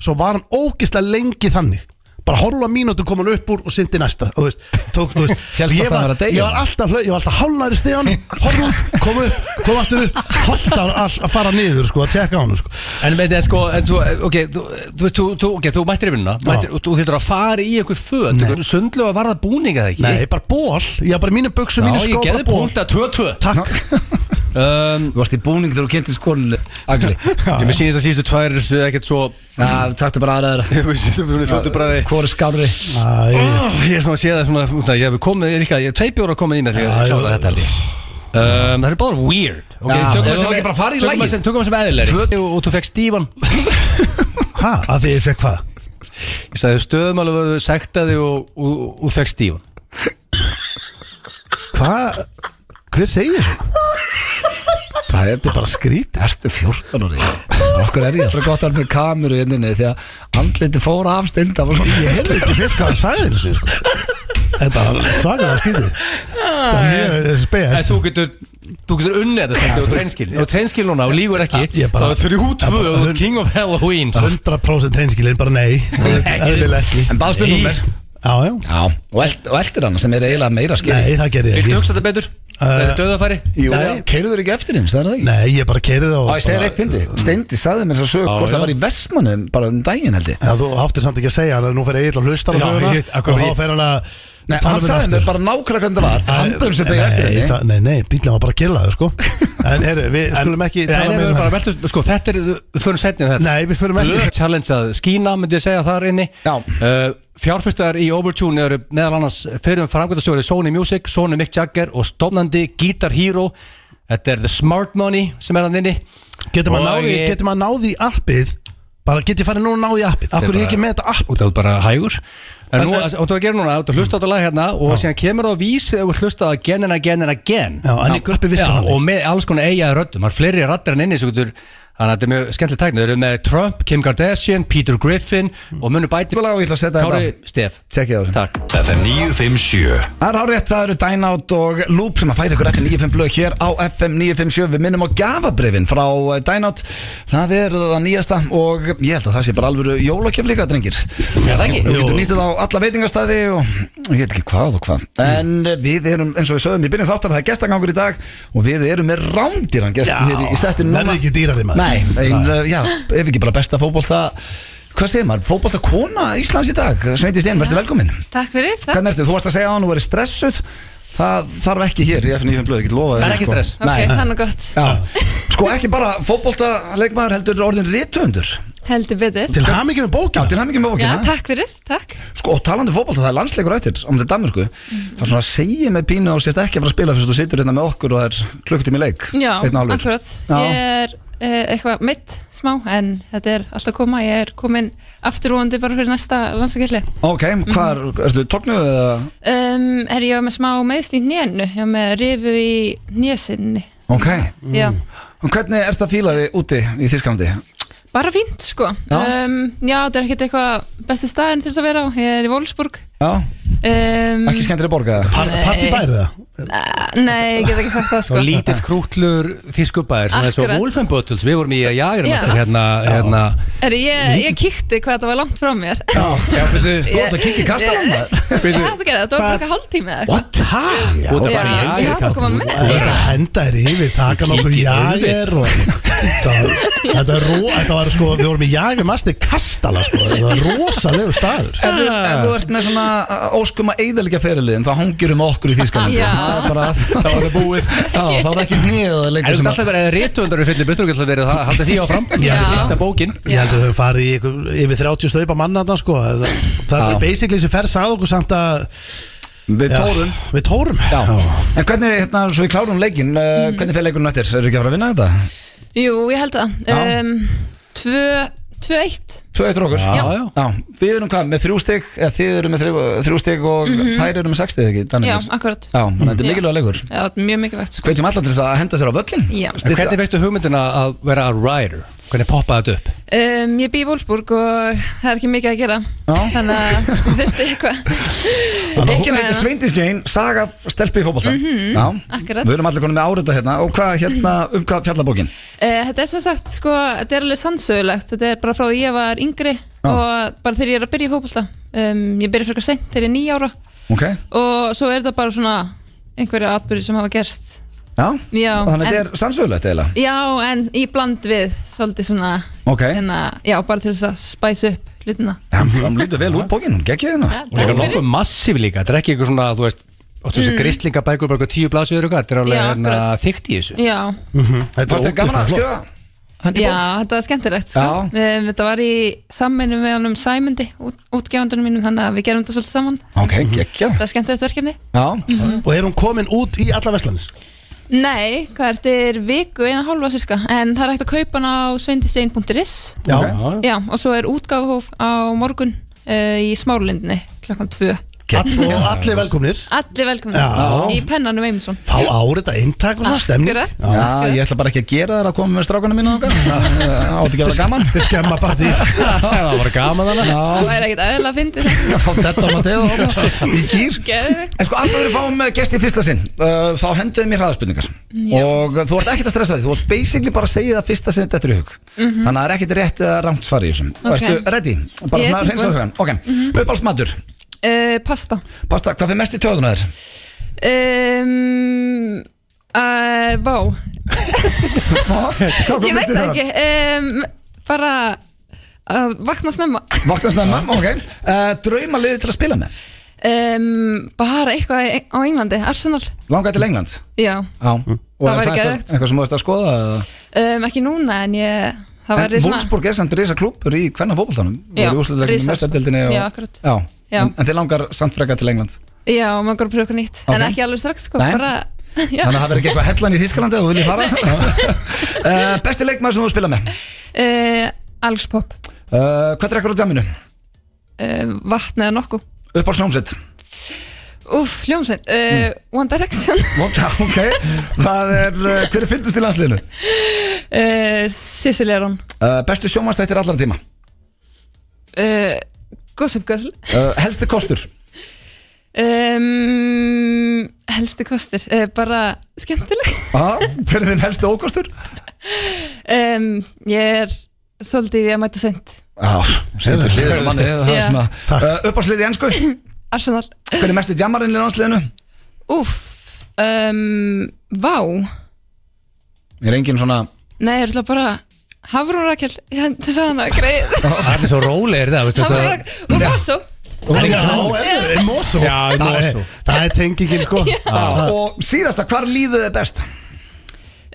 Speaker 2: Svo var hann ógislega lengi þannig Bara hálfa mínútu kom hann upp úr og syndi næsta Þú veist, tók, þú veist
Speaker 1: Hélst
Speaker 2: ég,
Speaker 1: að það
Speaker 2: var,
Speaker 1: var að deyja?
Speaker 2: ég var alltaf, hlau- ég var alltaf hálnaður í stegan Horf út, kom upp, kom aftur upp Holt að, að fara niður, sko, að tjekka á hann sko.
Speaker 3: En veit þið sko en þú, Ok, þú, þú, veist, þú, þú, okay, þú mættir í vinnuna mættir- og Þú þýttur að fara í einhver föt einhver Sundlega var það búning eða ekki
Speaker 2: Nei, bara ból, ég var bara mínu buksu, mínu
Speaker 3: Já,
Speaker 2: skó
Speaker 3: ég
Speaker 2: bara
Speaker 3: gerði
Speaker 2: ból.
Speaker 3: punkt að 2-2
Speaker 2: Takk,
Speaker 3: um,
Speaker 1: Þú varst í búning þegar þú kynntir skólinu Agli
Speaker 3: Ég með sýnist að síðustu tvær er ekkert svo
Speaker 1: Já, taktu bara aðra aðra
Speaker 3: Fötubræði
Speaker 1: Hvor er skárri?
Speaker 2: Æ,
Speaker 3: Ég er svona að sé það svona út af- Ég hef komið, líka, ég hef tvei bjóra komið í mig Þegar
Speaker 2: Já,
Speaker 3: ég
Speaker 2: já,
Speaker 3: kláði
Speaker 2: já.
Speaker 3: þetta held ég Um, það eru báðar weird okay,
Speaker 1: Já,
Speaker 3: tökum
Speaker 1: ef
Speaker 3: við sem-
Speaker 1: það ekki bara farið í
Speaker 3: tökum við
Speaker 1: lagið.
Speaker 3: sem- Tökum við sem eðilegri og, og þú fekk Stífan
Speaker 2: hæ, að því ég fekk hvað?
Speaker 3: Ég sagði stöðum alveg að þú sektaði og, og, og, og fekk Stífan
Speaker 2: Hvað? Hver segir svona? Það er þetta bara skrít
Speaker 1: Ertu 14 ári? Okkur er ég Svo gott að vera með kameru í inninni Því að andliti fóra af stund Það var
Speaker 2: Ég
Speaker 1: svona
Speaker 2: heyrði ekki fyrst hvað hann sagði þessu sko. Þetta var svakalega skrítið Þetta er mjög eh,
Speaker 3: En
Speaker 2: spes
Speaker 3: þú getur, þú getur unnið þetta svolítið og treinskil og treinskil núna og lígur ekki
Speaker 2: Ég bara-
Speaker 3: Það er þrjú tvö
Speaker 2: Ég bara-
Speaker 3: og þú er king of Halloween sko.
Speaker 2: 100% reynskilin, bara nei Eðlilega ekki
Speaker 1: En baðstu um númer?
Speaker 2: Já, já
Speaker 1: Já Og elt- og eltir hana sem er eiginlega meira skil
Speaker 2: Nei, það gerði ég
Speaker 3: Viltu
Speaker 2: ekki
Speaker 3: hugsa þetta betur?
Speaker 2: Uh,
Speaker 3: Það er döðafæri?
Speaker 1: Jú
Speaker 2: Nei.
Speaker 1: Keirður ekki eftir hins, það er það ekki?
Speaker 2: Nei, ég bara keirið og
Speaker 1: Á, ég segir eitt fyndi Steindi saði mér þess að sög
Speaker 3: Já,
Speaker 1: hvort
Speaker 3: já.
Speaker 1: það var í Vestmannum bara um daginn held ég
Speaker 2: Já, þú áttir samt ekki að segja hann að nú fer Egil að hlusta á
Speaker 3: Já,
Speaker 2: söguna
Speaker 3: ég- akkur-
Speaker 2: og þá fer hann að
Speaker 1: Nei,
Speaker 2: tala
Speaker 1: hann
Speaker 2: við
Speaker 1: saði
Speaker 2: aftur.
Speaker 1: mér bara nákvæmlega hvernig það var Hann bremsum sem
Speaker 2: Nei,
Speaker 1: beigja eftir henni
Speaker 2: það- Nei, nei, bílum var bara að killa þau sko En heyrðu, við skulum ekki
Speaker 3: Nei,
Speaker 2: tala
Speaker 3: nei,
Speaker 2: meira
Speaker 3: við
Speaker 2: um
Speaker 3: bara
Speaker 2: þetta.
Speaker 3: veltum, sko, þetta er, við förum setnið þetta
Speaker 2: Nei, við förum ekki-
Speaker 3: Blöð challenge að skína, myndi ég segja þar inni
Speaker 1: Já.
Speaker 3: uh, Fjárfyrstaðar í Overtune eru meðal annars fyrir um framgöndastjóri Sony Music, Sony Mick Jagger og stofnandi Guitar Hero Þetta er The Smart Money sem er hann inni
Speaker 2: Getur maður
Speaker 3: Og
Speaker 2: náði,
Speaker 3: ég-
Speaker 2: getur maður náði í appið Bara get ég farið núna og náði í appið Af
Speaker 3: Þetta er
Speaker 2: hverju er ég ekki
Speaker 3: bara-
Speaker 2: með þetta app
Speaker 3: Út af bara hægur En
Speaker 2: En-
Speaker 3: nú,
Speaker 2: en-
Speaker 3: áttu að gera núna, áttu að hlusta á þetta lag hérna og síðan kemur það á vís og hlusta það again and again and again
Speaker 2: Já, en í gruppi virkar
Speaker 3: Já,
Speaker 2: þannig.
Speaker 3: og með alls konar eiga röddum, það er fleiri rættir en inni sem getur Þannig að þetta er mjög skemmtileg tækni, þeir eru með Trump, Kim Kardashian, Peter Griffin og munur bæti
Speaker 1: Lag og ég ætla að setja
Speaker 3: Kári
Speaker 1: þetta á.
Speaker 3: Stef
Speaker 1: Tjekkið á þessu
Speaker 3: Takk
Speaker 9: FM 957
Speaker 1: Það er hárið, það eru Dynout og Loop sem að færa ykkur FM 95 blöð hér á FM 957 Við minnum á gafabrifin frá eh, Dynout Það er það nýjasta og ég held að það sé bara alvöru jólagjöf líka, drengir Já, það ekki Þú getur nýttið á alla veitingastæði og og ég veit ekki hvað og hvað En eh, við erum, eins og við sögum, við byrjum þáttar það er gestagangur í dag og við erum með rándýran gest hér í, í settinu núna
Speaker 2: verði ekki dýrari maður
Speaker 1: Nei, ein, uh, já, ef ekki bara besta fótbolta Hvað segir maður? Fótbolta kona Íslands í dag Sveindi Stein, verður velkominn
Speaker 10: Takk fyrir, takk
Speaker 1: Hvernig ertu? Þú varst að segja að þú verið stressuð Það þarf ekki hér í FNÍFM blöð, ég get lofa
Speaker 3: Það er ekki stress.
Speaker 10: Ok, þannig gott,
Speaker 1: Já, sko ekki bara fótboltaleikmaður heldur orðin rithöfundur
Speaker 10: heldur betur
Speaker 2: Til hamingjum með
Speaker 1: Já,
Speaker 2: bókina
Speaker 1: til hæmingjum með
Speaker 10: Já,
Speaker 1: okkina
Speaker 10: takk fyrir, takk
Speaker 1: Sko, og talandi um fótbolta, það er landsleikur á eftir Á um þetta Danmarku
Speaker 10: Mhm.
Speaker 1: Það er svona að segja með pínu og sért ekki að fara að spila Fyrst þú situr hérna með okkur og það er klukkutum í leik
Speaker 10: Já,
Speaker 1: einn og hálfur.
Speaker 10: akkurat
Speaker 1: Já.
Speaker 10: Ég er uh, eitthvað mitt smá en þetta er alltaf koma Ég er komin aftur vonandi bara fyrir næsta landsakilli
Speaker 1: Ok,
Speaker 10: Mhm.
Speaker 1: hvað er, ertu tóknuð eða
Speaker 10: um, Er ég var með smá meðsl í nénu Ég var með rifu í nésinni
Speaker 1: Ok,
Speaker 10: Já,
Speaker 1: og hvernig ert að fíla þig úti í Þísklandi?
Speaker 10: bara fínt sko
Speaker 1: Já.
Speaker 10: um, já þetta er ekkert eitthvað besti staðin til þess að vera á Ég er í Volsburg
Speaker 1: Já,
Speaker 10: um, eh,
Speaker 1: ekki skemmtileg borga það
Speaker 2: Part í bærið það
Speaker 10: Nei, ég get ekki sagt það
Speaker 3: Svo
Speaker 10: sko
Speaker 3: lítill krútlur þýskubæðir Svona þessu
Speaker 10: Akkurat.
Speaker 3: Wolfen Bottles Við vorum í að jagra
Speaker 10: Já.
Speaker 3: hérna, hérna
Speaker 10: Herru, ég, ég kíkti hvað þetta var langt frá mér
Speaker 5: Já, já, byrju,
Speaker 10: Ég-
Speaker 5: þú ert að kikki kasta hann maður
Speaker 10: Ég hafði gerði það, þetta var bara eitthvað hálftími eða eitthvað
Speaker 2: Hæ? Já,
Speaker 3: Út að
Speaker 10: Já,
Speaker 3: fara í
Speaker 10: ég
Speaker 3: jager,
Speaker 10: hafði að koma
Speaker 3: Katrín.
Speaker 10: með.
Speaker 3: Þú
Speaker 2: Þú
Speaker 3: verður
Speaker 2: ert að
Speaker 3: að-
Speaker 2: henda þér yfir, taka nokkuð
Speaker 3: Kíkja yfir.
Speaker 2: jager og þetta, þetta er ró, þetta var sko, við vorum í jager masti kastala sko, þetta var rosalegu staður.
Speaker 1: Ef þú, ef þú ert með svona uh, óskum að eigðalega feriliðin þá hangir um okkur í Þýskalandi
Speaker 10: Já.
Speaker 1: Það er bara, þá er það búið Já, þá er ekki hnið
Speaker 3: En
Speaker 1: lengur
Speaker 3: þú ert
Speaker 1: sem
Speaker 3: alltaf verið að rítuvöndar Við fyllir byttur og gætla verið að halda því áfram
Speaker 10: Já.
Speaker 3: Þetta er Fyrsta bókin
Speaker 2: Ég held að þau farið í ykkur, yfir 30 staupa manna þarna sko, það, það
Speaker 1: Já.
Speaker 2: er basically sem fer sagði okkur samt að
Speaker 1: Við
Speaker 2: já,
Speaker 1: tórum
Speaker 2: Við tórum
Speaker 1: Já. En hvernig, hérna, svo við klárum leikin uh,
Speaker 10: Mm.
Speaker 1: Hvernig fer leikunum eftir? Eru ekki að fara að vinna þetta?
Speaker 10: Jú, ég held það
Speaker 1: Já.
Speaker 10: um, Tvö, tvö eitt
Speaker 1: Tvö eittur okkur
Speaker 10: Já.
Speaker 3: já.
Speaker 1: Við erum hvað, með þrjú stig eða þið eru með þrjú, þrjú stig og þær eru með sex stig ekki, Danir?
Speaker 10: Mhm. Já, akkurat Já,
Speaker 1: Já, þannig að þetta er
Speaker 10: Já.
Speaker 1: mikilvæg leikur
Speaker 10: það var mjög mikilvægt sko
Speaker 1: Hvetjum allar til þess að henda sér á völlin
Speaker 10: Já.
Speaker 3: En hvernig veistu hugmyndina að vera að rider? Hvernig poppaði þetta upp?
Speaker 10: um, Ég bý í Wolfsburg og það er ekki mikið að gera
Speaker 1: Já.
Speaker 10: Þannig að þurfti eitthvað
Speaker 1: Leikin
Speaker 10: Eitthvað
Speaker 1: heitir
Speaker 10: hérna.
Speaker 1: Sveindis Jane, saga af stelpu í fótbolta Já,
Speaker 10: Mhm. Akkurat.
Speaker 1: við erum allir konum með árita hérna Og hvað hérna, um hvað fjallabókin?
Speaker 10: Eh, Þetta er sem sagt, sko, þetta er alveg sannsögulegt Þetta er bara frá því ég var yngri og bara þegar ég er að byrja í fótbolta um, Ég byrja frekar seint þegar ég er nýja ára
Speaker 1: Ok,
Speaker 10: og svo er þetta bara svona einhverja atbyrði sem hafa gerst
Speaker 1: já,
Speaker 10: Já,
Speaker 1: þannig að þetta
Speaker 10: en-
Speaker 1: er sannsögulegt eiginlega
Speaker 10: Já, en í bland við svolítið svona
Speaker 1: Ok,
Speaker 10: hérna, Já, bara til þess að spæsa upp hlutina
Speaker 1: já, hún lítur vel út bókin, hún geggja hérna
Speaker 3: Og líka nokkuð massíf líka Þetta er ekki eitthvað svona, þú veist Óttu þessu grislingabækur, bara eitthvað tíu blasiður og hvað Þetta er alveg
Speaker 10: Mm. Já,
Speaker 3: hérna,
Speaker 10: akkurat.
Speaker 3: þykkt í þessu
Speaker 10: Já,
Speaker 2: Mhm. Þetta
Speaker 1: Fannst
Speaker 2: er
Speaker 1: þér gaman
Speaker 2: ógeðslega
Speaker 1: að
Speaker 2: flott.
Speaker 1: skrifa? Hendi
Speaker 10: já,
Speaker 1: bók?
Speaker 10: þetta var skemmtilegt sko. um, Þetta var í sammeinu með honum Sæmundi, út, útgefandunum mínum þannig að við gerum þetta svolítið saman
Speaker 1: Ok, geggja
Speaker 10: Það er skemmtilegt verkefni
Speaker 1: Mhm. Já,
Speaker 2: Og er hún komin út í alla veslanir?
Speaker 10: Nei, hvað er þetta viku, eina hálfa sirka En það er hægt að kaupa hann á sveindistein.is
Speaker 2: Já,
Speaker 10: Já, og svo er útgáfhóf á morgun uh, í Smárlindinni klokkan 2
Speaker 2: all, og allir velkomnir
Speaker 10: Allir velkomin
Speaker 2: Já.
Speaker 10: í pennanum Eymundsson
Speaker 2: Fá árita inntak og svona stemning
Speaker 10: Akkurat.
Speaker 2: Já.
Speaker 1: já, ég ætla bara ekki að gera þér að koma með strákana mína okkar Átti ekki að vera gaman
Speaker 2: Þeir skemma partí
Speaker 3: Það var gaman þannig
Speaker 10: Það væri ekkert aðeinslega að fyndi það
Speaker 1: Á þetta maður tegða Í gýr
Speaker 10: Geðveikt.
Speaker 1: En sko alltaf þegar við fáum eh, gesti í fyrsta sinn uh, Þá henduðu mér hraðaspurningar Og uh, þú ert ekkert að stressa því Þú ert basically bara að segja það fyrsta sinn þetta er í hug Þannig að það er ekkert rétt eða rangt svar í þessum
Speaker 10: Mhm. Ok.
Speaker 1: Ertu ready? Bara
Speaker 10: Ég er
Speaker 1: svona
Speaker 10: tilbúin. Mhm.
Speaker 1: reynsa hugan Ok, mm uppálsmatur
Speaker 10: uh, Pasta
Speaker 1: Pasta, hvað fyrir mest í tjóðuna þér?
Speaker 10: um, uh, Vá Ég veit það ekki um, Bara að vakna snemma
Speaker 1: Vakna snemma, ok uh, Drauma liði til að spila með
Speaker 10: um, Bara eitthvað í- á Englandi, Arsenal
Speaker 1: Langaði til England
Speaker 10: Já,
Speaker 1: Já Og
Speaker 10: Það
Speaker 1: er
Speaker 10: væri
Speaker 1: eitthvað-
Speaker 10: geðveikt.
Speaker 1: Eitthvað sem þú ert að skoða eða?
Speaker 10: um, ekki núna en ég Það
Speaker 1: En
Speaker 10: væri
Speaker 1: Wolfsburg er samt risa klúpur í hvernig fókbaltanum
Speaker 10: Já,
Speaker 1: Við úrslutleikinu
Speaker 10: risa, sko.
Speaker 1: mestardildinni
Speaker 10: Já, akkurat.
Speaker 1: Já,
Speaker 10: Já.
Speaker 1: En, en þið langar samt frekar til England
Speaker 10: Já, maður går að pröfa eitthvað nýtt En
Speaker 1: Ok.
Speaker 10: ekki alveg strax sko,
Speaker 1: Nei.
Speaker 10: bara Já.
Speaker 1: Þannig að það verður ekki eitthvað hellan í Þískalandi að þú viljið fara uh, Besti leikmaður sem þú spila með uh,
Speaker 10: Uh, Alex Pop
Speaker 1: Hvað er ekkur á dæminu?
Speaker 10: uh, Vatn eða nokku
Speaker 1: Upp á snómsett
Speaker 10: Úf, hljómsveit uh,
Speaker 1: Mm.
Speaker 10: One Direction
Speaker 1: Ok, það er uh, Hver er fylgdust í landsliðinu? Eh,
Speaker 10: uh, Cecilia Rón
Speaker 1: Uh, bestu sjómanstættir allar tíma
Speaker 10: uh, Gossip Girl
Speaker 1: uh, Helsti kostur
Speaker 10: um, Helsti kostir uh, Bara skemmtileg
Speaker 1: ah, Hver er þinn helsti ókostur?
Speaker 10: um, Ég er svolítið í því að mæta seint
Speaker 1: Já, setur hliður á manni það er
Speaker 10: Já.
Speaker 1: svona-
Speaker 2: Takk.
Speaker 1: uh, Upp á sliði ennsku
Speaker 10: Arsenal
Speaker 1: Hver er mesti djamarinn í landsliðinu?
Speaker 10: Úf um, Vá
Speaker 1: Er engin svona
Speaker 10: Nei, ég er alltaf bara Hafrún Rakel Ég hendi það hana greið
Speaker 3: Það er svo rólegir það, veistu
Speaker 10: Hafrún
Speaker 3: þetta
Speaker 10: Rakel Og Rosso
Speaker 2: Já, er Mosó
Speaker 3: Já, í
Speaker 2: Það er-
Speaker 3: Mosó.
Speaker 2: Það er tengingin sko
Speaker 1: Já, og síðasta, hvar líðu þið best?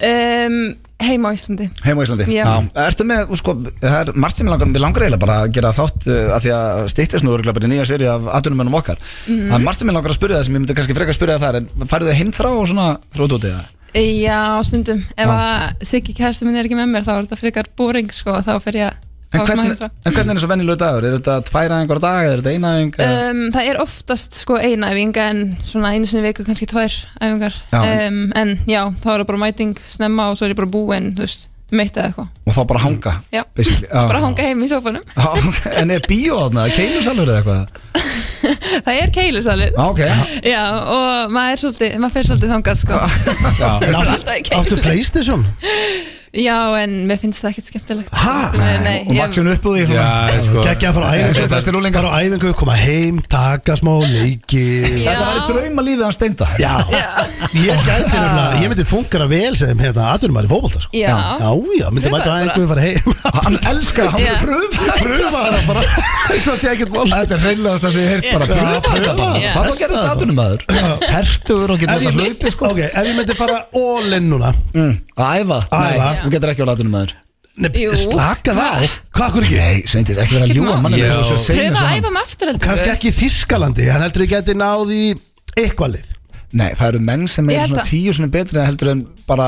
Speaker 10: um, Heima á Íslandi
Speaker 1: Heim á Íslandi
Speaker 10: Já.
Speaker 1: Ertu með, sko, það er margt sem ég langar, við langar eiginlega bara að gera þátt uh, að því að stýttist nú örgulega bara í nýja séri af atunumennum okkar
Speaker 10: Mhm.
Speaker 1: Það er margt sem ég langar að spyrja það sem ég myndi kannski frekar að spyrja það en færðu þið heimþrá og svona þrót út í það?
Speaker 10: Já, stundum. Ef að Siggi kærstu minn er ekki með mér þá er þetta frekar boring sko og þá fer ég að
Speaker 1: En
Speaker 10: hafa smá
Speaker 1: hvernig,
Speaker 10: heimþrá.
Speaker 1: en hvernig er þessu venjulegu dagur? Er þetta tværa einhver dag, er þetta eina Eh, einhver?
Speaker 10: Um, það er oftast sko eina æfing en svona einu sinni í viku kannski tvær æfingar
Speaker 1: Já,
Speaker 10: um, en já, þá er það bara mæting snemma og svo er ég bara búinn, þú veist, meitt eða eitthvað
Speaker 1: og þá bara hanga
Speaker 10: Já,
Speaker 1: basically. Ah. Já.
Speaker 10: bara hanga heim í sófanum
Speaker 1: Já, ok. En er bíó þarna, keinusalur eða eitthvað? Ah,
Speaker 10: það er keilusalir
Speaker 1: Ok,
Speaker 10: Já, og maður er svolítið, maður fer svolítið þangað sko
Speaker 2: En
Speaker 10: Alltaf í
Speaker 2: áttu,
Speaker 10: keilu.
Speaker 2: áttu Playstation?
Speaker 10: Já, en mér finnst það ekkert skemmtilegt
Speaker 2: Ha?
Speaker 10: Nei, nei,
Speaker 1: og
Speaker 10: ég,
Speaker 1: vaksin upp úr því svona.
Speaker 3: Já, sko
Speaker 2: Gekkja að fara á æfingu
Speaker 1: Svo flestir úlingar.
Speaker 2: Fara á æfingu, koma heim, taka smá leiki
Speaker 10: Já.
Speaker 1: Þetta var drauma lífið hans steinda
Speaker 2: Já, ég gæti nefnilega Ég myndi fungera vel sem hérna Atunum í fótbolta sko
Speaker 10: Já.
Speaker 2: já, já myndi
Speaker 10: Pröfaðu
Speaker 2: mæta á
Speaker 10: bara.
Speaker 2: æfingu, fara heim
Speaker 1: Hann elskar, hann
Speaker 10: Já.
Speaker 1: vil pröfa
Speaker 2: Pröfa það bara Þess að sé ekkert mál
Speaker 1: Þetta er hreinlega það sem ég heilt bara
Speaker 2: Já,
Speaker 1: Pröfa
Speaker 2: pröfa
Speaker 1: þetta bara
Speaker 10: þetta.
Speaker 1: Það var gerðist aðtunum aður Tertugur og
Speaker 2: Ef
Speaker 1: getur
Speaker 2: ég,
Speaker 1: þetta hlaupi sko
Speaker 2: ok, ef ég myndi fara all in núna
Speaker 1: Mm, Að æfa,
Speaker 2: Æfa.
Speaker 1: nei, þú getur ekki á latunum aður
Speaker 2: Nei,
Speaker 10: Jú.
Speaker 2: slaka það á. Hvað akkur ekki?
Speaker 1: Nei, seintir, ekki vera að
Speaker 10: Ekkert
Speaker 1: ljúa
Speaker 10: mál.
Speaker 1: mann
Speaker 3: Já.
Speaker 10: pröfa að æfa um með aftur heldur
Speaker 2: Kannski ekki í Þískalandi Hann heldur ég gæti náð í eitthvað lið
Speaker 1: Nei, það eru menn sem
Speaker 10: Ég
Speaker 1: er
Speaker 10: held
Speaker 1: svona
Speaker 10: það.
Speaker 1: tíu svona betri en heldur en bara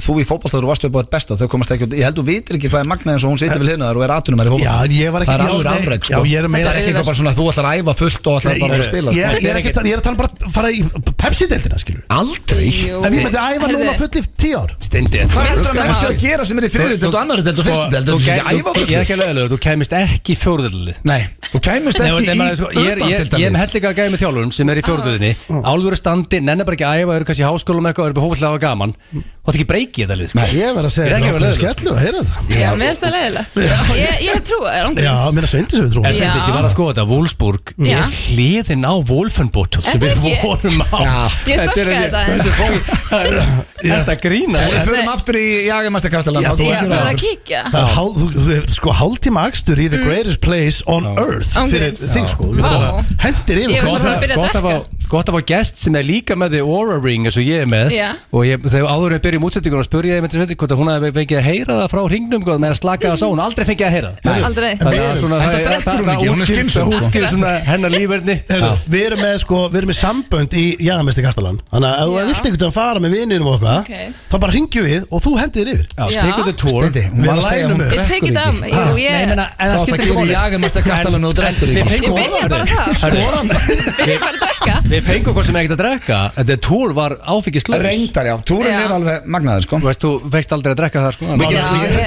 Speaker 1: þú í fótboll þegar þú varstu upp á þetta besta þau komast ekki út, ég held þú vitir ekki hvað er magnað eins og hún situr við hliðna þar og er atunum í
Speaker 2: Já, en
Speaker 1: fótboll
Speaker 2: ég var ekki
Speaker 1: Það er
Speaker 2: Já,
Speaker 1: alveg
Speaker 2: nei,
Speaker 1: afreg
Speaker 2: Já,
Speaker 1: sko
Speaker 2: ég er
Speaker 1: Það er
Speaker 2: meira
Speaker 10: Þetta er
Speaker 1: ekki eitthvað bara svona að þú ætlar að æfa fullt og ætlar
Speaker 2: Ég,
Speaker 1: bara að spila
Speaker 2: ég, ég,
Speaker 3: Þetta er
Speaker 2: er ekki,
Speaker 3: ekkert-
Speaker 2: ég er að tala um bara fara í Pepsi-deltina skilur
Speaker 1: Aldrei
Speaker 10: Jú.
Speaker 2: Ef ég myndi æfa núna
Speaker 10: Heyrðu,
Speaker 2: fullið tíu ár
Speaker 3: Steindi þetta
Speaker 1: Hvað
Speaker 3: er-
Speaker 1: er það
Speaker 10: Ruskar
Speaker 1: menn sem
Speaker 10: maður.
Speaker 1: að gera sem er í
Speaker 3: Þú-
Speaker 1: þriðið delt og annarri delt og
Speaker 3: Sko,
Speaker 1: fyrstu delt
Speaker 3: þú
Speaker 1: Þú sé ekki
Speaker 3: gæ-
Speaker 1: að æfa
Speaker 3: þú- Ég er ekki
Speaker 1: fullt
Speaker 3: að leiðilegur, þú kæmist ekki í fjóruðallið
Speaker 1: Nei, þú kæmist
Speaker 3: Nei,
Speaker 1: ekki
Speaker 3: nei,
Speaker 1: í
Speaker 3: maður, sko, ég, er- ég, ég, ég er með hellinga að gæja með þjálfurum sem
Speaker 10: Ah,
Speaker 3: er í fjóruðinni
Speaker 10: Mm.
Speaker 3: Álfur er standi, nennar bara ekki að æfa, eru kannski í háskólum eitthvað, eru bara hófullega að hafa gaman Þú ætti ekki breykið þetta lið, sko
Speaker 2: Ég verð að
Speaker 3: Ég er
Speaker 2: segja
Speaker 3: ekki
Speaker 2: þetta
Speaker 3: að vera
Speaker 2: ákveðin
Speaker 3: leiðilegur,
Speaker 2: skellur að heyra það
Speaker 10: Já, mér finnst það leiðilegt Ég, ég hef trúið, er
Speaker 2: Já,
Speaker 10: ángrís
Speaker 2: minna sveindi sem við
Speaker 3: En
Speaker 2: trúum
Speaker 3: Sveindís,
Speaker 10: Já.
Speaker 3: ég var að skoða þetta, Wolfsburg
Speaker 10: Mm. Já.
Speaker 3: er hliðin á Wolfenbottle sem
Speaker 10: Er
Speaker 3: við
Speaker 10: það ekki?
Speaker 3: vorum á
Speaker 10: Ég
Speaker 3: er
Speaker 10: stalkaði
Speaker 3: ekki-
Speaker 10: þetta aðeins.
Speaker 3: þessi fólk- það er- Þetta grína
Speaker 1: Við förum
Speaker 10: Nei.
Speaker 1: aftur í jagamastarkastalan
Speaker 2: Já, þú
Speaker 10: Ég
Speaker 2: ekki
Speaker 10: þarf
Speaker 2: leiðilegur.
Speaker 10: að kíkja
Speaker 2: Það er hál, þú, þú hefur sko hálftíma akstur í
Speaker 10: Mm.
Speaker 2: the greatest place on earth
Speaker 10: Án
Speaker 2: fyrir
Speaker 10: gríns.
Speaker 2: þig sko, Þú
Speaker 10: Vá.
Speaker 2: getur bara hendir
Speaker 10: Ég
Speaker 2: yfir
Speaker 10: var bara að byrja að
Speaker 3: Gott að
Speaker 10: drekka.
Speaker 3: fá- gott að fá gest sem er líka með The Aura Ring eins og ég er með
Speaker 10: Já.
Speaker 3: og ég, þegar áður en byrjum útsettingunum spurði ég með þetta hvort að hún hafi fengið að heyra það frá ringnum hvað með að slaka það sá, hún aldrei fengið að heyra það
Speaker 10: Aldrei.
Speaker 3: Þannig að svona
Speaker 1: Enda
Speaker 3: það-
Speaker 1: drekkur
Speaker 3: það-
Speaker 1: hún
Speaker 3: það
Speaker 1: ekki, hún er
Speaker 3: útskýrir-
Speaker 1: skynsöm,
Speaker 3: það
Speaker 1: sko.
Speaker 3: útskýrir svona hennar lífverðni
Speaker 2: Heyrðu, Við erum með sko, við erum með sambönd í jæðamestir kastalan Þannig að ef þú
Speaker 10: Já.
Speaker 2: vilt einhvern veginn fara með vininum og eitthvað
Speaker 10: Ok.
Speaker 2: Þá bara hringjum við og þú hendir yfir
Speaker 3: Já,
Speaker 10: Já.
Speaker 3: stick with the tour
Speaker 1: Steindi, hún
Speaker 2: Við
Speaker 1: var að segja að
Speaker 2: lænum
Speaker 1: hún
Speaker 2: upp.
Speaker 10: Ég
Speaker 1: drekkur
Speaker 10: tekið það,
Speaker 1: ekki.
Speaker 10: jú,
Speaker 3: Ah, Nei,
Speaker 10: ég
Speaker 3: menna,
Speaker 1: Þá
Speaker 3: en það
Speaker 1: átt að
Speaker 3: skiptir
Speaker 1: gera
Speaker 3: ekki
Speaker 1: jagamastarkastalann og þú drekkur ekki.
Speaker 3: Við
Speaker 10: Ég
Speaker 3: fengum
Speaker 10: byrjaði
Speaker 3: orðarinn.
Speaker 10: bara það.
Speaker 3: Herru,
Speaker 10: byrja bara að drekka
Speaker 3: Við fengum hvað sem ekkert að drekka en The tour var áfengislaus
Speaker 1: Reyndar, já, túrin
Speaker 10: Já.
Speaker 1: er alveg magnaður sko
Speaker 3: Þú veist, þú veist aldrei að drekka það sko en-
Speaker 10: Já, ég- Ég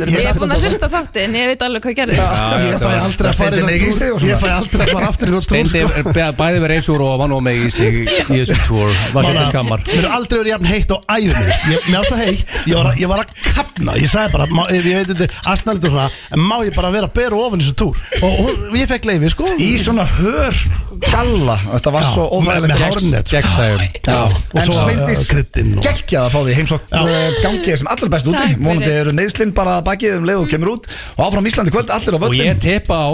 Speaker 1: er
Speaker 10: er búin að hlusta á þáttinn, ég veit alveg hvað gerðist
Speaker 3: Já, já,
Speaker 2: Ég fæ
Speaker 3: þetta var-
Speaker 2: aldrei að fara
Speaker 1: Steindi
Speaker 2: inn á
Speaker 1: leik í
Speaker 2: túr.
Speaker 1: sig og svona.
Speaker 2: Ég fæ aldrei að fara aftur í nátt túr
Speaker 3: Steindi
Speaker 2: sko.
Speaker 3: er bæ- bæði verið eins og og vann og mig í sig í þessu tour var
Speaker 2: Bara-
Speaker 3: svolítið skammar
Speaker 2: Mér er aldrei verið jafn heitt á æðum Mér var svo heitt, ég var, að- ég var að kapna Ég sagði bara, má, ég veit þetta, er asnalit og svona En má ég bara vera að bera ofan í þessu túr Og, og ég fekk leiði sko
Speaker 1: Í svona hör galla Þetta var
Speaker 2: Já,
Speaker 1: svo
Speaker 2: með- með
Speaker 1: óþægilegt
Speaker 2: hárn- Hornet, sko.
Speaker 3: Gegnsægum
Speaker 2: Og
Speaker 1: En
Speaker 2: svo
Speaker 1: Sveindís
Speaker 3: uh,
Speaker 2: kryddinn og-
Speaker 1: geggjað að fá því heimsókn eh, gangi þér sem allra best úti
Speaker 10: Takk fyrir.
Speaker 1: Mónandi eru neðslinn bara að bakið um leið og kemur út Og áfram Íslandi kvöld, allir á
Speaker 3: Og ég
Speaker 1: völlin
Speaker 3: tepa á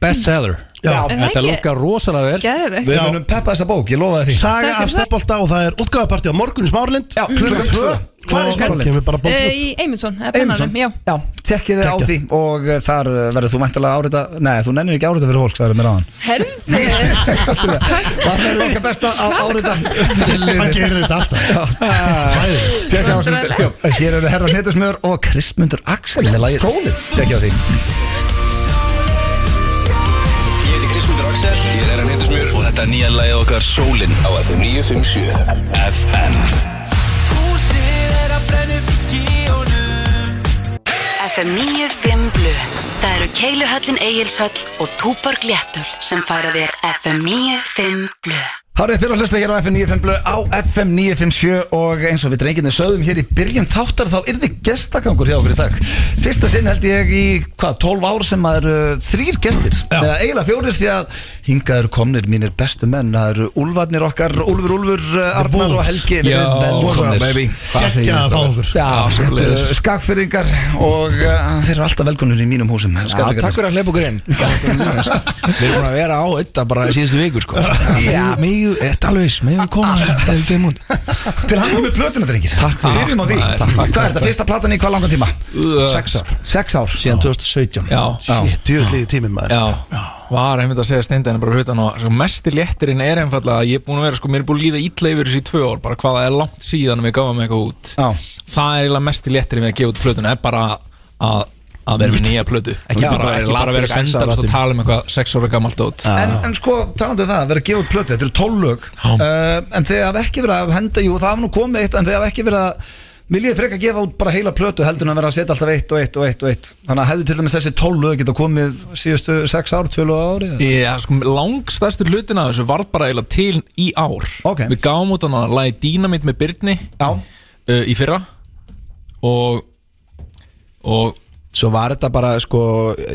Speaker 3: best seller
Speaker 2: Já.
Speaker 10: Er það
Speaker 3: Þetta
Speaker 10: ekki?
Speaker 3: lukkar rosalega vel
Speaker 10: Geðvegt
Speaker 1: Við
Speaker 2: Já.
Speaker 1: munum peppa þessa bók, ég lofa því
Speaker 2: Saga
Speaker 10: Takk
Speaker 2: af
Speaker 10: fyrir það.
Speaker 2: Stafbólta og það er útgáðapartí á morgun í Smárlind
Speaker 1: Já, Mm. klukkan tvö. Hvar er
Speaker 2: og
Speaker 1: Smáralind?
Speaker 2: kemur bara
Speaker 10: Eh,
Speaker 2: bókið
Speaker 10: Í Eymundsson, eða
Speaker 1: Eymundsson,
Speaker 10: pennanum, já
Speaker 1: já, tekkið þið á
Speaker 2: Geggjað.
Speaker 1: því Og eh, þar eh, verður þú mæntalega árita Nei, þú nennir ekki árita fyrir fólk, sagði mér áðan
Speaker 10: Herði
Speaker 1: Það er okkar besta að árita
Speaker 2: Hann gerir þetta alltaf Sæðið
Speaker 1: Tjekka á sem
Speaker 10: Vandræðalega.
Speaker 1: Hér eru herra hnetusmjör og Kristmundur Axel með lagið Tólið Tjekka á því
Speaker 9: Ég heiti Kristmundur Axel, ég er Erjan Hindusmjör og þetta er nýja lagið okkar Sólin á FM 957 FM
Speaker 6: FM 95 Blu Það eru Keiluhöllin Egilshöll og Túborg Léttul sem færa þér FM 95 Blu
Speaker 1: Hárið þér að hlusta hér á FM 95 blöð á FM 957 og eins og við drenginni sögðum hér í byrjun þáttar þá yrði gestagangur hjá okkur í dag Fyrsta sinn held ég í hvað, 12 ár sem maður uh, þrýr gestir eða eiginlega fjórir því að hingaður komnir mínir bestu menn það eru Úlfarnir okkar, Úlfur Úlfur, uh, Arnar og Helgi verið velkomnir.
Speaker 2: Gekkja að fá okkur
Speaker 1: Já, þetta eru skakfyrringar og uh, þeir eru alltaf velkonur í mínum húsum
Speaker 11: takk fyrir að hleypa okkur inn Við erum búin að vera á þetta bara í síðustu vikur sko. Já, megu, þetta alveg eins Megu koma, þetta er geim út
Speaker 1: Til hann með plötuna drengir Takk fyrir Byrjum á því Hvað er þetta? Fyrsta platan í hvað langan tíma?
Speaker 11: Sex ár
Speaker 1: Sex ár
Speaker 11: Síðan 2017 Já,
Speaker 2: Shit, djúðlíði tíminn maður
Speaker 11: já Var einmitt að segja steindan bara hlutan og sko, mesti léttirinn er einfallega að ég er búin að vera sko, mér er búin að líða ítla yfir þessi í tvö ár bara hvað það er langt síðan við gáum eitthvað út
Speaker 1: Já.
Speaker 11: Það er eiginlega mesti léttirinn við að gefa út plötuna er bara að, að vera með nýja plötu ekki
Speaker 1: Já,
Speaker 11: bara
Speaker 1: bara ekki
Speaker 11: ekki bara að vera
Speaker 1: bara sex ára
Speaker 11: sendalast
Speaker 1: tíma.
Speaker 11: að tala um eitthvað sex ára gammalt út
Speaker 1: En, en sko, talandi um það, að vera að gefa út Eh, plötu Þetta eru 12 lög uh, En þeir hafa ekki verið að henda Jú, það hafa nú komið eitt En þeir hafa ekki verið að vil ég frekar gefa út bara heila plötu heldur en að vera að setja alltaf eitt og eitt og eitt og eitt þannig að hefði til dæmis þessi 12 lög geta komið síðustu 6 ár, 20 ári eða?
Speaker 11: Já, sko, langstæstu hlutin af þessu var bara eiginlega til í ár okay. Við gáum út hann að lagi Dynamit með Byrni
Speaker 1: uh,
Speaker 11: í fyrra og, og
Speaker 1: svo var þetta bara sko,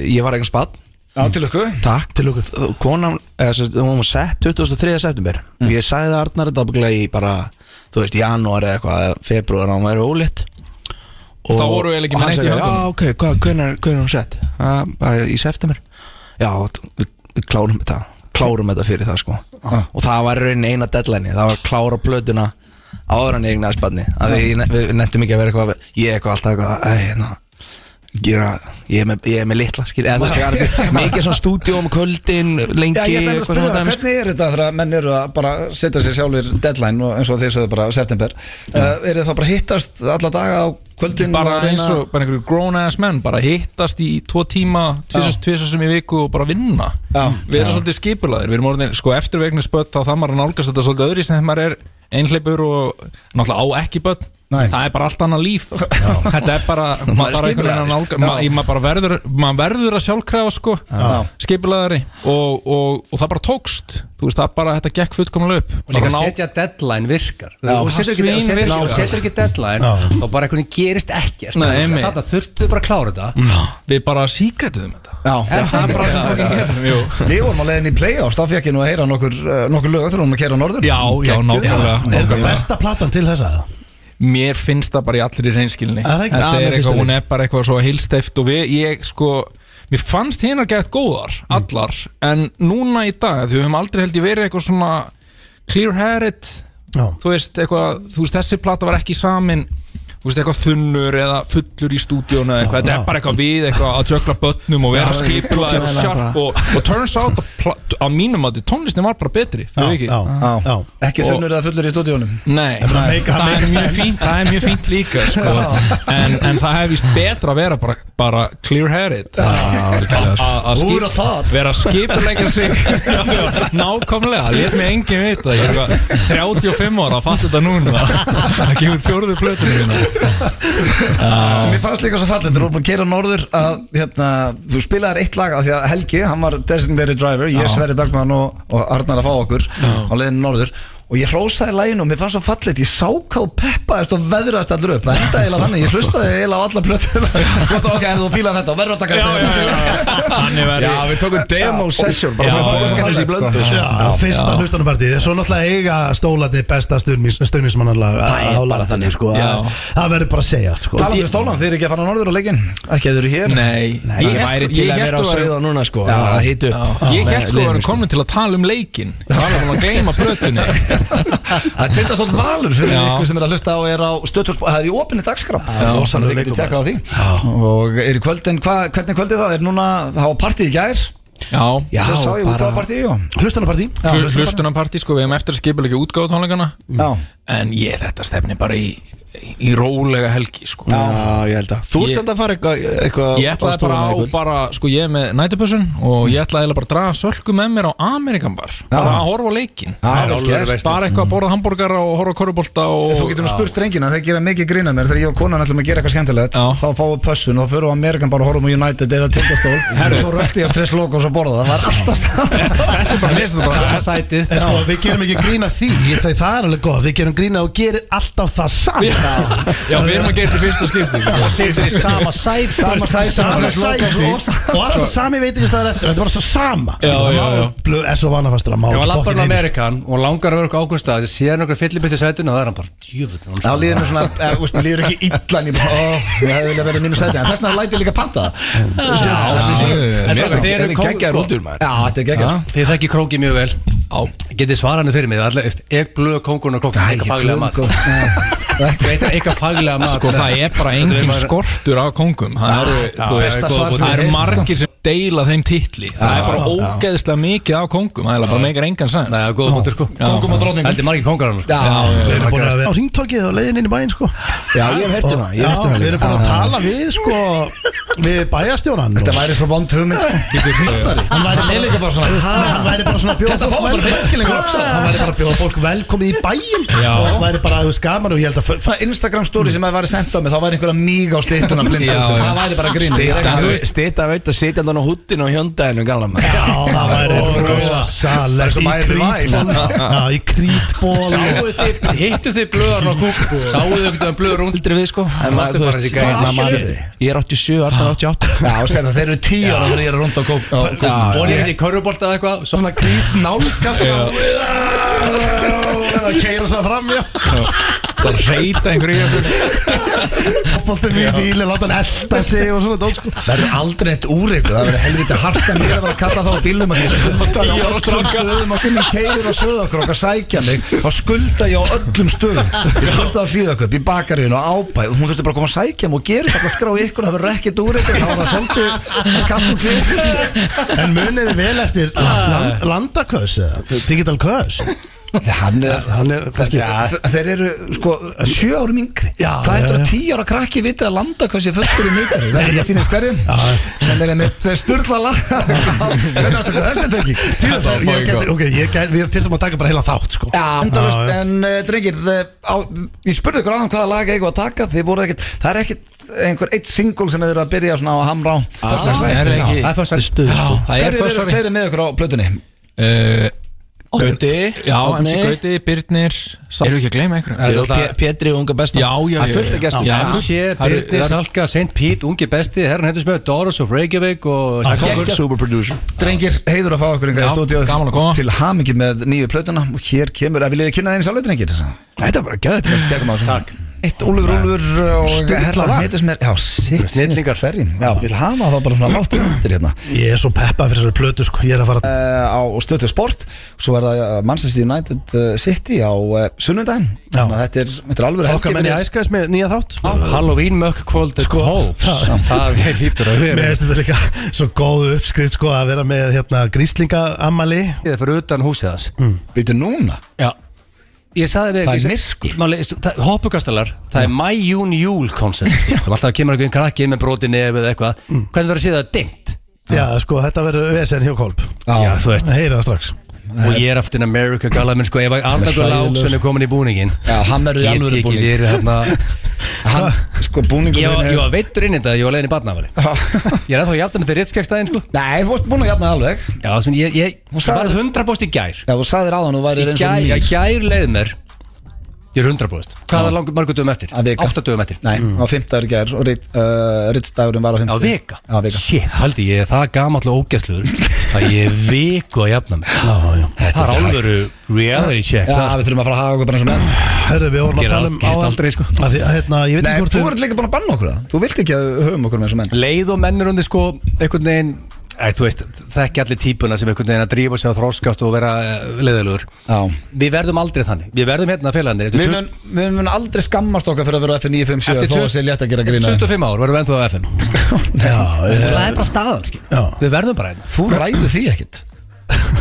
Speaker 1: ég var eitthvað spatt Já, til lukku
Speaker 12: Takk, til lukku Konan, eða, sem sagt, hún var sett 23. september
Speaker 11: Mm.
Speaker 12: og ég sagði það Arnar þetta ábygglega í bara þú veist, janúar eða eitthvað eða februar að hún væri ólitt
Speaker 11: Þá voru eiginlega ekki með neitt í höndunum.
Speaker 12: Já, ok, hvað, hvernig, hvernig hún sett? Ah, bara í september Já, við, við klárum þetta klárum þetta fyrir það sko
Speaker 11: Ah.
Speaker 12: og það var í rauninni eina deadline það var að klára plötuna áður en ég eignaði spanni að því ég- við nefndum ekki að vera eitthvað ég eitthvað alltaf eitthvað æ, ná, gera, ég, er með, ég er með litla skil, eða, þú veist, ég er alveg- mikið svona stúdíó um kvöldin lengi
Speaker 1: Já, ég ætla að
Speaker 12: eitthvað
Speaker 1: spila,
Speaker 12: svona dæmi, sko.
Speaker 1: hvernig er þetta þegar menn eru að bara setja sér sjálfur deadline og eins og þeir sögðu bara september uh, Er það bara að hittast alla daga á kvöldin
Speaker 11: bara
Speaker 1: og að reyna-
Speaker 11: eins og bara einhverju grown ass menn bara hittast í tvo tíma tvisast tvisast sem í viku og bara vinna já, við erum
Speaker 3: Já.
Speaker 11: svolítið skipulaðir, við erum orðin sko, eftir vegna spött þá það maður að nálgast þetta svolítið öðri sem maður er einhleipur og náttúrulega á ekki börn það er bara allt annað líf þetta er bara, maður þarf einhvern veginn að nálgast maður, maður bara verður, maður verður að sjálfkrafa sko, skipulaðari og, og, og það bara tókst þú veist, það bara, þetta gekk fullkomlega upp
Speaker 3: og líka
Speaker 11: Bara ná-
Speaker 3: setja deadline virkar
Speaker 11: Já,
Speaker 3: og setur ekki,
Speaker 11: svín
Speaker 3: setur,
Speaker 11: virkar.
Speaker 3: ná, setur ekki deadline
Speaker 11: Já.
Speaker 3: og bara einhvern veginn gerist ekkert
Speaker 11: Nei,
Speaker 3: Þannig
Speaker 11: einmitt.
Speaker 3: að þarna þurftu bara að klára þetta
Speaker 11: Já. við bara síkretuðum þetta
Speaker 1: Já,
Speaker 11: það er bara
Speaker 3: hérna.
Speaker 11: sem fólki gerum, jú
Speaker 1: Við vorum á leiðin í playoffs, þá fekk ég nú að heyra nokkur, uh, nokkur lög þegar við vorum að keira á norður
Speaker 11: Já, já, nákvæmlega
Speaker 2: Er þetta besta platan til þess að
Speaker 11: Mér finnst það bara í allir í reynskilni
Speaker 2: Er það ekki?
Speaker 11: Þetta
Speaker 2: Já, mér
Speaker 11: er
Speaker 2: finnst
Speaker 11: eitthvað,
Speaker 2: það
Speaker 11: hún er bara eitthvað svo heilsteift og við, ég sko Mér fannst hinar gætt góðar,
Speaker 2: Mm.
Speaker 11: allar En núna í dag, því við höfum aldrei held ég verið eitthvað svona Clear-headed Þú veist, eitthvað, þú veist, þessi plata var ekki samin Þú veist, eitthvað þunnur eða fullur í stúdíónu eða eitthvað, þetta
Speaker 3: já.
Speaker 11: er bara eitthvað við eitthvað að tjökla börnum og vera
Speaker 3: Já,
Speaker 11: skipulað og
Speaker 3: já,
Speaker 11: sjarp
Speaker 3: bara.
Speaker 11: og, og turns out að pla- að mínum að tónlistin var bara betri fyrir vikið.
Speaker 1: já. Ekki
Speaker 11: Og-
Speaker 1: þunnur eða fullur í stúdíónum
Speaker 11: Nei,
Speaker 1: Það er bara
Speaker 11: það,
Speaker 1: make-
Speaker 11: það,
Speaker 1: make
Speaker 11: er mjög
Speaker 1: sense.
Speaker 11: fínt, það er mjög fínt líka sko. en, en það hefðist betra að vera bara, bara clear-headed A- a- að skip-
Speaker 2: Úr á það.
Speaker 11: vera skipleika sig Já, já, nákvæmlega, lét mig engin vita Ég er eitthvað 35 ára að fatta þetta núna það kemur fjórðu plötunum mína.
Speaker 1: Mér fannst líka svo fallið, þú vorum að keira norður að hérna, þú spilaðir eitt lag af því að Helgi, hann var designated driver ég,
Speaker 11: Já.
Speaker 1: Sverri Bergman og, og Arnar að fá okkur á leiðinu norður og ég hrósaði læginu og mér fannst svo fallið ég sá hvað þú peppaðist og veðraðist allur upp það endaði eiginlega þannig, ég hlustaði eiginlega á alla plötuna Gott, ok, en þú fílaði þetta og verður að taka
Speaker 11: Þannig verði
Speaker 12: Já, við tókum demo session bara
Speaker 11: Já,
Speaker 12: fyrir
Speaker 11: já,
Speaker 12: fólk að þessi
Speaker 11: já,
Speaker 12: blöndu
Speaker 11: já,
Speaker 12: sko.
Speaker 2: Já, fyrsta hlustanum partíð Svo náttúrulega eiga stólarni besta stöðnismannarlag á lagatanni sko.
Speaker 11: Já.
Speaker 2: Það það verður bara að segja sko.
Speaker 1: Talandi um stólan, þið eru ekki að fara á norður á leikin Ekki að þið eru hér
Speaker 11: Nei,
Speaker 12: Ég væri til að vera á sögða núna sko
Speaker 1: Já.
Speaker 12: að hita upp.
Speaker 11: Já, Ég
Speaker 12: Með
Speaker 11: held sko að við
Speaker 12: liðinu,
Speaker 11: erum komin til að tala um leikin Það var alveg búin að gleyma plötunni
Speaker 1: Það er þetta svolítið valur fyrir
Speaker 11: Já.
Speaker 1: ykkur sem er að hlusta og er á stöðtúrsport Það er í opinni dagskrá og þannig að þið getið tjekkað á því Og er í kvöldin, hva, hvernig kvöldið það? Er núna, það var partíð í gær
Speaker 11: Já,
Speaker 1: Já, sá ég bara... partíð, já
Speaker 2: Hlustanarpartí
Speaker 11: Hlustunarparti sko, við hefum eftir að skipa ekki útgáðu tónleikana
Speaker 1: Já.
Speaker 11: En ég þetta stefni bara í, í rólega helgi sko
Speaker 12: Já, ég held að Þú ert
Speaker 11: Ég-
Speaker 12: samt að fara eitthvað eitthvað
Speaker 11: Ég ætlaði bara á, bara, sko ég er með nætupössun Og ég ætlaði eiginlega bara að draga sölku með mér á Amerikanbar Bara að horfa á leikin
Speaker 1: Það er alveg sko. gert.
Speaker 11: Bara eitthvað að borða hambúrgar og horfa á korfbólta og
Speaker 1: Þú getur nú spurt drengina, þeir gera mikið grína mér Þegar ég og konan ætlum að gera eitthvað skemmtilegt Þá fáum við pössun og þá förum við á Amerikan bara og horfum á United eða Tindastól og svo rölti ég á Triss Logos og borða það Það er alltaf
Speaker 3: Sama sætið
Speaker 2: En sko, við gerum ekki grína því Það, það er alveg gott, við gerum grína og gerir alltaf það samt
Speaker 11: Já, við erum að gera þetta í fyrsta skipti
Speaker 3: og setur í sama sæti
Speaker 1: sama
Speaker 2: Það er
Speaker 1: sæti
Speaker 2: sama
Speaker 1: Andrés Lókos
Speaker 2: sæti
Speaker 1: og-
Speaker 2: og alltaf sami veitingastæðar eftir Þetta var svo sama
Speaker 11: Já, já, já.
Speaker 2: Blöð S.O. Vanafastur að má
Speaker 3: Ég var
Speaker 2: ekki
Speaker 3: lappar
Speaker 2: fokkin
Speaker 3: á
Speaker 2: einu.
Speaker 3: um Amerikan og langar að vera okkur ágústa Það sé hann okkur fyllibýtti sætun og það er hann bara Djöfull
Speaker 1: Þá líður mér svona, eða, úst, mér líður ekki illa en ég bara, ó, ég hefði viljað verið mínu sæti en þess vegna læti ég líka panta það
Speaker 3: Já,
Speaker 11: já,
Speaker 3: en
Speaker 11: já,
Speaker 3: þess að þeir eru
Speaker 1: Þetta er geggjaður
Speaker 3: kóngur
Speaker 1: rúndur, maður. Já, þetta er geggjast
Speaker 3: sko- Þið þekki króki mjög vel Getið svaranu fyrir mig, það er allir eftir Ekk blöð kóngurinn og krókinn, eitthvað faglega mat Veitir eitthvað faglega mat
Speaker 11: Sko það er bara engin skortur á kongum Það eru,
Speaker 3: Já,
Speaker 11: þú
Speaker 3: besta
Speaker 11: veist,
Speaker 3: svar sem ég
Speaker 11: það eru
Speaker 3: heyrt, sko.
Speaker 11: margir sem deila þeim titli
Speaker 3: Já,
Speaker 11: það er bara
Speaker 3: já.
Speaker 11: ógeðslega mikið á kongum það er bara meikar engan sens
Speaker 3: Nei, það er góð punktur, sko. Kóngum og drottningum. Þetta er margir kóngar annars, sko.
Speaker 11: Já,
Speaker 3: Já,
Speaker 11: já,
Speaker 3: þeir eru
Speaker 11: já,
Speaker 3: búin
Speaker 11: margir-
Speaker 2: á ringtorkið og leiðin inn í bæinn sko
Speaker 1: Já, ég hef heyrt um það, ég hef heyrt um það
Speaker 2: Já, við
Speaker 1: líka.
Speaker 2: erum búin að
Speaker 1: Já.
Speaker 2: tala við sko Við bæjarstjónan
Speaker 1: Þetta væri svo vond hugmynd sko.
Speaker 2: Hann væri
Speaker 1: Nei, líka bara svona.
Speaker 2: Hann væri bara svona að bjóða
Speaker 1: Þetta fá bara hreinskilningur
Speaker 2: velkomið
Speaker 1: Axel.
Speaker 2: Hann væri bara að bjóða fólk velkomið í bæinn
Speaker 1: Já.
Speaker 2: Og það væri bara, þú veist, gaman og ég held að
Speaker 1: Svona Instagram story sem að væri sendt á mig Þá væri einhverja míg á styttuna blind Það væri bara grín Ég er ekki að-
Speaker 12: Stita veit að sitja hann á húttinu og hjóndaðinu gala maður
Speaker 2: Já, það væri rosalegt Í krítból Já, í krítból
Speaker 3: Hittu þið blöðar á sko. kúku Sáuðu þau ekki að blöðar
Speaker 12: Aldrei við sko En
Speaker 3: Þú varstu
Speaker 12: maður, þú
Speaker 3: bara
Speaker 12: veist,
Speaker 3: þessi gæi.
Speaker 12: maður- maður- Ég er 87, Arnar 88
Speaker 1: Já, og segðu það, þeir eru 10 ára þegar ég er rund á kók
Speaker 3: Bónið þessi í körfubolta eða eitthvað Svona krít nálka
Speaker 2: Að keira svo fram, já
Speaker 11: það reyta einhverju í okkur
Speaker 2: Fótboltinn í bíli, láta hann elda sig og svona dót, sko.
Speaker 1: Það verður aldrei eitt úrreikur, það verður helviti hart en mér að vera að kalla þá á bílum að um. ég skulda ég á öllum stöðum og finnum keirir og söðakrok að sækja mig þá skulda ég á öllum stöðum ég skulda á hlýðaköp, í bakaríun og ábæð hún þurfti bara að koma að sækja mig og gera eitthvað skrá ykkur það verður ekkert úrreikur, þá var það svolítið kastum klið
Speaker 2: En munið þið vel eftir land, landaköðs eða digital köðs
Speaker 1: Hann er,
Speaker 2: hann er kannski
Speaker 1: Já, þeir eru sko sjö árum yngri
Speaker 2: Já,
Speaker 1: Hvað
Speaker 2: já,
Speaker 1: heldur
Speaker 2: já.
Speaker 1: að tíu ára krakki vitið að landa hvað sé fullur í mjögur Það er ekki að sína stærjum sem er einmitt sturla lag Hvernig ástu hvað þessi fengi?
Speaker 2: Tíu, ég geti, ok, ég geti, við þurfum að taka bara heila þátt sko
Speaker 1: Já, endalaust,
Speaker 2: Já, já.
Speaker 1: en uh, drengir uh, á, ég spurði ykkur aðan hvaða lag eigum að taka þið voru ekkert, það er ekkert einhver eitt single sem þið eru að byrja svona á að hamra á
Speaker 2: Ah,
Speaker 1: Föstudagslagið.
Speaker 11: það er ekki-
Speaker 1: Já, það er
Speaker 11: Stuð,
Speaker 1: fyrstdagslæg
Speaker 11: sko. Það er
Speaker 1: Hverju
Speaker 11: föstudagslagið.
Speaker 1: eru fleiri með ykkur á plötunni?
Speaker 11: Eh,
Speaker 12: Gauti
Speaker 11: já,
Speaker 12: Árni.
Speaker 11: MC Gauti, Birnir erum við ekki að gleyma
Speaker 12: Jó, Pe-
Speaker 11: einhverju
Speaker 12: Pétri unga besta
Speaker 11: Já, já,
Speaker 12: Það er fullt
Speaker 11: já,
Speaker 12: að gestum
Speaker 11: já.
Speaker 12: Já,
Speaker 3: Sér,
Speaker 11: Já. Það eru-
Speaker 3: Birni,
Speaker 11: það eru-
Speaker 3: Salka, St. Pete, ungi besti Herran hendur smöðu Doris of Reykjavík og
Speaker 12: Geggjað. Super producer
Speaker 1: Drengir, heiður að fá okkur
Speaker 11: Já,
Speaker 1: einhverja
Speaker 11: gaman að
Speaker 1: stúdíu
Speaker 11: koma.
Speaker 1: til hamingi með nýju plötuna og hér kemur, að viljið þið kynna þeirni sjálfur drengir
Speaker 12: Þetta er bara gæðið
Speaker 1: Tekum á þessu Eitt Úlfur Úlfur og
Speaker 2: Sturla
Speaker 1: Herlar
Speaker 2: lag.
Speaker 1: heitir sem er, já, sitt
Speaker 3: Snillingar.
Speaker 1: ferri Já, vil hafa það bara svona látt undir hérna
Speaker 2: Ég er svo peppað fyrir þessari plötu sko, ég er að fara
Speaker 1: uh, á stötu sport svo er það eh, Manchester United eh, City á uh, sunnundaginn
Speaker 2: Já.
Speaker 1: Þannig að þetta er, þetta er alveg
Speaker 2: Okkar menn í æskæðis með nýja þátt
Speaker 3: Halloween Muck Kvöld sko,
Speaker 2: það-
Speaker 3: Það er lítur að
Speaker 2: Mér
Speaker 3: vera
Speaker 2: finnst þetta líka svo góð uppskrift sko að vera með hérna gríslinga ammali
Speaker 3: Ég er fyrir utan húsið hans
Speaker 1: Býtu núna
Speaker 3: Já Ég saði við
Speaker 1: Það er
Speaker 3: ég-
Speaker 1: myrkur.
Speaker 3: Máli, það- Hoppukastalar, það er My June Júl koncert Það er alltaf að kemur einhvern krakki inn með broti nefið eða eitthvað
Speaker 1: Mm.
Speaker 3: Hvernig þarf að sé það dimmt?
Speaker 2: Já, sko, þetta verður vesen hjá Kolb
Speaker 3: Já, þú veist
Speaker 2: Það heyri það strax
Speaker 3: Og ég er aftur en America galað minn sko Ef að Arnagur
Speaker 1: hræðilegur.
Speaker 3: Láksson er komin í búningin
Speaker 1: Já, hann verður í
Speaker 3: Get
Speaker 1: alvöru
Speaker 3: ég ekki
Speaker 1: búning.
Speaker 3: verið hérna
Speaker 1: Hann, sko búningur
Speaker 3: Ég var-
Speaker 1: þinn
Speaker 3: ég var
Speaker 1: er-
Speaker 3: veittur inn í þetta, ég var leiðin í barnafæli Ég er ennþá jafn með þetta rittskjækstæðin sko
Speaker 1: Nei, þú varst búin að jafna alveg
Speaker 3: Já, svona, ég, ég, ég var 100% í gær
Speaker 1: Já, þú sagðir aðan, þú væri
Speaker 3: Í
Speaker 1: eins og
Speaker 3: gær,
Speaker 1: nýr
Speaker 3: ég gær leið mér Ég er 100% Hvað er langur margur dögum eftir?
Speaker 1: Að vika.
Speaker 3: 8 dögum eftir
Speaker 1: Nei, á fimmtagur í gær og ritt-
Speaker 11: eh,
Speaker 1: uh, rittstagurinn var á
Speaker 3: Á
Speaker 1: fimmtagur
Speaker 3: vika?
Speaker 1: Já, vika
Speaker 3: Shit, haldi ég er það gamall og ógæsluður að ég er viku að jafna mig
Speaker 2: Já, já
Speaker 3: Það er alvöru reality check
Speaker 1: Já,
Speaker 3: það, sko.
Speaker 1: við þurfum að fara að hafa okkur bara eins og menn
Speaker 2: Herru, við vorum
Speaker 3: Gerist
Speaker 2: að tala um
Speaker 3: gerist aldrei, sko.
Speaker 2: að því, að, hérna, Ég veit
Speaker 1: Nei,
Speaker 2: ekki hvort
Speaker 1: þú ert líka búin að banna okkur það Þú vilt ekki að við höfum okkur með eins og menn
Speaker 3: Leið og mennurundi sko einhvern veginn Æ, þú veist, þekki allir típuna sem einhvern veginn að drífa sig á þróskast og vera eh, leiðilegur
Speaker 1: Já
Speaker 3: Við verðum aldrei þannig, við verðum hérna félagarnir
Speaker 1: Við
Speaker 3: Eftir
Speaker 1: mun, við mun aldrei skammast okkar fyrir að vera F957 þó að sé létt að gera grína
Speaker 3: 25 ár verðum við ennþá á FM
Speaker 2: Já, eh,
Speaker 3: Það er bara staðan, skil
Speaker 2: Já.
Speaker 3: Við verðum bara hérna
Speaker 1: Þú ræður því ekkit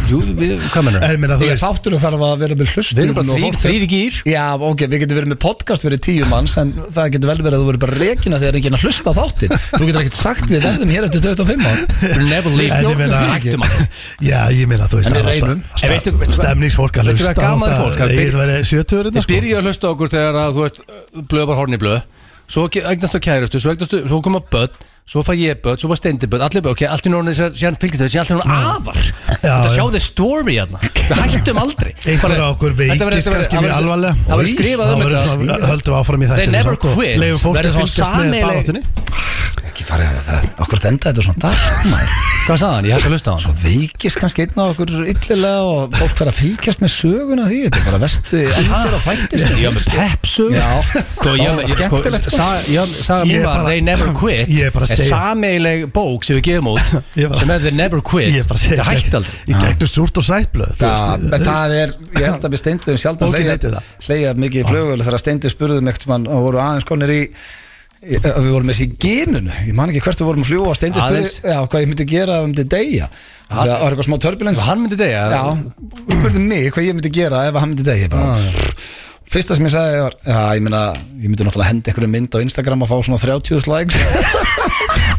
Speaker 3: Jú, við, hvað mennur
Speaker 2: er meina þú
Speaker 1: Ég
Speaker 2: veist
Speaker 1: þáttur þarf að vera með hlustun
Speaker 3: Við erum bara þrýr, þrýr gýr
Speaker 1: Já, ok, við getum verið með podcast verið tíu manns en það getur vel verið að þú verið bara rekina þegar enginn að hlusta á þáttinn Þú getur ekkit sagt við verðum hér eftir 25 ár
Speaker 3: Never leave
Speaker 2: En ég meina
Speaker 3: Hættum að
Speaker 2: Já, ég meina þú veist
Speaker 1: En við
Speaker 2: það er alltaf-
Speaker 1: reynum.
Speaker 2: alltaf
Speaker 3: En veistu- veistu-
Speaker 2: Stemningsfólk að
Speaker 3: veistu
Speaker 2: hlusta
Speaker 3: hvað gaman fólk, það
Speaker 2: Ég
Speaker 3: byrja-
Speaker 2: verði 70
Speaker 3: Þið
Speaker 2: hérna sko
Speaker 3: byrja að hlusta á okkur þegar að þú veist blöð var horn í blöð Svo ge- eignast þú kærustu, svo eignast þú, svo koma börn Svo fæ ég börn, svo fæ steindi börn Allir börn, ok, allt í núna þessar, síðan fylgist þau Síðan allir núna afar Þetta
Speaker 2: Mm. já.
Speaker 3: sjá þið story hérna Við hættum aldrei
Speaker 2: Einhver
Speaker 3: Bara-
Speaker 2: á okkur
Speaker 3: Þetta verður-
Speaker 2: veikist
Speaker 3: þetta verður-
Speaker 2: kannski
Speaker 3: það
Speaker 2: við
Speaker 3: verður-
Speaker 2: alvarlega
Speaker 3: Það verður skrifað um
Speaker 2: verður
Speaker 3: þetta
Speaker 2: svona- Höldum áfram í sko. þetta
Speaker 3: They never quit.
Speaker 2: Leifum fólk
Speaker 3: Verður
Speaker 2: að
Speaker 3: þá
Speaker 2: fylgjast með
Speaker 3: sameiginleg-
Speaker 2: baráttunni
Speaker 1: Ekki farið að það, okkur enda þetta svona þar maður.
Speaker 3: Hvað sagði hann? Ég hætti að hlusta á hann
Speaker 1: Veikist kannski einn á okkur illilega og fólk fer að fylgjast með söguna af því Þetta er bara vesti endur og fættist
Speaker 3: Ég var með pepsu
Speaker 1: Já.
Speaker 3: Sko, ég var með
Speaker 1: Það var
Speaker 3: sko,
Speaker 1: skemmtilegt, sko.
Speaker 3: sa- Ég var með- sagði
Speaker 2: Ég
Speaker 3: múna
Speaker 2: bara-
Speaker 3: They never quit
Speaker 2: Ég er bara að
Speaker 3: er
Speaker 2: segja.
Speaker 3: sameigileg bók sem við gefum út
Speaker 2: Ég bara-
Speaker 3: sem er They never
Speaker 2: Ég
Speaker 3: quit
Speaker 2: er bara að segja
Speaker 3: Það hætti aldrei
Speaker 2: Í gegnum súrt og sætblöð þú
Speaker 1: Já,
Speaker 2: veist,
Speaker 1: en það er, ég held að við steindum
Speaker 2: Bókin
Speaker 1: sjaldan
Speaker 2: heitir
Speaker 1: hleyja,
Speaker 2: það.
Speaker 1: hleyja mikið í flugvölu þegar steindir spurðum ekkert mann og voru aðeins konir í Ég- að við vorum með þessi í genunu ég man ekki hvert við vorum að fljúa á steindi
Speaker 3: Aðeins.
Speaker 1: já, hvað ég myndi gera ef ég myndi deyja það var eitthvað smá turbulence
Speaker 3: Hann myndi deyja?
Speaker 1: já, hún spurði mig hvað ég myndi gera ef hann myndi deyja Ég
Speaker 3: Ah,
Speaker 1: bara, fyrsta sem ég sagði var já, ég, myna, ég myndi náttúrulega henda einhverju mynd á Instagram að fá svona 30 likes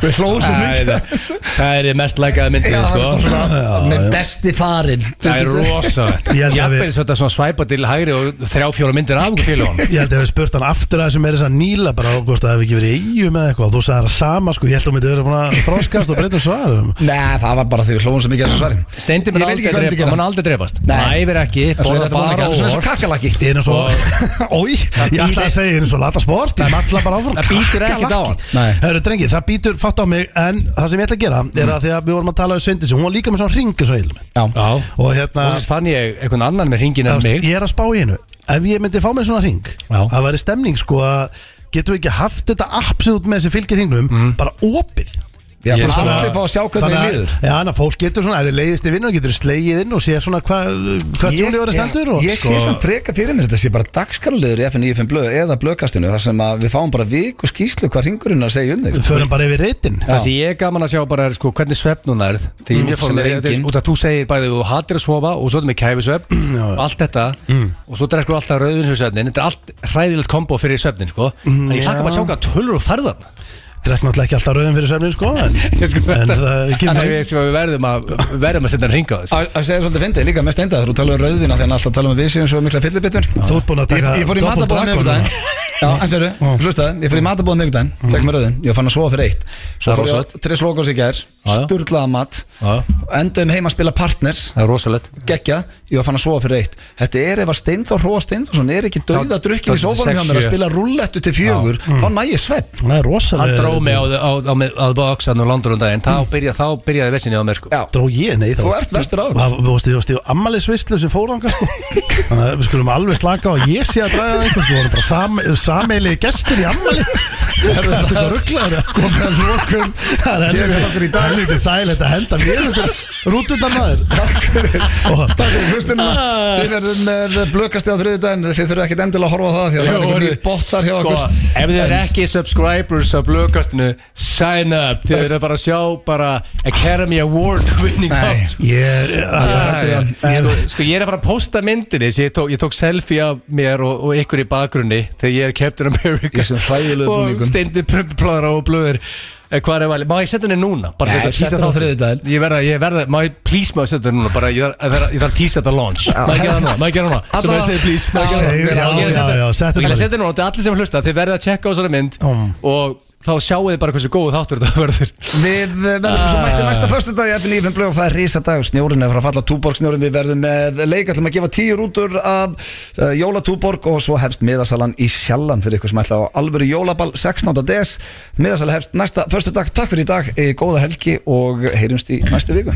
Speaker 1: við hlóðum svo
Speaker 3: Æ,
Speaker 1: mikið
Speaker 3: það- Það er mest lækaða myndið
Speaker 1: Já,
Speaker 3: sko.
Speaker 1: það er bara svona, með besti farin
Speaker 3: Það er rosa
Speaker 2: Ég held að við-
Speaker 3: Jafnveg þetta svona svæpa til hægri og þrjá fjóra myndir af okkur félagum
Speaker 2: Ég held að við spurt hann aftur að þessum er þess að nýla bara og hvort það hefði ekki verið í eigum eða eitthvað Þú sagði það sama sko, ég held að þú myndi verið búin að þroskast og breyta um svarum
Speaker 1: Nei, það var bara því við hlóðum svo mikið að þessu svarin
Speaker 3: Steindi mun
Speaker 1: Ég veit ekki hvað
Speaker 3: aldrei
Speaker 1: ég myndi
Speaker 3: drepa-
Speaker 1: gera.
Speaker 3: mun aldrei drepast
Speaker 1: Nei.
Speaker 3: Æfir ekki,
Speaker 1: En svo er
Speaker 3: borða
Speaker 1: þetta bara
Speaker 3: bara
Speaker 1: ekki, en svo er
Speaker 3: óvart.
Speaker 1: þessu kakalaki
Speaker 2: Ég er eins og, ói, ég ætla að
Speaker 3: bíður-
Speaker 2: segja, ég er eins og lata sport, ég ætla bara áfram
Speaker 3: Það bítur ekkert á hann. Nei.
Speaker 2: Hörru, drengi, það bítur fatt á mig, en það sem ég ætla að gera er að því að við vorum að tala um Svindis Hún var líka með svona ring og svo eilum
Speaker 1: Já
Speaker 2: Og hérna
Speaker 3: Og svo fann ég einhvern annan með ringin en
Speaker 2: Það veist,
Speaker 3: mig
Speaker 2: Ég er að spá í hennu Ef ég myndi fá mér svona ring
Speaker 3: Já.
Speaker 2: Það væri stemning sko að Getum við ekki haft þetta absolutt með þessi fylgir hringnum
Speaker 3: Mm.
Speaker 2: Bara opið
Speaker 1: Já,
Speaker 2: Ég
Speaker 1: þannig
Speaker 2: er
Speaker 1: að
Speaker 2: svona-
Speaker 1: allir fá að sjá hvernig
Speaker 2: þannig
Speaker 1: þið
Speaker 2: að-
Speaker 1: líður.
Speaker 2: Já, þannig að fólk getur svona, ef þið leiðist í vinnu Getur slegið inn og sé svona hvað hva
Speaker 1: Ég-
Speaker 2: Júli voru
Speaker 1: já,
Speaker 2: stendur og, sko-
Speaker 1: Ég sé samt freka fyrir mér þetta sé bara dagskarliður í FN95 blöð eða blöðkastinu þar sem að við fáum bara viku skýslu hvað ringurinn er að segja um þig
Speaker 2: Við förum bara yfir reytin
Speaker 3: Það sem ég er gaman að sjá bara er sko hvernig svefn hún er Þegar ég
Speaker 1: Mm,
Speaker 3: mjög fór
Speaker 1: sem er
Speaker 3: með sko,
Speaker 1: engin.
Speaker 3: út að þú segir bæði þú hattir að sofa og svo þetta með kæfisvefn og allt þetta
Speaker 1: Mm.
Speaker 3: og svo drekkur þú alltaf rauðinsvefnin Þetta er allt hræðilegt kombo fyrir svefnin sko En ég hlakka bara
Speaker 1: Mm,
Speaker 3: að sjá hvað tölur og ferðan
Speaker 2: Drekk náttúrulega ekki alltaf rauðin fyrir sömnin sko En, en það ekki
Speaker 3: Þannig við sem við verðum að verðum að setja hann ringa á þessu
Speaker 1: Að að segja svolítið fyndið líka með steinda þegar þú talar um rauðvina þegar hann alltaf talar um að við séum svo mikla fyllibittur
Speaker 2: Þú ert búin að taka
Speaker 1: Ég ég fór í
Speaker 2: double
Speaker 1: matabóðum
Speaker 2: dragon
Speaker 1: miðvikudaginn
Speaker 2: núna.
Speaker 1: Já, en sérðu, hlustaðu, ég fór í matabóðum miðvikudaginn Fekk mér rauðin, ég fann að sofa fyrir eitt Svo
Speaker 3: Það er
Speaker 1: fór ég
Speaker 3: rosalegt.
Speaker 1: á Tris Logos í gær,
Speaker 3: já.
Speaker 1: sturlaða mat
Speaker 3: Já.
Speaker 1: Enduðum heima að spila partners
Speaker 3: Það er rosalegt
Speaker 1: Gekja, ég var fann að sofa fyrir eitt Þetta er ef að Steindor Róa Steindorsson er ekki dauða drukkin í
Speaker 3: þá-
Speaker 1: sófanum hjá
Speaker 3: sex,
Speaker 1: mér að
Speaker 3: sjö.
Speaker 1: spila rullettu til fjögur þá næ ég svepp
Speaker 2: Það er rosalega
Speaker 3: Hann dróð mig á, á, á, á, á bóksan og landur um daginn Þá, byrja, þá byrjaði vesinni á mér sko
Speaker 1: Mm. Já,
Speaker 2: Dró ég, nei þá
Speaker 1: Þú ert vestur áður.
Speaker 2: Það- Þú veist, þú veist, ég var ammælisvislu sem fór ánga sko Þannig að við skulum alveg slaka á að Ég sé að draga það einhvers Þú voru bara sam, sameili gestur í ammæli Það er þetta rugglaður Komið að lokum Það er helviti okkur í dag Helviti þægilegt að henda mér undir Rútundan maður Takk fyrir
Speaker 1: Takk fyrir hlustunum Við verðum með blökasti á þriðudaginn Þið þurfum ekkit endilega að horfa á það Því að það er einhvern veginn bóttar hjá
Speaker 3: sko,
Speaker 1: okkur
Speaker 3: Ef þið eru
Speaker 1: En-
Speaker 3: ekki subscribers á blöðkastinu Sign up, þið eru bara að sjá bara Academy Award winning
Speaker 1: Nei.
Speaker 3: þátt, sko.
Speaker 2: Ég, að,
Speaker 3: Já,
Speaker 2: að,
Speaker 3: já.
Speaker 2: að,
Speaker 3: Sko, sko ég er að fara að posta myndinni sem ég, tók, ég tók selfie af mér og, og ykkur í bakgrunni þegar ég er Captain
Speaker 1: Í
Speaker 3: America
Speaker 1: þessum hræðilegu búningum.
Speaker 3: og steindi prumpláðar á og blöður Eh, Hvað er valið? Má ég setja henni núna? Bara
Speaker 1: Nei,
Speaker 3: til þess að
Speaker 1: settu
Speaker 3: teasa
Speaker 1: hana á
Speaker 3: þáttinn.
Speaker 1: þriðjudaginn.
Speaker 3: Ég verða, ég verða, má ég, please má ég setja henni núna Bara, ég þarf- ég þarf- ég þarf að tísa þetta launch Má ég gera það núna, má ég gera það núna Svo má ég
Speaker 1: Alla-
Speaker 3: segja please, má ég gera það
Speaker 2: Segðu- já,
Speaker 3: núna? Ég er að
Speaker 2: já,
Speaker 3: setja-
Speaker 2: já, settu bara.
Speaker 3: Ég er að setja henni núna, þetta er allir sem hlusta Þið verða að checka á þessari mynd
Speaker 2: Mm.
Speaker 3: Og þá sjáu þið bara hversu góð þáttur þetta verður
Speaker 1: Við verðum svo mætti
Speaker 3: Ah.
Speaker 1: næsta förstu dag í FNÍFN blöð og það er risa dag Snjórin er að fara að falla túborg snjórin Við verðum með leik, ætlum að gefa tíu rútur af uh, jólatúborg og svo hefst miðasalan í sjallan fyrir ykkur sem ætla á alvöru jólaball 16. des Miðasala hefst næsta förstu dag Takk fyrir í dag, eh, góða helgi og heyrumst í næstu viku